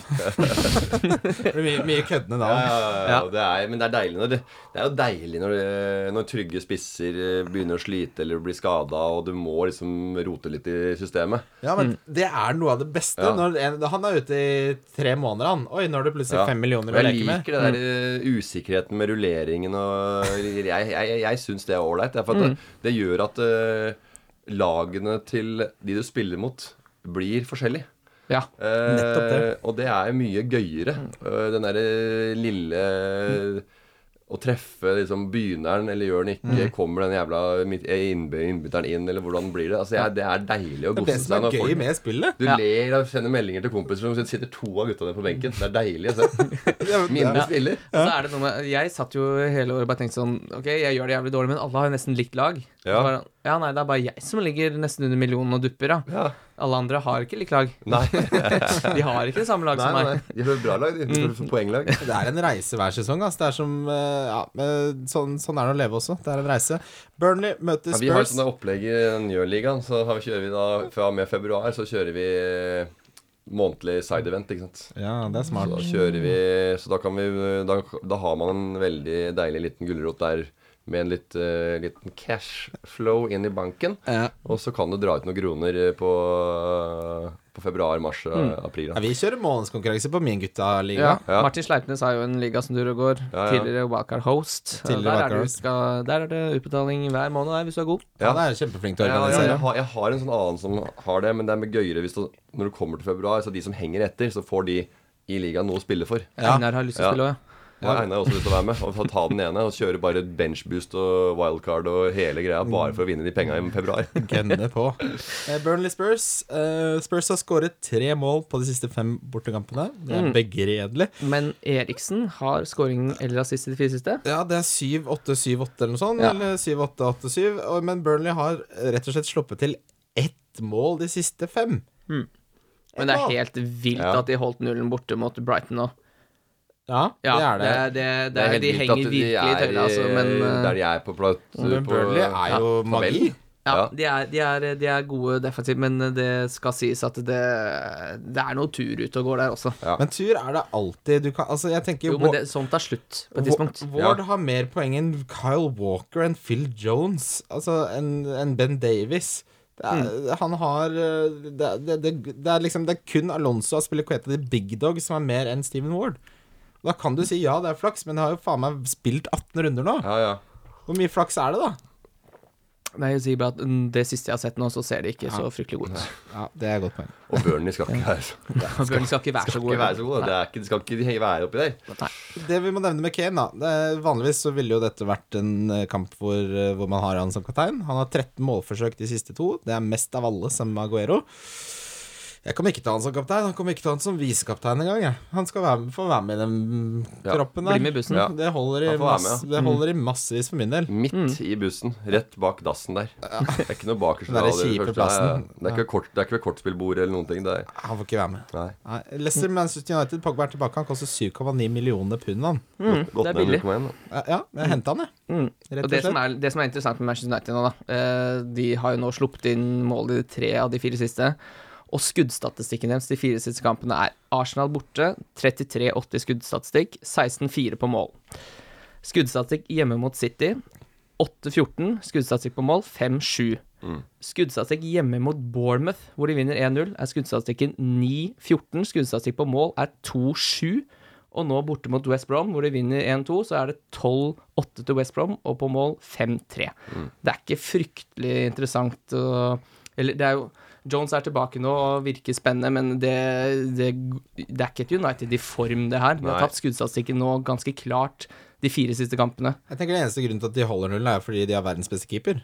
B: Det blir mye, mye køddende
D: Ja,
B: navn.
D: ja, ja, ja. Det er, men det er deilig når det, det er jo deilig når, det- når trygge spisser eh, begynner å slite eller blir skada, og du må liksom rote litt i systemet.
B: Ja, men det er noe av det beste.
D: Ja.
B: Når en, han er ute i tre måneder, han. Oi, nå er det plutselig
D: Ja.
B: fem millioner å
D: Og jeg
B: leke med. Mm.
D: liker det der eh, usikkerheten med rulleringen og Jeg, jeg, jeg, jeg syns det er ålreit. det er for
B: Mm.
D: at Det, det gjør at eh, lagene til de du spiller mot, blir forskjellige.
C: Ja.
D: Eh,
B: Nettopp det. Mm.
D: Og det er mye gøyere. Eh, den derre lille Å treffe liksom begynneren, eller gjør den ikke?
B: Mm.
D: Kommer den jævla midt- eh, innby- innbytteren inn, eller hvordan blir det? Altså, jeg, det er deilig å
B: Det er
D: gosse
B: det som
D: seg
B: er
D: når
B: gøy
D: folk
B: med spillet.
D: du
C: Ja.
D: ler og sender meldinger til kompiser som sitter to av gutta dine på benken. Det er deilig å se. Mindre spiller.
C: Så er det noe med, jeg satt jo hele året bare tenkte sånn Ok, jeg gjør det jævlig dårlig, men alle har jo nesten likt lag.
D: Ja.
C: Så Bare, ja, nei, det er bare jeg som ligger nesten under millionen og dupper, da.
D: Ja.
C: Alle andre har ikke likt lag.
D: Nei,
C: De har ikke det samme lag
D: nei,
C: som
D: nei,
C: meg.
D: nei. De får et bra lag, de. De får poenglag.
B: Det er en reise hver sesong. ass. Det er som eh, Ja, eh, sånn, sånn er det å leve også. Det er en reise. Burnley møter
D: Ja, vi har
B: Spurs.
D: sånne opplegg i Njøligaen. Så har vi- kjører vi da fra og med februar så kjører vi eh, månedlig side event, ikke sant.
B: Ja, det er smart.
D: Da kjører vi Så da kan vi Da, da har man en veldig deilig liten gulrot der med en litt, eh, liten cash flow inn i banken.
B: Ja.
D: Og så kan du dra ut noen kroner på, på februar, mars, april.
B: Ja,
D: Da.
B: vi kjører månedskonkurranse på min guttaliga.
C: Ja.
D: Ja.
C: Martin Sleipnes har jo en liga som durer og går.
D: Ja, ja.
C: Tidligere Wildcard Host.
B: Tidligere
C: der,
B: Wildcard
C: er du,
B: Host.
C: skal, der er det utbetaling hver måned der, hvis du er god.
B: Ja, det er kjempeflink til å
D: Ja, ja,
B: organisere.
D: jeg, har, jeg har en sånn annen som har det, men det er med gøyere hvis du, når du kommer til februar. Så de som henger etter, så får de i ligaen noe å spille for.
B: Ja.
C: Einar har lyst til å
D: Ja.
C: spille òg,
D: Og Einar har også lyst til å være med og ta- ta den ene og kjøre bare benchboost og wildcard og hele greia bare for å vinne de penga i februar.
B: Gønne på. Eh, Burnley Spurs. Eh, Spurs har skåret tre mål på de siste fem bortekampene. Det er begredelig.
C: ja. Men Eriksen har scoringen eller assist i de fire siste.
B: Ja, det er 7-8-7-8 eller noe sånt.
C: Ja.
B: Eller 7-8-8-7. og- Men Burnley har rett og slett sluppet til ett mål de siste fem.
C: Men det
B: Ja.
C: er helt vilt
D: Ja.
C: at de holdt nullen borte mot Brighton nå.
B: Ja,
C: Ja,
B: det er det.
C: det, det,
D: Det er helt
C: de
D: vilt
C: henger
D: at de
C: virkelig i
D: er
C: tøyla, altså.
D: i-
C: Men eh,
D: Der de er på plass
B: Men
D: på-
B: Burnley er jo
D: ja,
B: magi.
D: tabellen.
C: ja,
D: Ja.
C: de, er, de, er, de er gode defensivt, men eh, det skal sies at det, det er noe tur ute og går der også.
D: Ja.
B: Men tur er det alltid. Du kan, altså, jeg tenker
C: Jo, men det, sånt er slutt på et tidspunkt.
B: Wa- Ward har mer poeng enn Kyle Walker enn Phil Jones. Altså enn enn Ben Davies. Det er, Han har eh, det, det, det, det er liksom Det er kun Alonso og Aspilicueta de Big Dog som er mer enn Steven Ward. Da kan du si ja, det er flaks, men jeg har jo faen meg spilt 18 runder nå.
D: Ja, ja.
B: Hvor mye flaks er det, da?
C: Nei, jeg sier bare at mm, Det siste jeg har sett nå, så ser det ikke så fryktelig godt ut.
B: Ja, Det er et godt poeng.
D: Og Burnley skal ikke være så,
C: Burnley skal ikke være så
D: skal
C: gode.
D: ikke være så gode. Det er ikke, de skal ikke henge- være oppi der.
B: Det vi må nevne med Kane, da det er, Vanligvis så ville jo dette vært en eh, kamp hvor, eh, hvor man har han som kaptein. Han har 13 målforsøk de siste to. Det er mest av alle sammen med Aguero. Jeg kommer ikke til å ha han som kaptein. Han kommer ikke til å ha han som visekaptein engang. jeg. Han skal være med, få være med i den mm,
D: Ja,
B: troppen der.
C: bli med i bussen.
D: Ja.
B: Det, holder i
D: Han får være
B: mass,
D: med,
B: det
C: Mm.
B: holder i massevis for min del.
D: Midt i bussen, rett bak dassen der. Det er ikke noe bakerst.
B: Den der
D: av det
B: kjipe
D: første.
B: plassen. Mm.
D: Det er- Det er ikke, kort, det er ikke ved kortspillbord eller noen ting. Det er,
B: Han får ikke være med.
D: nei,
B: Nei, Leicester Manchester United, Pogba er tilbake. Han koster 7,9 millioner pund, han.
D: gått
C: Mm, det er
D: ned
C: billig.
D: 0,1, da.
B: Ja, Ja, jeg henta han, jeg.
C: Mm.
B: Rett
C: Og
B: og
C: det som,
B: slett.
C: er, det som er interessant med Manchester United nå, da eh, De har jo nå sluppet inn mål i de tre av de fire siste. Og skuddstatistikken deres de fire siste kampene er Arsenal borte, 33-80 skuddstatistikk, 16-4 på mål. Skuddstatistikk hjemme mot City, 8-14. Skuddstatistikk på mål, 5-7. Skuddstatistikk hjemme mot Bournemouth, hvor de vinner 1-0, er skuddstatistikken 9-14. Skuddstatistikk på mål er 2-7. Og nå borte mot West Brom, hvor de vinner 1-2, så er det 12-8 til West Brom, og på mål 5-3. Det er ikke fryktelig interessant å Eller det er jo Jones er tilbake nå og virker spennende, men det, det, det er ikke et United i form, det her. De har
D: Nei.
C: tapt skuddstatistikken nå ganske klart de fire siste kampene.
B: Jeg tenker Den eneste grunnen til at de holder nullen, er fordi de har verdens beste keeper.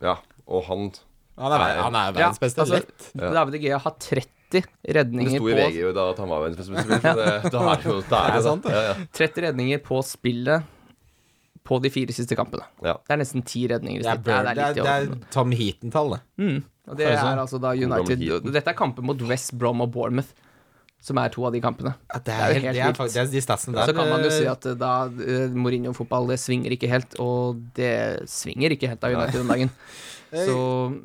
D: Ja, og han
B: Han er, ver- han er verdens beste.
C: altså,
B: lett.
C: David De Gea har 30
D: Det
C: redninger
D: sto i
C: på
D: VG jo da at han var verdensmester, så det, da er det jo da er det
B: sant,
D: det. Ja, ja.
C: 30 redninger på spillet på de fire siste kampene.
D: Ja.
C: Det er nesten ti redninger i
B: Det er,
C: snitt.
B: Bird,
C: Ja,
B: det er,
C: litt i
B: det er
C: overkant.
B: Tom Heaton-tall, det. sånn?
C: Og det
B: Kanskje.
C: er altså da United
D: Heaton.
C: Dette er kamper mot West Brom og Bournemouth, som er to av de kampene.
B: Ja, det
C: er
B: er,
C: jo helt
B: helt, det er,
C: vilt.
B: fakt- det er de statsene der
C: Så kan man jo
B: eh,
C: si at eh, da eh, Mourinho-fotball, det svinger ikke helt, og det svinger ikke helt av United den dagen. Så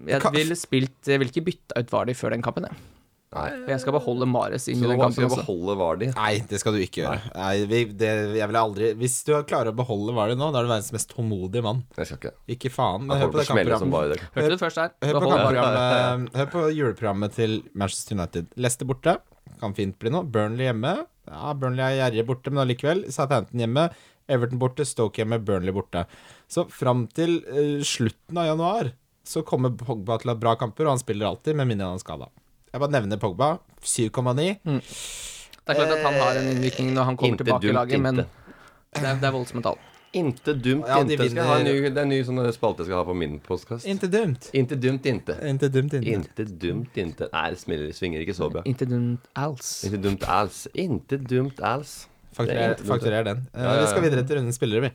C: jeg
B: Ka-
C: ville spilt Jeg ville ikke bytta ut Vardy før den kampen, jeg.
D: Nei.
C: For jeg skal beholde Mares inn i
D: Så
C: den
D: nå skal
C: kampen
D: vi
C: også.
D: beholde Vardy.
B: Nei, det skal du ikke gjøre. Nei, vi, det, jeg vil aldri Hvis du klarer å beholde Vali nå, da er du verdens mest tålmodige mann.
D: Jeg skal ikke.
B: Ikke faen. Men
D: Jeg
B: hør på det
D: kommer til å smelle som
B: kampprogrammet.
D: bare det.
C: Hørte du det først her?
B: Hør på,
C: Behold Vardy.
B: kampprogrammet- hør på juleprogrammet til Manchester United. Leicester borte, kan fint bli noe. Burnley hjemme. Ja, Burnley er gjerrig borte, men allikevel. Southampton hjemme. Everton borte, Stoke hjemme, Burnley borte. Så fram til eh, slutten av januar så kommer Pogba til å ha bra kamper, og han spiller alltid, med mindre han er skada. Jeg bare nevner Pogba. 7,9.
C: Det er klart at han har en innvirkning når han kommer
D: Inte
C: tilbake i
D: dumt,
C: laget, men
D: inte.
C: det er, det er voldsomme tall.
D: Inte dumt,
B: Ja, de
D: inte. Skal jeg ha en
B: vinner.
D: ny, det er en ny sånn spalte jeg skal ha på min postkast.
B: Inte dumt.
D: Inte dumt, inte.
B: Inte dumt, inte.
D: Inte dumt, inte. Nei, det smiler- svinger ikke så bra.
C: Inte dumt else.
D: Inte dumt alls. Inte dumt alls. Det er
B: Fakturer,
D: inte dumt.
B: fakturer den. Eh,
D: Ja, ja, ja.
B: Vi skal videre til rundens spillere, vi.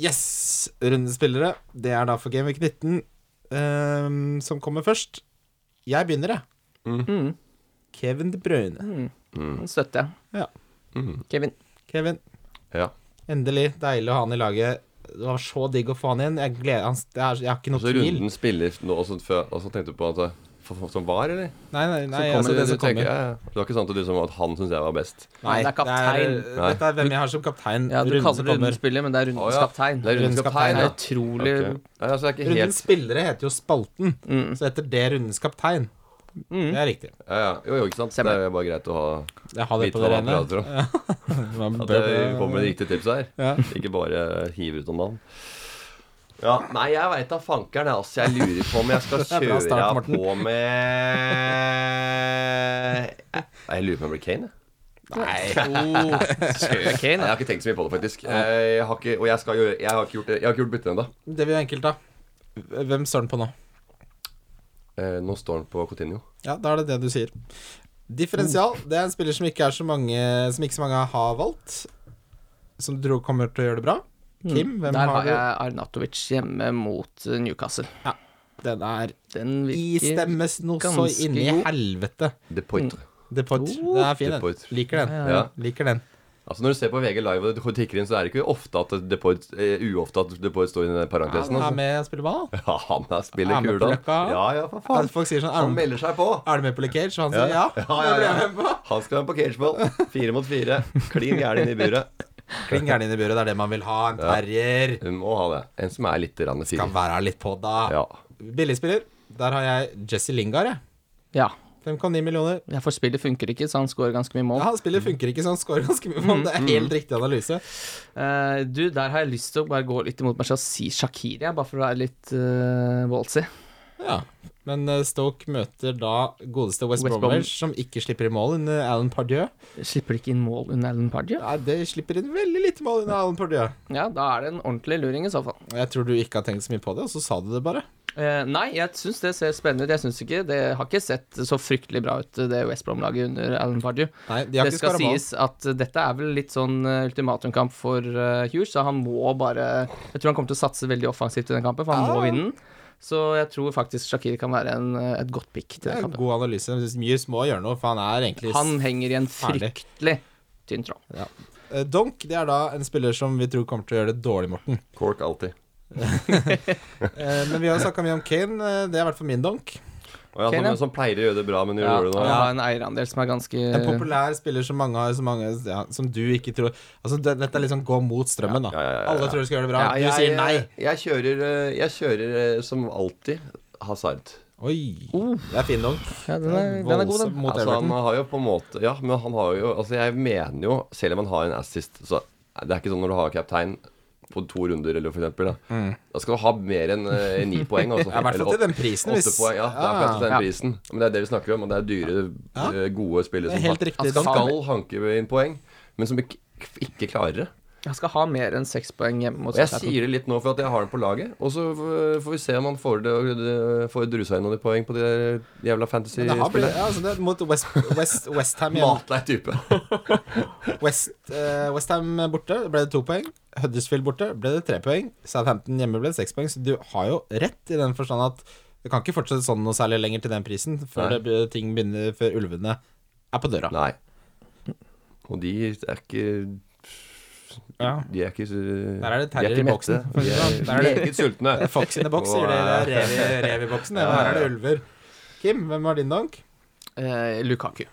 B: Yes! Rundens spillere. Det er da for Gameweek 19 ehm, som kommer først. Jeg begynner, jeg.
D: Mm.
C: Mm.
B: Kevin De Bruyne.
C: Den Mm, støtter jeg.
B: Ja.
C: Kevin.
B: Kevin,
D: Ja.
B: endelig. Deilig å ha han i laget. Det var så digg å få han igjen. Jeg, gleder, han, det er, jeg har ikke
D: Og så
B: noe tvil.
D: Altså, runden spiller nå, og så, før, og så tenkte du på at for, for, som var, eller?
B: Nei, nei, nei,
D: Kommer
B: altså,
D: det-
B: det som
D: du tenker,
B: kommer.
D: ja, ja. Det var ikke sånn at du liksom, at han syntes jeg var best.
B: Nei,
C: det er kaptein.
B: det er- Dette er hvem jeg har som kaptein.
C: Ja,
B: runden
C: du kaller
B: som
C: det
B: kommer.
C: rundespillet, men det er
D: Å,
C: rundens
D: ja.
C: kaptein.
D: Det er rundens
B: Rundens
D: kaptein,
B: kaptein,
C: Det
D: ja.
C: er utrolig
D: Ok. Ja, altså, det er ikke
B: Rundens
D: helt
B: spillere heter jo Spalten, så heter det Rundens kaptein. Det er riktig.
D: ja, ja. Jo, jo, ikke sant? Det
C: Stemmer.
D: er jo bare greit å ha
B: Jeg har det
D: vite
B: på
D: hva
B: det
D: man
B: rene.
D: prater om.
B: Man
D: At
B: bør-
D: jeg kommer med de riktige tipsa her.
B: Ja.
D: Ikke bare hive ut om navn. Ja, nei, jeg veit da fankeren, jeg, altså. Jeg lurer på om jeg skal
B: er bra
D: kjøre
B: start, Morten.
D: på med Jeg lurer på om det blir Kane, jeg.
C: Oh, kjør
D: Nei,
C: Kane,
D: jeg
C: da.
D: har ikke tenkt så mye på det, faktisk. Eh, Jeg har ikke, og jeg, skal gjøre, jeg har ikke gjort, det- jeg har ikke gjort bytte ennå.
B: Det blir enkelt, da. Hvem står den på nå?
D: Eh, Nå står han på Coutinho
B: Ja, da er det det du sier. Differensial. Det er en spiller som ikke, er så mange, som ikke så mange har valgt. Som du tror kommer til å gjøre det bra. Kim, hvem
C: Der
B: har,
C: har
B: du?
C: jeg Arnatovic hjemme mot eh, Newcastle.
B: Den er
C: Den
B: i
C: virker
B: stemmes noe så
C: ganske
B: inni
C: god.
B: helvete.
D: De Poitre.
B: Mm. Depot.
C: Oh.
B: Den er fin, den.
D: Depot.
B: Liker den.
D: Ja.
B: Liker den.
D: Altså Når du ser på VG live og det tikker inn, så er det ikke ofte at De Poitre, eh, uofte at De Poitre står i den
B: Han
D: parentesen.
B: er
D: Altså.
B: med og spiller ball. da.
D: Ja, han er spiller
B: Er med på
D: kula.
B: løkka.
D: Ja, ja, for
B: Ja,
D: faen.
B: Folk sier sånn
D: Han
B: Er du,
D: melder seg på.
B: er du med på Lekage? Og han sier ja.
D: Ja, ja, ja. Han skal være på cageball. Fire mot fire. Klin gæren inn i buret.
B: Kling gæren inn i buret, det er det man vil ha. En terrier.
D: Du må ha det. En som er litt rann
B: Kan
D: fyr.
B: være litt på, da.
D: Ja.
B: Billigspiller. Der har jeg Jesse Lingard, jeg.
C: Ja.
B: 5,9 millioner.
C: ja, for spillet funker ikke, så han skårer ganske mye mål.
B: Ja, han spiller funker ikke, så han scorer ganske mye mål.
C: Mm,
B: Det er helt riktig analyse.
C: Eh, du, der har jeg lyst til å bare gå litt imot meg selv og si Shakiri, jeg, bare for å være litt uh, ballsy.
B: Ja. Men eh, Stoke møter da godeste West,
C: West Brom.
B: Bromwich, som ikke slipper inn mål under Alan Pardieu.
C: Slipper ikke inn mål under Alan Pardew?
B: Nei, det slipper inn veldig lite mål under Alan Pardieu.
C: Ja, da er det en ordentlig luring i så fall.
B: Jeg tror du ikke har tenkt så mye på det, og så sa du det bare.
C: Eh, nei, jeg syns det ser spennende ut. Jeg syns ikke Det har ikke sett så fryktelig bra ut, det West Brom-laget under Alan Pardew.
B: Nei, de har
C: Det
B: ikke
C: skal
B: skåra mål.
C: sies at dette er vel litt sånn eh, ultimatumkamp for eh, Hughes, så han må bare Jeg tror han kommer til å satse veldig offensivt i den kampen, for han
B: Ah.
C: må vinne den. Så jeg tror faktisk Shakir kan være en, eh, et godt pick til
B: Det er
C: den
B: en
C: kampen.
B: god analyse. Jeg synes Mye små å gjøre noe, for han er egentlig
C: Han henger i en
B: Herlig.
C: fryktelig tynn tråd.
B: Eh, Donk det er da en spiller som vi tror kommer til å gjøre det dårlig, Morten.
D: Cork alltid.
B: Eh, Men vi har snakka mye om Kane. eh, Det er i hvert fall min donk.
D: Og ja,
C: Kane, ja.
D: som, som pleier å gjøre det bra, men gjør
C: Ja,
D: det
C: og
D: nå.
C: han har en eierandel som er ganske
B: En populær spiller som mange har, som, mange, ja, som du ikke tror Altså, det, Dette er liksom gå mot strømmen, da.
D: Ja, ja, ja, ja, ja.
B: Alle tror du skal gjøre det bra.
D: Ja,
B: Du sier nei.
D: Jeg kjører, eh, jeg kjører eh, som alltid Hazard.
B: Oi.
C: Oh.
B: Det er fin donk.
C: Ja, den er, den er god,
B: Voldsomt
C: den.
B: mot
D: Uh. altså, han
B: Everton.
D: har jo på en måte Ja, men han har jo Altså, jeg mener jo Selv om han har en assist, så det er ikke sånn når du har kaptein på to runder, eller for eksempel, da. Da skal du ha mer enn eh, ni poeng. Altså.
B: Mm. Ja, I hvert fall til den prisen.
D: Åtte
B: Hvis,
D: poeng, ja. Det er faktisk den
C: Ja.
D: prisen. Men det er det vi snakker om, og det er dyre,
B: Ja.
D: eh, gode spillere
B: det er
D: som
B: helt
D: har-
B: riktig.
D: skal,
B: donk.
D: skal hanke inn poeng, men som ikke, ikke klarer det.
C: Han skal ha mer enn seks poeng hjemme mot
D: Og jeg
C: Southampton.
D: sier det litt nå for at jeg har den på laget, og så eh, får vi se om han får, det, det- får drusa inn noen poeng på det der
B: Men det
D: jævla
B: har blitt,
D: fantasy-spillet.
B: ja, altså det, er mot West, West, West Ham igjen.
D: Matlei type.
B: West, eh, West Ham borte ble det to poeng. Huddersfield borte ble det tre poeng. Southampton hjemme ble det seks poeng. Så du har jo rett i den forstand at det kan ikke fortsette sånn noe særlig lenger til den prisen før
D: Nei.
B: det, be- ting begynner Før ulvene er på døra.
D: Nei. Og de er ikke
B: Ja.
D: De er ikke så-
B: Der er det
D: de er
B: terror
D: ikke
B: i boksen.
D: mette.
B: Der
D: De
B: er det-
D: er meget sultne.
B: Det er Fox in the box, sier de. Det er rev i- rev i boksen. Ja, her er det ulver. Kim, hvem var din donk?
C: Eh, Lukaku.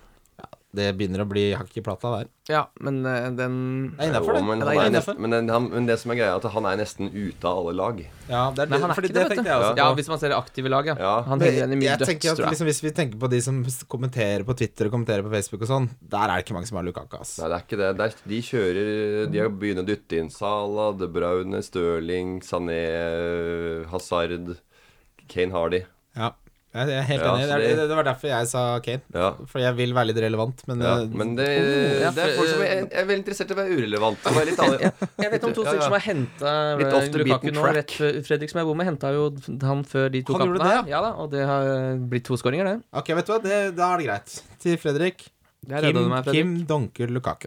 B: Det begynner å bli hakk i plata der.
C: Ja, men eh, den
B: Det er innafor,
D: Jo,
B: det.
D: men,
B: det.
D: han
B: er
D: er
B: innenfor.
D: nesten, men, den- han, men det som er greia, er at han er nesten ute av alle lag.
B: Ja, det er
C: Nei,
B: det,
C: han er
B: fordi
C: ikke
B: det
C: det, vet
B: tenkte
C: du.
B: jeg også.
C: Ja, hvis man ser det aktive lag, ja.
D: Ja.
C: Han
B: Men
C: henger igjen i mye
B: jeg tenker
C: døds,
B: at
C: tror jeg.
B: liksom, Hvis vi tenker på de som s- kommenterer på Twitter og kommenterer på Facebook og sånn, der er det ikke mange som har Lukaku, ass.
D: Nei, det er ikke det. det er, de kjører De har begynner å dytte inn Salah, De Bruyne, Stirling, Sané, Hazard, Kane Hardy.
B: Ja, jeg jeg er helt
D: Ja,
B: enig.
D: så
B: Det, er-
D: det-
B: det, det var derfor jeg sa Kane.
D: Ja.
B: Fordi jeg vil være litt relevant, men,
D: Ja,
B: eh,
D: men det,
C: ja,
D: det er
C: for-
D: folk som er, er veldig interessert i å være urelevant. Så vær litt alle,
C: Jeg vet om to
D: Ja,
C: stykker
D: ja.
C: som har henta
D: Litt off the
C: Lukaku
D: beaten
C: nå.
D: track.
C: Rett før Fredrik som jeg bor med, henta jo han før de to
B: Han gjorde
C: kampene her.
B: det,
C: Ja da, Og det har blitt to skåringer, det.
B: Ok, vet du hva, det, da er det greit. Til Fredrik.
C: Der
B: Kim,
C: redda du meg, Fredrik.
B: Kim donker Lukaku.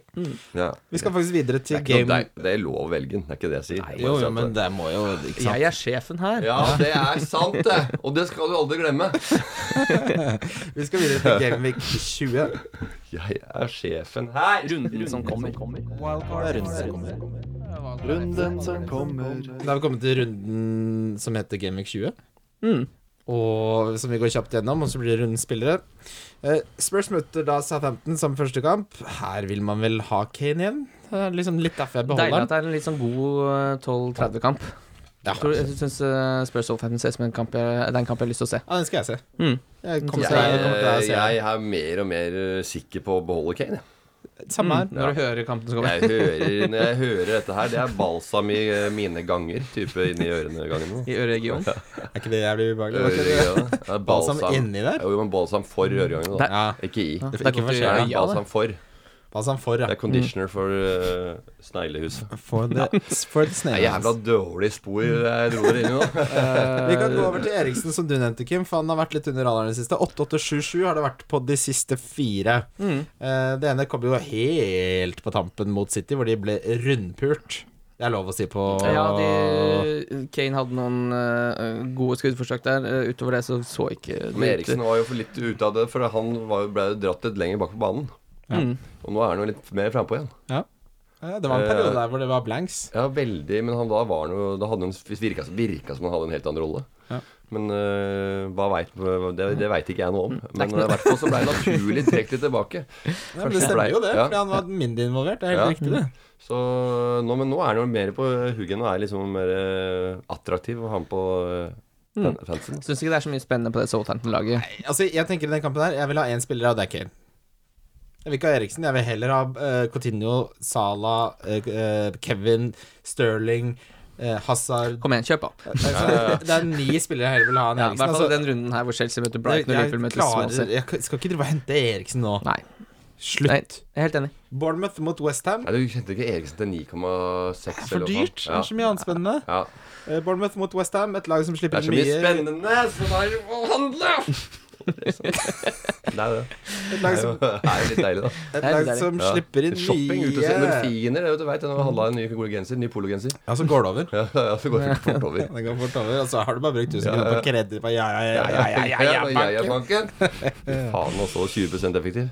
D: ja.
B: Vi skal faktisk videre
D: Det, er
B: til
D: ikke noe, det,
B: game
D: er, det er lov å velge den, det er ikke det jeg sier. Jeg bare
B: Jo,
D: sier
B: jo,
D: at
B: men det må jo Ikke sant?
C: Jeg er sjefen her.
D: Ja, det er sant, det. Og det skal du aldri glemme.
B: Vi skal videre til Game Week 20.
D: Jeg er sjefen her.
C: Runden som kommer.
E: Runden som kommer.
B: Da har vi kommet til runden som heter Game Week 20.
C: Mm.
B: og som vi går kjapt gjennom, og så blir det rundens spillere. Eh, Spurs møter da Southampton som første kamp. Her vil man vel ha Kane igjen? Det er liksom litt derfor jeg
C: Deilig
B: beholder den.
C: at det er en litt sånn god eh, 12-30-kamp.
B: Ja.
C: Jeg, tror- jeg syns Spurs Southampton ser ut som en kamp jeg, det er en kamp jeg har lyst til å se.
B: Ja, den skal jeg se.
C: Mm.
B: Jeg kommer
D: Jeg,
B: til, jeg kommer til å se
D: jeg er mer og mer eh, sikker på å beholde Kane. jeg.
B: den. Samme her.
C: Mm, Når du hører kampen som kommer.
D: Jeg hører, når jeg hører dette her, det er balsam i eh, mine ganger. Type inni ørene gangen nå.
C: I øreregionen.
B: Er ikke det jævlig
D: Øh,
B: ubehagelig? Det var ikke det.
D: Øregreiene. Det er
B: Balsam inni der?
D: Jo, men balsam for øregangen, da.
B: Ja.
D: Ikke i.
B: Det
C: Det er
B: ikke
C: godt
B: for
C: å
D: Det
B: seg.
C: gjøre. ja,
D: er
C: det.
D: balsam for.
B: Balsam for,
D: Det
B: ja.
D: er conditioner for eh, sneglehuset.
B: For the, for the
D: Det
B: snake.
D: er jævla dårlige spor jeg dro dere inn i nå.
B: Vi kan gå over til Eriksen, som du nevnte, Kim. For han har vært litt under radaren i det siste. 8877 har det vært på de siste fire.
D: Mm.
B: Eh, Det ene kom jo helt på tampen mot City, hvor de ble rundpult. Det er lov å si på
C: Ja, de, Kane hadde noen eh, gode skuddforsøk der. Eh, utover det så så ikke det
D: Men
C: ut-
D: Eriksen var jo for litt ute av det, for han var jo, ble jo dratt litt lenger bak på banen.
B: Ja.
C: Mm.
D: Og nå er han jo litt mer frampå igjen.
B: Ja, Eh, Det var en periode der hvor det var blanks.
D: Ja, veldig, men han da var han jo Da hadde han virka, virka som han hadde en helt annen rolle.
B: Ja.
D: Men øh, hva vet, det, det veit ikke jeg noe om. Men eh, i hvert fall så ble han naturlig trukket litt tilbake.
B: Ja, men det stemmer jo det,
D: Ja.
B: fordi han var mindre involvert. Det er helt
D: Ja.
B: riktig, det.
D: Så nå, Men nå er han jo mer på huggen og er liksom mer øh, attraktiv å ha med på øh,
B: Mm.
D: fan- fansen.
C: Syns ikke det er så mye spennende på det Southampton-laget.
B: Altså, jeg tenker i den kampen her Jeg vil ha én spiller, og det er Kane. Jeg vil ikke ha Eriksen. Jeg vil heller ha eh, Coutinho, Salah, eh, eh, Kevin, Sterling, eh, Hazard
C: Kom igjen, kjøp opp.
B: Altså, Det er ni spillere jeg heller vil ha enn
C: Ja, I
B: Eriksen.
C: hvert fall
B: Altså,
C: den runden her hvor Chelsea møter
B: jeg,
C: Brighton og Liverpool
B: jeg,
C: møter Swansea.
B: klarer, jeg skal ikke drive og hente Eriksen nå.
C: Nei. Nei,
B: Slutt.
C: jeg er helt enig.
B: Bournemouth mot Westham.
D: Nei, du kjente ikke Eriksen til 9,6
B: For
D: eller noe
B: dyrt.
D: sånt.
B: Det er så mye annet spennende.
D: Ja. ja.
B: Eh, Bournemouth mot Westham, et lag som
D: Det
B: slipper
D: er så
B: inn
D: mye
B: mye
D: spennende som er å handle! Det er
B: Et
D: det. Det
B: lag
D: er jo
B: som,
D: det er jo litt deilig, da.
B: et
C: Det er
B: lag
C: deilig.
B: som
D: Ja.
B: slipper inn
D: Shopping, ute og se
B: mye
D: endorfiner. Det vet du, vet, jeg har handla en ny god genser, ny pologenser.
B: Ja, så går det over.
D: Ja, ja, så går det fort over.
B: Det går fort over. Og så har du bare brukt 1000
D: Ja,
B: kroner
D: ja.
B: på kreditt. på Ja, ja, ja, ja, ja, ja, ja,
D: ja, ja, banken. Fy Faen, også 20 effektiv.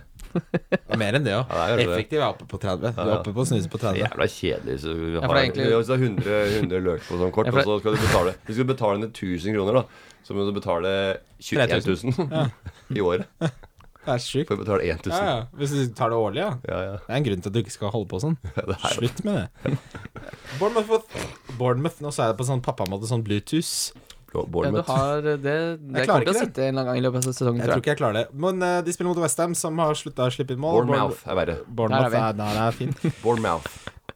B: Og Mer enn det òg.
D: Ja, det er kanskje det.
B: Effektiv er oppe på 30. Du er oppe på å snuse på 30.
D: Jævla kjedelig. Så du
C: for
D: har,
C: det er egentlig-
D: ja, hvis du har 100, 100 løk på sånn kort,
C: Ja, for det-
D: og så skal du betale Hvis du skal betale ned 1000 kroner, da, så må du betale 21 000 i året.
B: Det er sjukt.
D: For å betale 1000.
B: Ja, ja. Hvis du tar det årlig, ja.
D: Ja, ja.
B: Det er en grunn til at du ikke skal holde på sånn.
D: Det er
B: Slutt med det. Bournemouth, mot- Bournemouth Nå sa jeg det på sånn pappamåte, sånn Bluetooth.
C: Ja,
D: Blå-
C: du
D: Bournemouth.
C: har eh, det Det
B: Jeg klarer
C: kommer til å
B: ikke det.
C: sitte en eller annen gang i løpet av sesongen,
B: Jeg tror
C: tror jeg.
B: ikke jeg klarer det. Men eh, de spiller mot Westham, som har slutta å slippe inn mål.
D: Bournemouth er verre.
B: Bourne- Bournemouth
C: Der
B: er,
C: er
B: der er fint.
D: Bournemouth.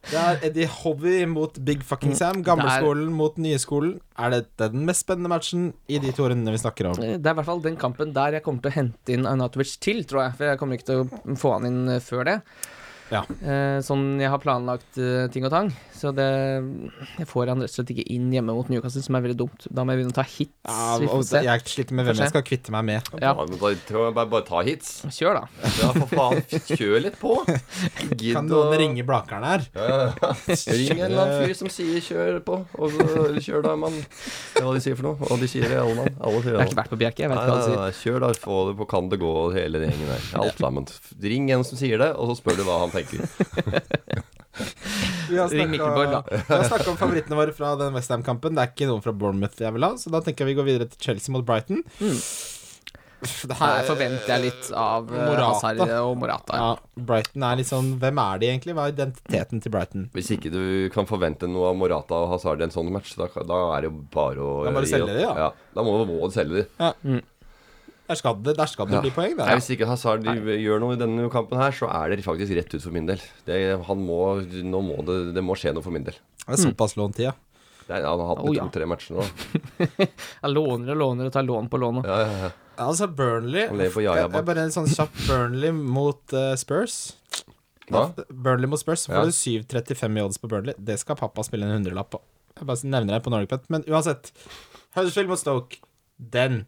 B: Det er Eddie Hobby mot Big Fucking
D: Mm.
B: Sam. Gamleskolen mot nyeskolen. Er dette den mest spennende matchen i de to rundene vi snakker om?
C: Eh, Det er i hvert fall den kampen der jeg kommer til å hente inn Arnatovic til, tror jeg. For jeg kommer ikke til å få han inn eh, før det.
B: Ja.
C: Eh, sånn jeg har planlagt eh, ting og tang. Så det Jeg får han rett og slett ikke inn hjemme mot Newcastle, som er veldig dumt. Da må jeg begynne å ta hits.
B: Ja,
C: vi
B: og
C: får se.
B: jeg sliter med hvem
C: Får se.
B: jeg skal kvitte meg med.
C: Ja.
D: Ja, men da, tror jeg bare, bare ta hits.
C: Kjør, da.
D: Ja, for faen. Kjør litt på. Gidd
B: Kan
D: å-
B: noen ringe Blakeren her?
D: Ring en eller annen fyr som sier 'kjør på', og så eller 'kjør da, mann'. Det er hva de sier for noe. Og de sier det, alle mann. Alle sier
C: Jeg har ikke
D: det.
C: vært på Bjerke, jeg vet
D: Nei,
C: ikke hva
D: nei,
C: du sier.
D: nei, kjør da, få det på kan det gå, hele den gjengen der. Alt sammen. Ring en som sier det, og så spør du hva han tenker.
B: Vi har
C: Ring Mikkelborg, da.
B: snakka om favorittene våre fra den Westham-kampen. Det er ikke noen fra Bournemouth jeg vil ha, så da tenker jeg vi går videre til Chelsea mot Brighton.
C: Mm.
B: Det her-
C: Her forventer jeg litt av eh,
B: Morata.
C: Hazard og Morata. Ja.
B: ja, Brighton er litt sånn Hvem er de egentlig? Hva er identiteten til Brighton?
D: Hvis ikke du kan forvente noe av Morata og Hazard i en sånn match, da, da er det jo bare å
B: Da må du
D: gi
B: selge
D: opp.
B: det, ja.
D: Da må du må du selge det.
B: Der skal det, der skal det
D: Ja.
B: bli poeng,
D: Nei,
B: der.
D: hvis ikke Hazard gjør noe i denne kampen her, så er det faktisk rett ut for min del. Det, han må, nå må det, det må skje noe for min del.
B: Det er såpass lånt tid, ja.
D: Det er, han har hatt
C: Oh, ja.
D: to-tre matcher nå.
C: Jeg låner og låner og tar lån på lån. og-
D: Ja, ja, ja.
B: Altså, Burnley
D: Han lever på
B: Jeg-
D: Jaja
B: jeg
D: bak.
B: Bare en sånn kjapp Burnley mot eh, Spurs.
D: Hva?
B: Burnley mot Spurs, så
D: Ja.
B: får du 7,35 i odds på Burnley. Det skal pappa spille en hundrelapp på. Jeg bare nevner det på Norgepet. Men uansett. Huddersfield mot Stoke. Den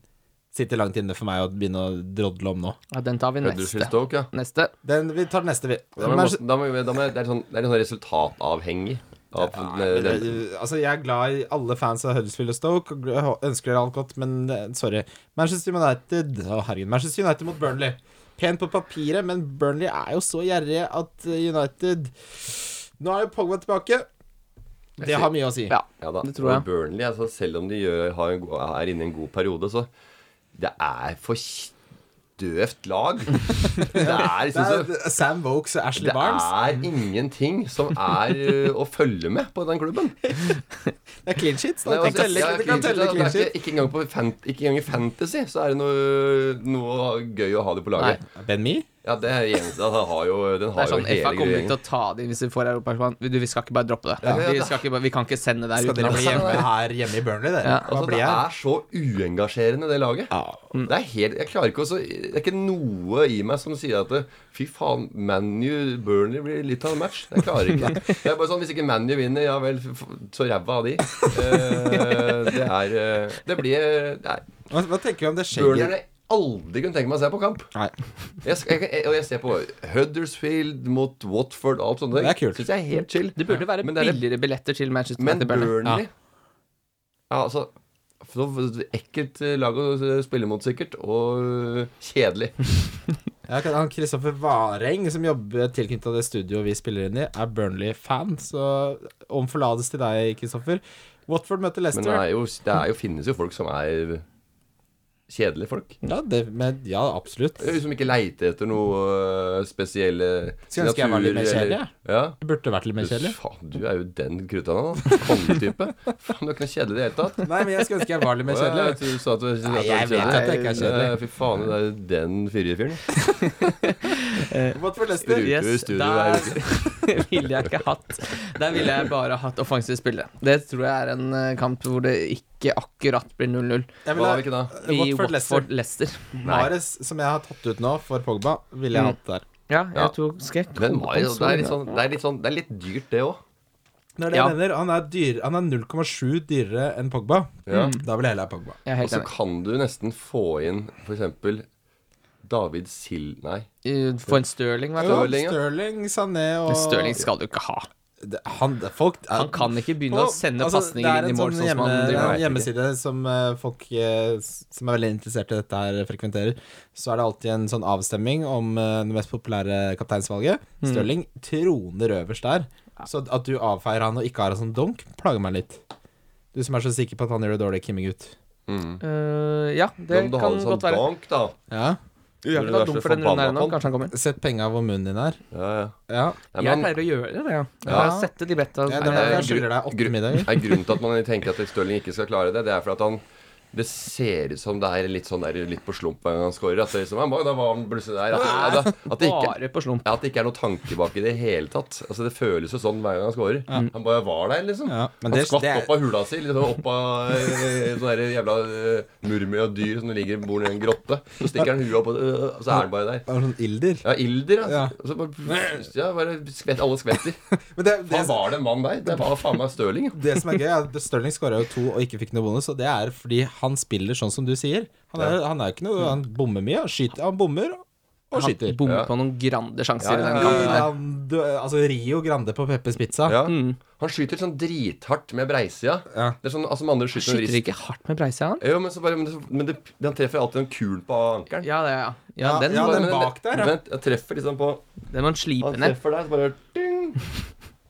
B: sitter langt inne for meg å begynne å drodle om nå.
C: Ja, den tar vi
D: Huddersfield
C: neste.
D: Stoke, ja.
C: Neste.
B: Den, vi tar den neste, vi.
D: Da må,
B: Men-
D: vi- da må, vi- da må, det er sånn, det er sånn resultatavhengig. Av,
B: Nei, men,
D: den,
B: eh, altså, jeg er glad i alle fans av Huddersfield og Stoke. Og gl- ønsker dere alt godt, men eh, sorry. Manchester United Å, herregud. Manchester United mot Burnley. Pent på papiret, men Burnley er jo så gjerrige at eh, United Nå er jo Pogba tilbake. Det har mye å si.
C: Ja,
D: ja, da.
C: det tror jeg.
D: Og Burnley, altså, selv om de gjør, har en, god- er inne i en god periode, så Det er for døvt lag. Det er
B: Det
D: liksom
B: er,
D: så
B: det- Sam Vokes og Ashley
D: det
B: Barnes.
D: er ingenting som er ø, å følge med på den klubben.
B: Det er clean sheets.
D: Nei,
B: Da.
D: altså,
B: Tenk at-
D: jeg-
B: det kan
D: jeg-
B: telle
D: det er
B: clean
D: ikke,
B: sheet.
D: ikke, engang på fan, ikke engang i fantasy så er det noe, noe gøy å ha det på laget.
B: Ben Me?
D: Ja, det er eneste Den har jo, den
C: Det
D: har
C: er sånn,
D: jo
C: FA
D: hele
C: kommer ikke
D: gjengen.
C: til å ta det inn hvis vi får europasjon. Du, vi skal ikke bare droppe det.
D: Ja.
C: Vi, skal ikke, bare- vi kan ikke sende det
B: Skal
C: der
B: dere bli
C: utenlands.
B: hjemme her hjemme i Burnley, dere?
C: Ja.
B: Hva
D: Altså,
B: blir
D: det
B: jeg?
D: er så uengasjerende, det laget. Mm. Det er helt, jeg klarer ikke å så- Det er ikke noe i meg som sier at Fy faen, ManU Burnley blir litt av en match. Jeg klarer ikke det. Det er bare sånn, Hvis ikke ManU vinner, ja vel, f- så ræva av de. Eh, det er eh, Det blir Nei.
B: Hva, hva tenker vi om det
D: Burnley
B: skjegget?
D: er det aldri kunne tenke meg å se på kamp.
B: Nei.
D: Jeg, sk- jeg, jeg, og jeg ser på Huddersfield mot Watford alt sånt.
B: Det er kult.
D: Syns jeg er helt chill.
C: Det burde være
D: Men det er-
C: billigere billetter til Manchester
D: Men
C: United. Burnley.
D: Burnley ja. altså for det var Ekkelt eh, lag å spille mot, sikkert. Og øh, kjedelig.
B: Ja, kan- han Kristoffer Vareng, som jobber tilknyttet det studioet vi spiller inn i, er Burnley-fan, så om forlatelse til deg, Kristoffer. Watford møter
D: Men det,
B: Leicester.
D: er jo, det er jo, finnes jo folk som er kjedelige folk.
B: Ja, det, men, ja, absolutt.
D: Eh, Som ikke leiter etter noe øh, spesielle
B: Skulle ønske jeg var litt mer kjedelig, jeg.
D: Ja.
B: Det burde vært litt mer
D: Du,
B: kjedelig.
D: faen, du er jo den kruttanna, da. Kongetype. Faen, du er ikke noe kjedelig i det hele tatt.
B: Nei, men jeg skulle ønske jeg var litt mer
D: Å, ja,
B: kjedelig.
D: jeg tror du sa at du var kjedelig.
B: jeg vet at jeg ikke er kjedelig.
D: Eh, Fy faen, det er jo den fyrige fyren.
B: Watford Leicester.
D: Ruter i
C: Yes,
D: studio hver uke.
C: der ville jeg ikke hatt Der ville jeg bare hatt offensivt spille. Det tror jeg er en eh, kamp hvor det ikke akkurat blir
B: Jeg
C: 0-0.
B: vil
D: Hva
B: ha
D: har vi ikke da?
C: I
B: Watford Leicester.
C: Watford Leicester.
B: Mares, som jeg har tatt ut nå for Pogba, ville jeg
C: Mm.
B: hatt der.
C: Ja, jeg
D: Ja.
C: tok skrekk.
D: Men Mario, det er litt sånn, det er litt, sånn, det er litt dyrt, det òg.
B: Det er det
C: Ja.
B: jeg mener. Han er, dyr, han er 0,7 dyrere enn Pogba. Mm.
D: Ja.
B: Da vil jeg heller ha Pogba.
C: Jeg er
D: Og
C: helt
D: så
C: enig.
D: kan du nesten få inn f.eks. David Sil... Nei.
C: Eh, Få en Stirling, vet du.
D: Stirling, ja.
B: Stirling, Sané og
C: Men Stirling skal du ikke ha.
B: Det- Han, det- folk, altså,
C: Han kan ikke begynne å sende pasninger inn i mål.
B: Det
C: sånn
B: er en sånn hjemme,
C: som han
B: det er
C: driver
B: en
C: med.
B: hjemmeside som eh, folk eh, s- som er veldig interessert i dette her, frekventerer. Så er det alltid en sånn avstemning om eh, det mest populære kapteinsvalget.
C: Mm.
B: Stirling troner øverst der. Så at du avfeier han og ikke har han som donk, plager meg litt. Du som er så sikker på at han gjør det dårlig, Kimming-gutt.
C: Eh, ja, det
D: Men om du har
C: kan
D: en sånn
C: godt være.
D: bank, da.
B: Ja.
C: Du er
D: Når
C: ikke
D: du
C: da
D: er
C: dum
D: så
C: for den runden
D: forbanna
C: her nå.
D: på han.
C: Kanskje han kommer.
B: Sett penga hvor munnen din er.
D: Ja, ja.
B: Ja.
D: Nei,
C: Jeg
D: men han-
C: pleier å gjøre det, ja. Jeg
D: Ja.
C: pleier å sette de betta. eh,
B: Det er
C: Nei,
B: derfor jeg
C: jeg-
B: skylder deg åtte
D: Gru-
B: middager.
D: Nei, grunnen til at man tenker at Stirling ikke skal klare det, det er for at han det ser ut som det er litt sånn der, litt på slump hver gang han scorer. At det, liksom, «Ah, da var han plutselig der. At, at, at, det ikke,
C: Bare på slump.
D: ja, at det ikke er noe tanke bak i det hele tatt. Altså Det føles jo sånn hver gang han scorer. Han bare var der, liksom.
B: Ja, men
D: han
B: det-
D: skvatt
B: det er-
D: opp av hula si. Liksom, opp av eh, sånne der jævla eh, murmel og dyr som ligger bor nede i en grotte. Så stikker han huet opp, og øh, og så er han bare der.
B: Det var sånn ilder.
D: Ja, ilder. Altså.
B: Ja.
D: Og så bare, ja, bare skvett, alle skvetter.
B: Men det, det,
D: Hva var det en mann der? Det var faen meg Stirling. ja.
B: det som er gøy, er at Stirling skåra jo to og ikke fikk noe bonus, og det er fordi han spiller sånn som du sier. Han er, han er jo ikke noe Han bommer mye. Han, skyter, han bommer og
C: Han
B: skyter.
C: bommer
D: Ja.
C: på noen grande sjanser
D: Ja,
C: i
D: ja,
C: den
D: ja.
C: kampen. der.
B: Land- altså Rio Grande på Peppers Pizza.
D: Ja. Han skyter sånn drithardt med breisida.
B: Mm. Ja.
D: Det er sånn, altså, som andre skyter, med
C: Skyter
D: rist.
C: ikke hardt med breisida, han?
D: Jo, men, så bare, men, det, men det, han treffer alltid en kul på ankelen.
C: Ja, det, ja. ja, den,
B: ja,
C: må-
B: den
D: Men- men-
B: bak der, ja.
D: Vent, jeg treffer liksom på
C: den må han
D: Han
C: slipe ned.
D: treffer der, så bare ding.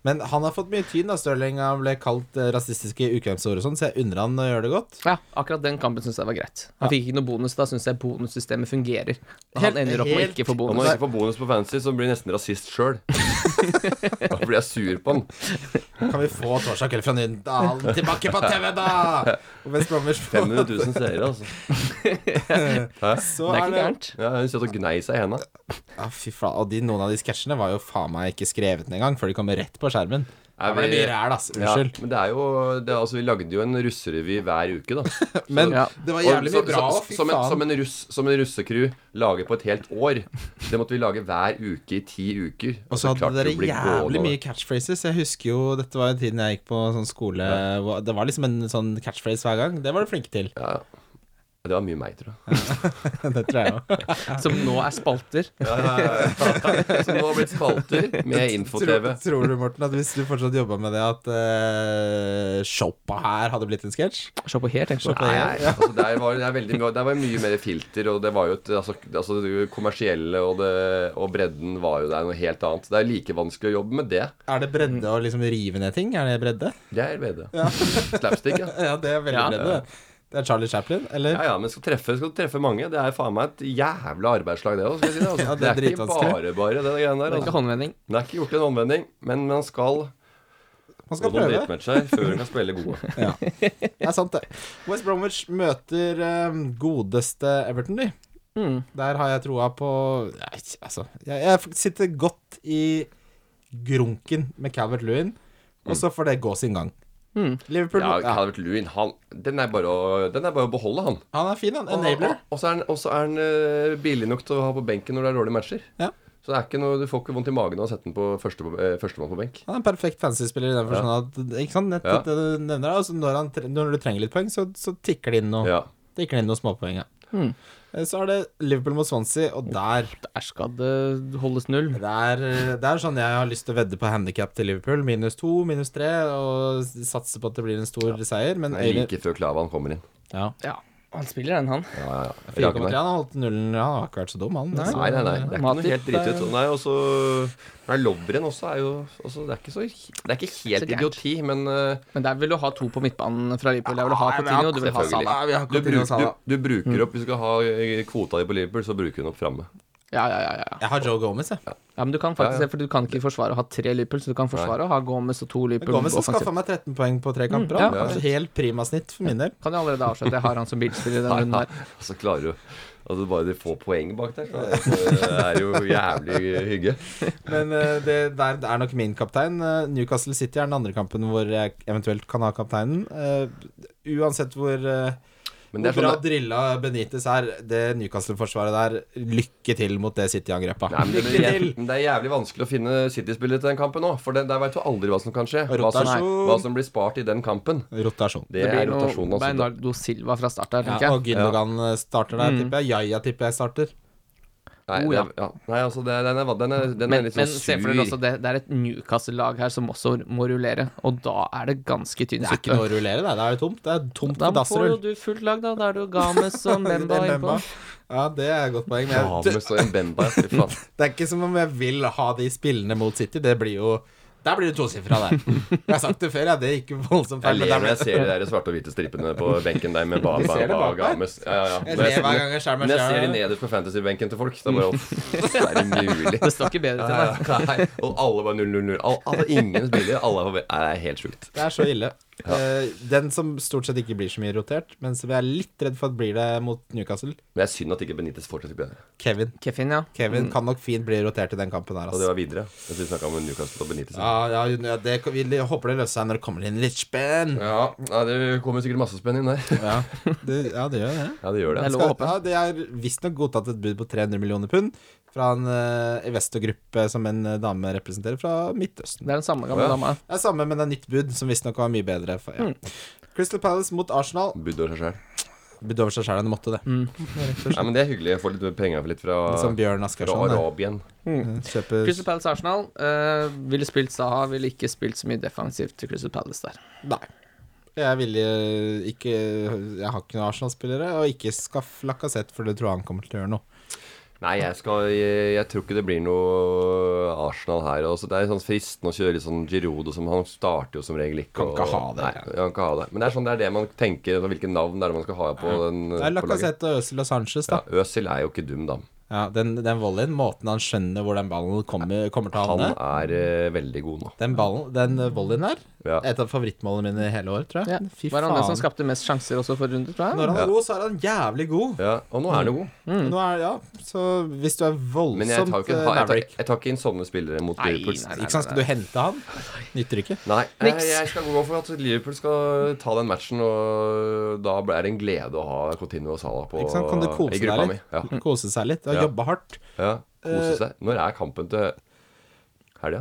B: Men han har fått mye tyn, da, Stirling. Han ble kalt eh, rasistiske ukvemsord og sånn, så jeg unner han å gjøre det godt.
C: Ja, akkurat den kampen syns jeg var greit. Han fikk ikke noe bonus. Da syns jeg bonussystemet fungerer. Han
B: Helt-
C: ender opp med å
B: helt-
C: ikke få
D: Om han
C: bonus.
D: ikke får bonus på fancy, så blir han nesten rasist sjøl. da blir jeg sur på han.
B: Kan vi få torsdag kveld fra Nydalen tilbake på TV, da?! Og West Bromwich får-
D: 500 000 seere, altså.
B: Så
C: Det er
B: er
C: ikke
B: det
C: gærent.
D: Ja, Hun satt og gnei seg i henda.
B: Ja, fy faen. Og de, noen av de sketsjene var jo faen meg ikke skrevet ned engang, før de kom rett på skjermen. Da var det mye ræl, ass.
D: Ja,
B: Unnskyld.
D: men det er jo det, er- Altså, vi lagde jo en russerevy hver uke, da.
B: Men
C: Ja.
B: det var
D: Og
B: jævlig mye
D: så-
B: bra
D: så-
B: òg, fy
D: som, en, som,
B: faen.
D: en russ, som en russekrew lager på et helt år. Det måtte vi lage hver uke i ti uker.
B: Og så hadde
D: klarte
B: dere
D: det å bli
B: jævlig
D: gående.
B: mye catchphrases. Jeg husker jo Dette var jo tiden jeg gikk på sånn skole hvor Det var liksom en sånn catchphrase hver gang. Det var du flink til.
D: ja. Det var mye meg, tror jeg.
B: Det tror jeg òg.
C: Som nå er spalter.
D: Så nå har det blitt spalter med info-TV.
B: Tror, tror du, Morten, at hvis du fortsatt jobba med det, at uh, shoppa her hadde blitt en sketsj?
C: Se på her, tenk på.
D: Nei, altså der var det er veldig mye Der var det mye mer filter, og det var jo et Altså, altså det kommersielle og, det, og bredden var jo der noe helt annet. Det er like vanskelig å jobbe med det.
B: Er det bredde å liksom rive ned ting? Er det bredde?
D: Det er bedre. Slapstick, ja.
B: Ja, det er veldig
C: Ja.
B: bredde. Det er Charlie Chaplin, eller?
D: Ja, ja, men skal treffe, skal du treffe mange. Det er faen meg et jævla arbeidslag, det òg. skal jeg Si det, altså.
B: Ja, det
D: det,
B: er
D: er ikke
B: dritvanskelig.
D: bare bare, det greiene der.
C: Det er ikke
D: Altså.
C: håndvending.
D: Det er ikke gjort i en håndvending, men man skal
B: Man
D: få
B: skal
D: noen
B: prøve.
D: drittmatcher før man kan spille gode.
B: Det er sant, det. West Bromwich møter eh, godeste Everton, de.
C: Mm.
B: Der har jeg troa på Nei, Altså, jeg, jeg sitter godt i grunken med Calvert Lewin, og så får det gå sin gang.
C: Mm.
B: Liverpool
D: Ja,
B: ja,
D: Calvert Lewin, han Den er bare å, den er bare å beholde, han.
B: Han er fin, han.
D: Og-
B: Enabler.
D: Og, og så er han, og så er han eh, billig nok til å ha på benken når det er dårlige matcher.
B: Ja.
D: Så det er ikke noe, du får ikke vondt i magen av å sette den på første, eh, førstemann på benk.
B: Han er en perfekt fantasy-spiller i den forstand at Ikke sant, nett,
D: Ja.
B: det du nevner det, altså når, han, tre- når du trenger litt poeng, så, så tikker det inn noe.
D: Ja.
B: Tikker det inn noen småpoeng, ja.
C: Mm.
B: Eh, Så er det Liverpool mot Swansea, og der
C: Der skal det holdes null.
B: Det er, det er sånn jeg har lyst til å vedde på handikap til Liverpool. Minus to, minus tre, og satse på at det blir en stor seier. Men Øyvind-
D: Like før Klavan kommer inn.
B: ja.
C: Ja, han spiller den, han.
D: Ja, ja, ja.
B: 4,3
D: Rakeberg.
B: han har holdt nullen. Han har ikke vært så dum, han. Altså.
C: Nei.
B: Så-
D: Nei, nei, nei. Det er ikke noe
C: Matip,
D: helt dritt ut. Nei, og så Nei, Lovren også er jo også, Det er ikke så Det er ikke
C: Så
D: helt
C: gærent.
D: idioti, men eh,
C: Men der vil du ha to på midtbanen fra Liverpool. Der vil du ha
B: Nei, men
C: Coutinho, du vil ha
B: selvfølgelig.
C: Salah.
B: Nei, vi har
D: du,
B: Coutinho og
D: bruk,
B: Salah.
D: du, du bruker opp Hvis du skal ha eh, kvota di på Liverpool, så bruker hun opp framme.
C: Ja, ja, ja, ja.
B: Jeg har Joe Gomez, jeg.
C: ja, men du kan
D: Ja,
C: faktisk
D: ja.
C: det, for du kan ikke forsvare å ha tre Liverpool, så du kan forsvare å ha Gomez og to Liverpool.
B: Gomez skaffa
C: offensivt.
B: meg 13 poeng på tre kamper.
C: Mm, ja.
B: han. Et Helt prima snitt for min del.
C: Kan jeg allerede avsløre at jeg har han som bilspiller i den runden der.
D: Og så klarer du Altså Bare de få poeng bak der, så er det- det er jo jævlig hygge.
B: Men eh, det der er nok min kaptein. Eh, Newcastle City er den andre kampen hvor jeg eventuelt kan ha kapteinen. Eh, uansett hvor eh,
D: Men det
B: Hvor
D: er sånn
B: bra drilla Benitez er, det Newcastle-forsvaret der Lykke til mot det City-angrepet.
D: Nei, men det,
B: Lykke
D: er,
B: til!
D: men det er jævlig vanskelig å finne City-spillet til den kampen nå. For det, der veit du aldri hva som kan skje. Hva som,
B: Rotasjon.
D: hva som blir spart i den kampen.
B: Rotasjon.
C: blir
D: Det, er
C: noe
D: rotasjonen, altså.
C: Bernardo Silva fra start her, tenker
B: Ja,
C: jeg.
B: og Gündogan eh, starter
C: Mm.
B: der, tipper jeg. Yaya tipper jeg starter.
D: Nei,
C: Oh,
D: det,
C: ja.
D: er- ja. Nei altså, det, den, er, den, er, den er
C: Men,
D: litt
C: men
D: sånn
C: se
D: sur.
C: for dere også, det, det er et Newcastle-lag her som også må rullere, og da er det ganske tynn
B: Det er ikke
C: suppe.
B: noe å rullere, det. Det er tomt. Det er tomt
C: Da
B: på
C: får jo
B: dassrull.
C: du fullt lag, da. Da er det jo Games og Memba
B: Det er
C: innpå.
B: Mbemba. Ja, det er et godt poeng. Men jeg,
D: James og Mbemba, ja, fy faen.
B: Det er ikke som om jeg vil ha de spillene mot City. Det blir jo Der blir det tosifra, der. Jeg har sagt det før, ja. Det gikk jo voldsomt
D: Jeg
B: feil. men
D: ler
B: der
D: når jeg
B: ble-
D: ser de der svarte og hvite stripene på benken der med
B: Du
D: Baba
B: ser det
D: og
B: bak der.
D: Games. Ja, ja, ja.
B: Jeg
D: Når
B: ler
D: jeg-
B: hver gang jeg skjærer
D: Når
B: meg
D: jeg ser de
B: sjæl.
D: nederst på fantasybenken til folk, så bare «Pff, Det er umulig.
C: Det står ikke bedre til, nei.
D: Nei, nei. Og alle bare 0-0-0. Alle, alle, ingen spiller. Alle er, Nei, det er helt sjukt.
B: Det er så ille. Eh, Den som stort sett ikke blir så mye rotert, men som jeg er litt redd for at blir det mot Newcastle,
D: Men det er synd at ikke Benitez fortsetter å spille.
B: Kevin.
C: Kevin, ja.
B: Kevin kan nok fint bli rotert i den kampen her,
D: Og det
B: altså.
D: var videre. Jeg synes vi snakket om Newcastle og Benitez.
B: Ja, ja, det, vi håper det løser seg når det kommer inn litt spenn.
D: Ja, nei, det kommer sikkert masse spenn inn der.
B: Ja, det, ja, det gjør det.
D: Ja, det altså. gjør
C: Det
D: det.
C: er lov å
B: Skal,
C: håpe.
B: ja, det er visstnok godtatt et bud på 300 millioner pund fra en uh, Investor-gruppe som en eh, dame representerer fra Midtøsten.
C: Det er den samme gamle
D: Å, ja.
C: dama.
B: Det er samme, men det er nytt bud, som visstnok var mye bedre. For, ja.
C: Mm.
B: Crystal Palace mot Arsenal.
D: Budd over seg selv
B: Bud over seg sjæl, han måtte det.
C: Mm.
D: Nei, men det er hyggelig. Jeg får litt penger litt fra,
B: Som sånn Bjørn
D: fra
B: Askersson. det.
D: Arabien.
B: Kjøper
C: Crystal Palace Arsenal eh, ville spilt Saha, ville ikke spilt så mye defensivt til Crystal Palace der.
B: Nei. Jeg ville ikke Jeg har ikke noen Arsenal-spillere, og ikke skaff Lacassette, for det tror jeg han kommer til å gjøre noe.
D: Nei, jeg, skal, jeg, jeg tror ikke det blir noe Arsenal her. Også. Det er sånn fristende å kjøre litt sånn Girodo. Som han starter jo som regel ikke.
B: Kan
D: og-
B: ikke ha det.
D: Nei, han kan ikke ha det. Men det er sånn det er det man tenker. altså, Hvilke navn det er det man skal ha på den.
B: Det er
D: på laget.
B: Lacassette og Øzil og Sanchez, da.
D: Ja, Øsil er jo ikke dum, da.
B: Ja, den, den volleyen, måten han skjønner hvor den ballen kommer, kommer til å
D: Han
B: havne
D: er eh, veldig god nå.
B: Den ballen, den volleyen der
D: Ja.
B: Et av favorittmålene mine i hele år, tror jeg
C: Ja.
B: Fy
C: Var han den som
B: faen
C: skapte mest sjanser også for runde, tror jeg?
B: Når han er god, så er han jævlig god
D: Ja, og nå er han jo god.
B: Nå er, ja, Så hvis du er
D: Men jeg
B: voldsomt
D: tar, ikke,
B: eh,
D: jeg, tar,
B: Maverick
D: jeg tar ikke inn sånne spillere mot
C: Nei,
D: Liverpool.
C: nei, nei.
B: Ikke sant, skal du hente han? Nytter ikke
D: Nei, jeg,
C: Niks.
D: jeg skal gå for at Liverpool skal ta den matchen, og da er det en glede å ha Coutinho og Salah på,
B: Ikke sant, kan du kose
D: i
B: deg
D: gruppa mi.
B: litt
D: Ja,
B: Kose seg litt, og
D: Ja.
B: jobbe hardt
D: ja, kose
B: Eh,
D: seg. Når er kampen til helga?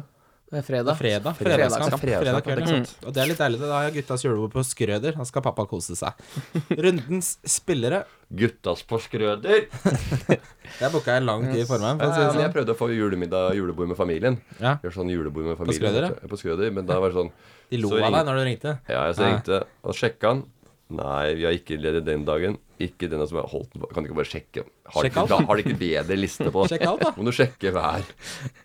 C: Det er fredag.
B: Fredag,
C: Fredagskamp.
B: fredagskamp Fredag
D: Fredagskamp,
B: kveld, ikke sant Og det er litt deilig, da har jeg guttas julebord på Skrøder Da skal pappa kose seg Rundens spillere
D: Guttas på Skrøder!
B: Det boka jeg langt i formen for å si
D: Ja,
B: det
D: men jeg
B: sånn
D: prøvde å få julemiddag julebord med familien.
B: Ja.
D: Gjør sånn julebord med familien
B: Skrøder, ja?
D: vet du. på Skrøder, men da var det sånn
B: De lo
D: Så
B: av
D: ring-
B: deg når du ringte
D: Ja, jeg så
B: Ja.
D: ringte og sjekka han. Nei, vi har ikke ledig den dagen. Ikke denne som har holdt den på. Kan du ikke bare sjekke? Har de
B: Sjekk
D: ikke,
B: alt.
D: da, har de ikke bedre liste på
B: Sjekk alt, da.
D: Må du sjekke hver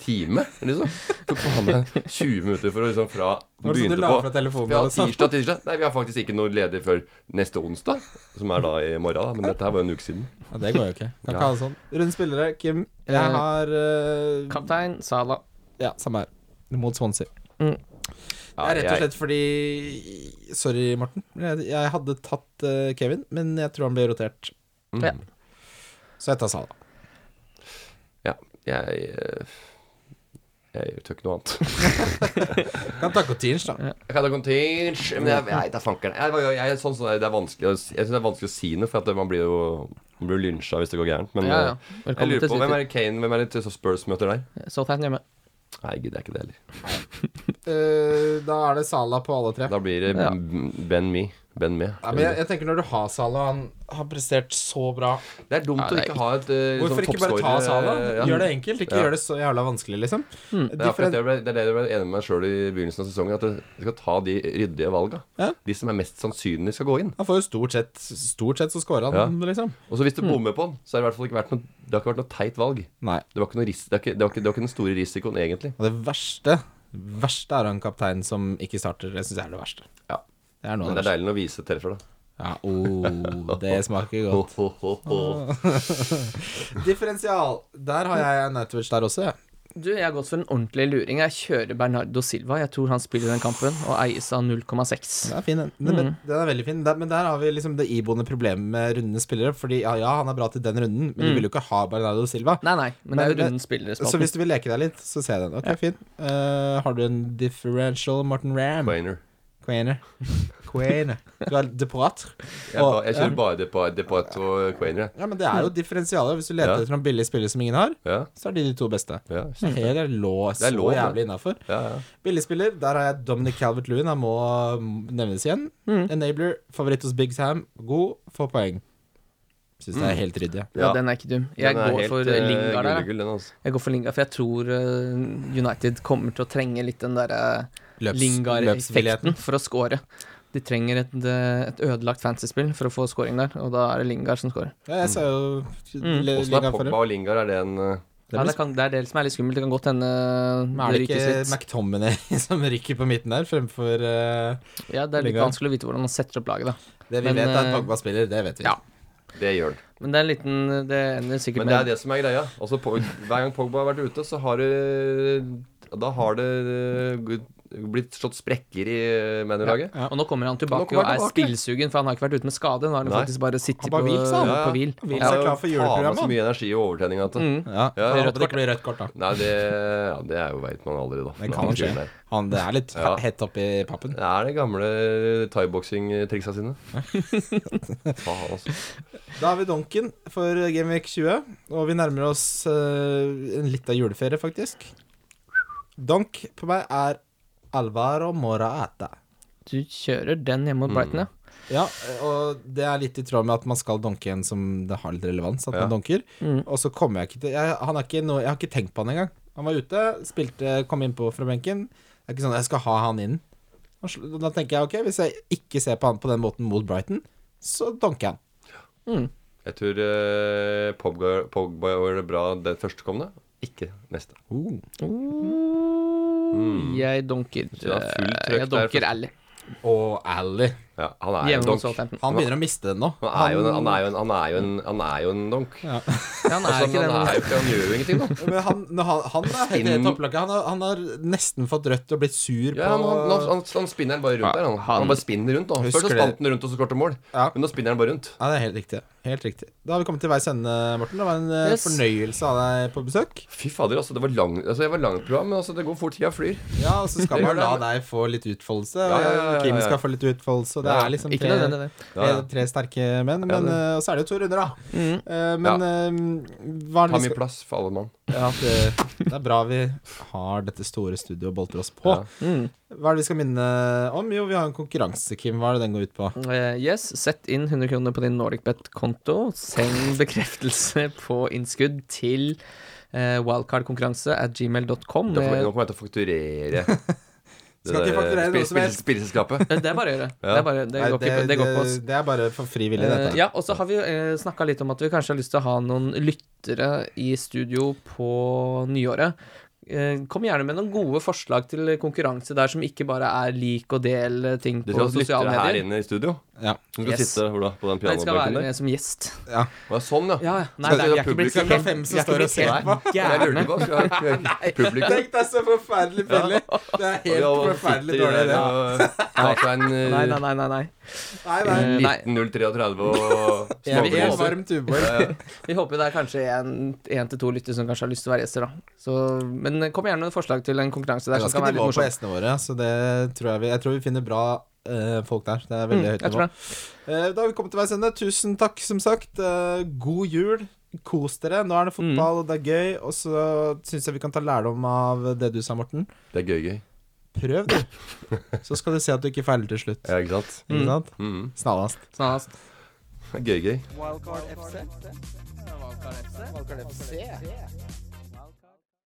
D: time, liksom? Tok faen meg 20 minutter for å liksom fra
B: Var det sånn du la fra telefonen
D: Ja,
B: og sa?
D: tirsdag, tirsdag. Nei, vi har faktisk ikke noe ledig før neste onsdag, som er da i morgen. da Men dette her var jo en uke siden.
B: Ja, det går jo ikke. Kan
D: Ja.
B: ikke ha det sånn. Runde spillere, Kim. Jeg
C: Eh,
B: har eh,
C: Kaptein Salah.
B: Ja, samme her. Mot Swansea. det
D: Ja,
B: er rett og
D: jeg-
B: slett fordi Sorry, Morten. men Jeg, jeg hadde tatt eh, Kevin, men jeg tror han ble rotert.
D: Mm.
C: Ja.
B: Så jeg tar Sala.
D: Ja, jeg eh, Jeg tør ikke noe annet.
B: Kan ta Cotinge, da.
D: Jeg kan ta contage Men jeg, jeg, det er fankeren jeg, jeg, jeg, sånn, som det er- det er vanskelig å, si- Jeg synes det er vanskelig å si noe For at man blir jo Man blir jo lynsja hvis det går gærent Men
C: Ja, ja.
D: eh, jeg
C: Velkommen
D: lurer
C: til
D: på Hvem er
C: City.
D: det Kane Hvem er det til- som Spurs møter der?
C: Southampton hjemme.
D: Nei, gud, det er ikke det heller
B: Eh, da er det Sala på alle tre.
D: Da blir det
C: Ja.
D: m- Ben Me Ben Me
B: Ja, men jeg, jeg tenker når du har Sala, og han har prestert så bra
D: Det er dumt
C: Ja, det er
D: å ikke ha et eh,
B: Hvorfor
D: sånn
B: ikke bare ta
D: toppscorer,
B: Sala?
D: eh, ja.
B: Gjør det enkelt, ikke
D: Ja.
B: gjør det så jævla vanskelig, liksom.
D: Det er akkurat
B: Differen-
D: det jeg ble, det er det jeg ble enig med meg selv i begynnelsen av sesongen At jeg skal ta de ryddige valgene
B: Ja.
D: De som er mest sannsynlig skal gå inn
B: han får jo stort sett Stort sett så scorer han, liksom.
D: Og så hvis du bommer på den Så har det i hvert fall ikke vært noe Det har ikke vært noe teit valg
B: Nei.
D: Det var ikke, noe ris det er ikke, det var ikke, det var ikke den store risikoen egentlig
B: Og det verste Verste er han kapteinen som ikke starter. Det syns jeg er det verste.
D: Ja.
B: Det er noe
D: Men
B: av det
D: det er
B: verste.
D: deilig når vise treffer, da.
B: Ja, oh, det smaker godt. Ah. Differensial. Der har jeg Natovic der også, jeg.
C: Du, jeg har gått for en ordentlig luring. Jeg kjører Bernardo Silva. Jeg tror han spiller den kampen, og eies av 0,6.
B: Den er fin, den. Den, men
C: Mm.
B: den er veldig fin. Der, men der har vi liksom det iboende problemet med rundende spillere. Fordi ja, ja, han er bra til den runden, men du vil jo ikke ha Bernardo Silva.
C: Mm. Nei, nei, men det er jo
B: Men-
C: runden spillere
B: Så hvis du vil leke deg litt, så ser jeg den. Ok, fin. Eh, har du en differential, Martin Ram?
D: Brainer.
B: Quene. Quene. Du er desperat.
D: Jeg, ba- jeg kjører bare Depart, Depart og Quainer, jeg.
B: Ja, men det er jo differensialer. Hvis du leter
D: Ja.
B: etter noen billige spillere som ingen har,
D: Ja,
B: så er de de to beste.
D: ja.
B: Så Helt er lå så
D: er lov, det.
B: jævlig innafor.
D: Ja, ja.
B: Billigspiller, der har jeg Dominic Calvert-Lewin. Han må mm, nevnes igjen. Enabler, favoritt hos Big Sam. God, få poeng. Syns det er helt ryddig.
C: Ja, den er ikke dum. Jeg går for eh, Lingard der. jeg.
D: altså.
C: Jeg går for Lingard, for jeg tror eh, United kommer til å trenge litt den derre
B: Løps-
C: Lingard-effekten
B: løpsvilligheten.
C: for å score. De trenger et, eh, et ødelagt fantasy-spill for å få scoring der, og da er det Lingard som scorer.
B: Ja, jeg sa jo
C: Mm.
B: Le-
D: Åssen er
B: Lingard forrige.
D: Pogba og Lingard? Er det en eh,
B: Det
C: ja,
B: blir
C: det, kan, det er det som er litt skummelt. Det kan godt hende
B: Men er
C: det
B: det
C: rykes
B: ikke
C: litt.
B: McTominay som rykker på midten der, fremfor eh,
C: Ja, det er litt
B: Lingard.
C: vanskelig å vite hvordan man setter opp laget, da.
B: Det vi
C: Men,
B: vet, er at
C: eh,
B: Pogba spiller. Det vet vi.
C: ja.
D: Det gjør den.
C: Men det er en liten Det ender sikkert
D: Men det er
C: med
D: det som er greia. Altså, Pog- hver gang Pogba har vært ute, så har det Da har det eh, blitt slått sprekker i eh, mannelaget.
C: Og nå kommer han tilbake
D: Nå kommer han
C: og er
D: tilbake.
C: stillsugen, for han har ikke vært ute med skade. Nå har han
D: Nei.
C: faktisk bare sittet
B: Han bare
C: på,
B: hvilt seg, han.
C: på hvil.
B: Hvil
C: Ja.
B: seg. klar for juleprogrammet,
D: så mye energi og overtenning at det.
C: Mm.
B: Ja.
D: Ja,
B: Jeg
D: ja.
B: håper det ikke blir rødt kort, da.
D: Nei, det, ja, det er jo veit man aldri, da.
B: Det
D: med
B: kan
D: han
B: jo skje.
D: fyren der.
B: Han, det er litt
D: Ja.
B: hett oppi pappen.
D: Det er de gamle thaiboksing-triksa sine. Faen, altså.
B: Da har vi Donken for Gameweek 20, og vi nærmer oss eh, en lita juleferie, faktisk. Donk på meg er Alvaro Morata.
C: Du kjører den hjemme mot
D: Mm.
C: Brighton, ja.
B: Ja, og det er litt i tråd med at man skal donke en som det har litt relevans, at
D: Ja.
B: man donker.
C: Mm.
B: Og så kommer jeg ikke til jeg, han er ikke noe, jeg har ikke tenkt på han engang. Han var ute, spilte, kom innpå fra benken. Det er ikke sånn jeg skal ha han inn. Og sl- Da tenker jeg ok, hvis jeg ikke ser på han på den måten mot Brighton, så donker jeg han.
D: Jeg tror eh, Pogba, Pogba gjør det bra det førstkommende, ikke neste. Mm.
C: Jeg donker
D: Så det er fullt
C: eh,
D: trøkk
C: Jeg
D: der
C: donker
D: for-
C: Ally.
B: Og Ally.
D: Ja, han er en
C: Hjemme mot
D: donk.
C: Southampton.
B: Han begynner å miste den nå.
D: Han er jo en, han er jo en, han er jo en, han er jo en donk.
C: Ja, Han er
D: Altså,
C: ikke
D: han, er
C: den
D: jo ikke, han gjør jo ingenting, da.
B: Men han, når han, han er helt i
D: Inn-
B: topplaget. Han, har- han har nesten fått rødt og blitt sur
D: Ja,
B: på
D: han, sånn- han, han, han spinner den bare rundt der. Han, han bare spinner rundt. da Før
B: Husker
D: så
B: det.
D: spant han rundt og så skåret mål,
B: Ja.
D: men nå spinner han bare rundt.
B: Ja, det er helt riktig. Helt riktig. Da har vi kommet til veis ende, Morten. Det var en eh,
C: Yes.
B: fornøyelse av deg på besøk.
D: Fy fader, altså. Det var lang, altså, jeg var langt program, men altså, det går fort. Tida flyr.
B: Ja, og så skal
D: Det
B: man
D: gjør det,
B: la
D: men-
B: deg få litt utfoldelse.
D: ja, ja, ja, ja.
B: og Kim skal få litt utfoldelse, og det
D: Ja.
B: er liksom
C: Ikke
B: tre,
C: nødvendig, det.
B: tre,
D: Ja, ja.
B: tre sterke menn. Men,
D: det- Mm.
B: eh, og så er det jo to runder, da. Eh, men eh, hva er
D: Ta
B: det vi
D: mye
B: skal
D: plass for alle mann.
B: ja, det, det er bra vi har dette store studioet og bolter oss på.
D: Ja. Mm.
B: Hva er det vi skal minne om? Jo, vi har en konkurranse, Kim. Hva er det den går ut på?
C: Eh, yes, sett inn 100 kroner på din NordicBet-konto. Send bekreftelse på innskudd til eh, wildcardkonkurranse at gmail.com.
D: Da får-
C: Eh,
D: Nå kommer jeg til å fakturere. eh,
B: Skal ikke fakturere noe som helst.
D: Spillselskapet.
C: Det er bare å gjøre. Det, er bare, det,
B: Nei,
C: går ikke, på- det går på oss.
B: det er bare for fri vilje,
C: Eh,
B: dette.
C: ja, og så har vi uh, snakka litt om at vi kanskje har lyst til å ha noen lyttere i studio på nyåret. Eh, kom gjerne med noen gode forslag til konkurranse der som ikke bare er lik og del eh, ting
D: Det
C: på
D: skal være
C: sosiale
D: lyttere her
C: medier.
D: inne i studio.
B: Ja.
D: Som skal
C: Yes.
D: sitte hvor da, på den
C: Nei, det skal være
D: pianobenken der.
C: med som gjest.
D: Å, Ja, sånn, ja.
C: Ja, ja. Nei,
D: Skal
C: det,
D: vi
C: vi er
D: ha
C: ikke blitt
D: publikum?
C: helt,
B: Det er fem som
C: vi er ikke
B: står og
C: blitt
B: ser på.
C: helt
D: Jeg lurte
C: gærne.
D: på skal jeg ha publikum.
B: Tenk deg så forferdelig billig. Det er helt forferdelig dårlig idé.
D: Ta seg en eh,
C: Nei, nei, nei. nei, nei.
B: Nei, nei.
C: Eh, nei.
D: 19.033 og
B: Jeg vil en
D: smågråser.
B: varm tubor.
C: Vi håper det er kanskje en- en til to lyttere som kanskje har lyst til å være gjester, da. Så, men kom gjerne med forslag til en konkurranse
B: Det
C: der
B: er sånn
C: som
B: ganske
C: kan være litt
B: nivå på E
C: morsom.
B: gjestene våre, så det tror jeg vi Jeg tror vi finner bra eh, folk der. Det er
C: Mm,
B: veldig høyt
C: jeg tror
B: nivå.
C: det.
B: Eh, da har vi kommet til veis ende. Tusen takk, som sagt. Eh, god jul. Kos dere. Nå er det
C: Mm.
B: fotball, og det er gøy. Og så syns jeg vi kan ta lærdom av det du sa, Morten.
D: Det er gøy-gøy.
B: Prøv, du. Så skal du se at du ikke feiler til slutt.
D: Ja, ikke sant?
B: Ikke sant?
D: Mm.
B: Snarest.
C: Snarest.
D: Det er Gøy-gøy.
A: Wildcard FC. Wildcard FC.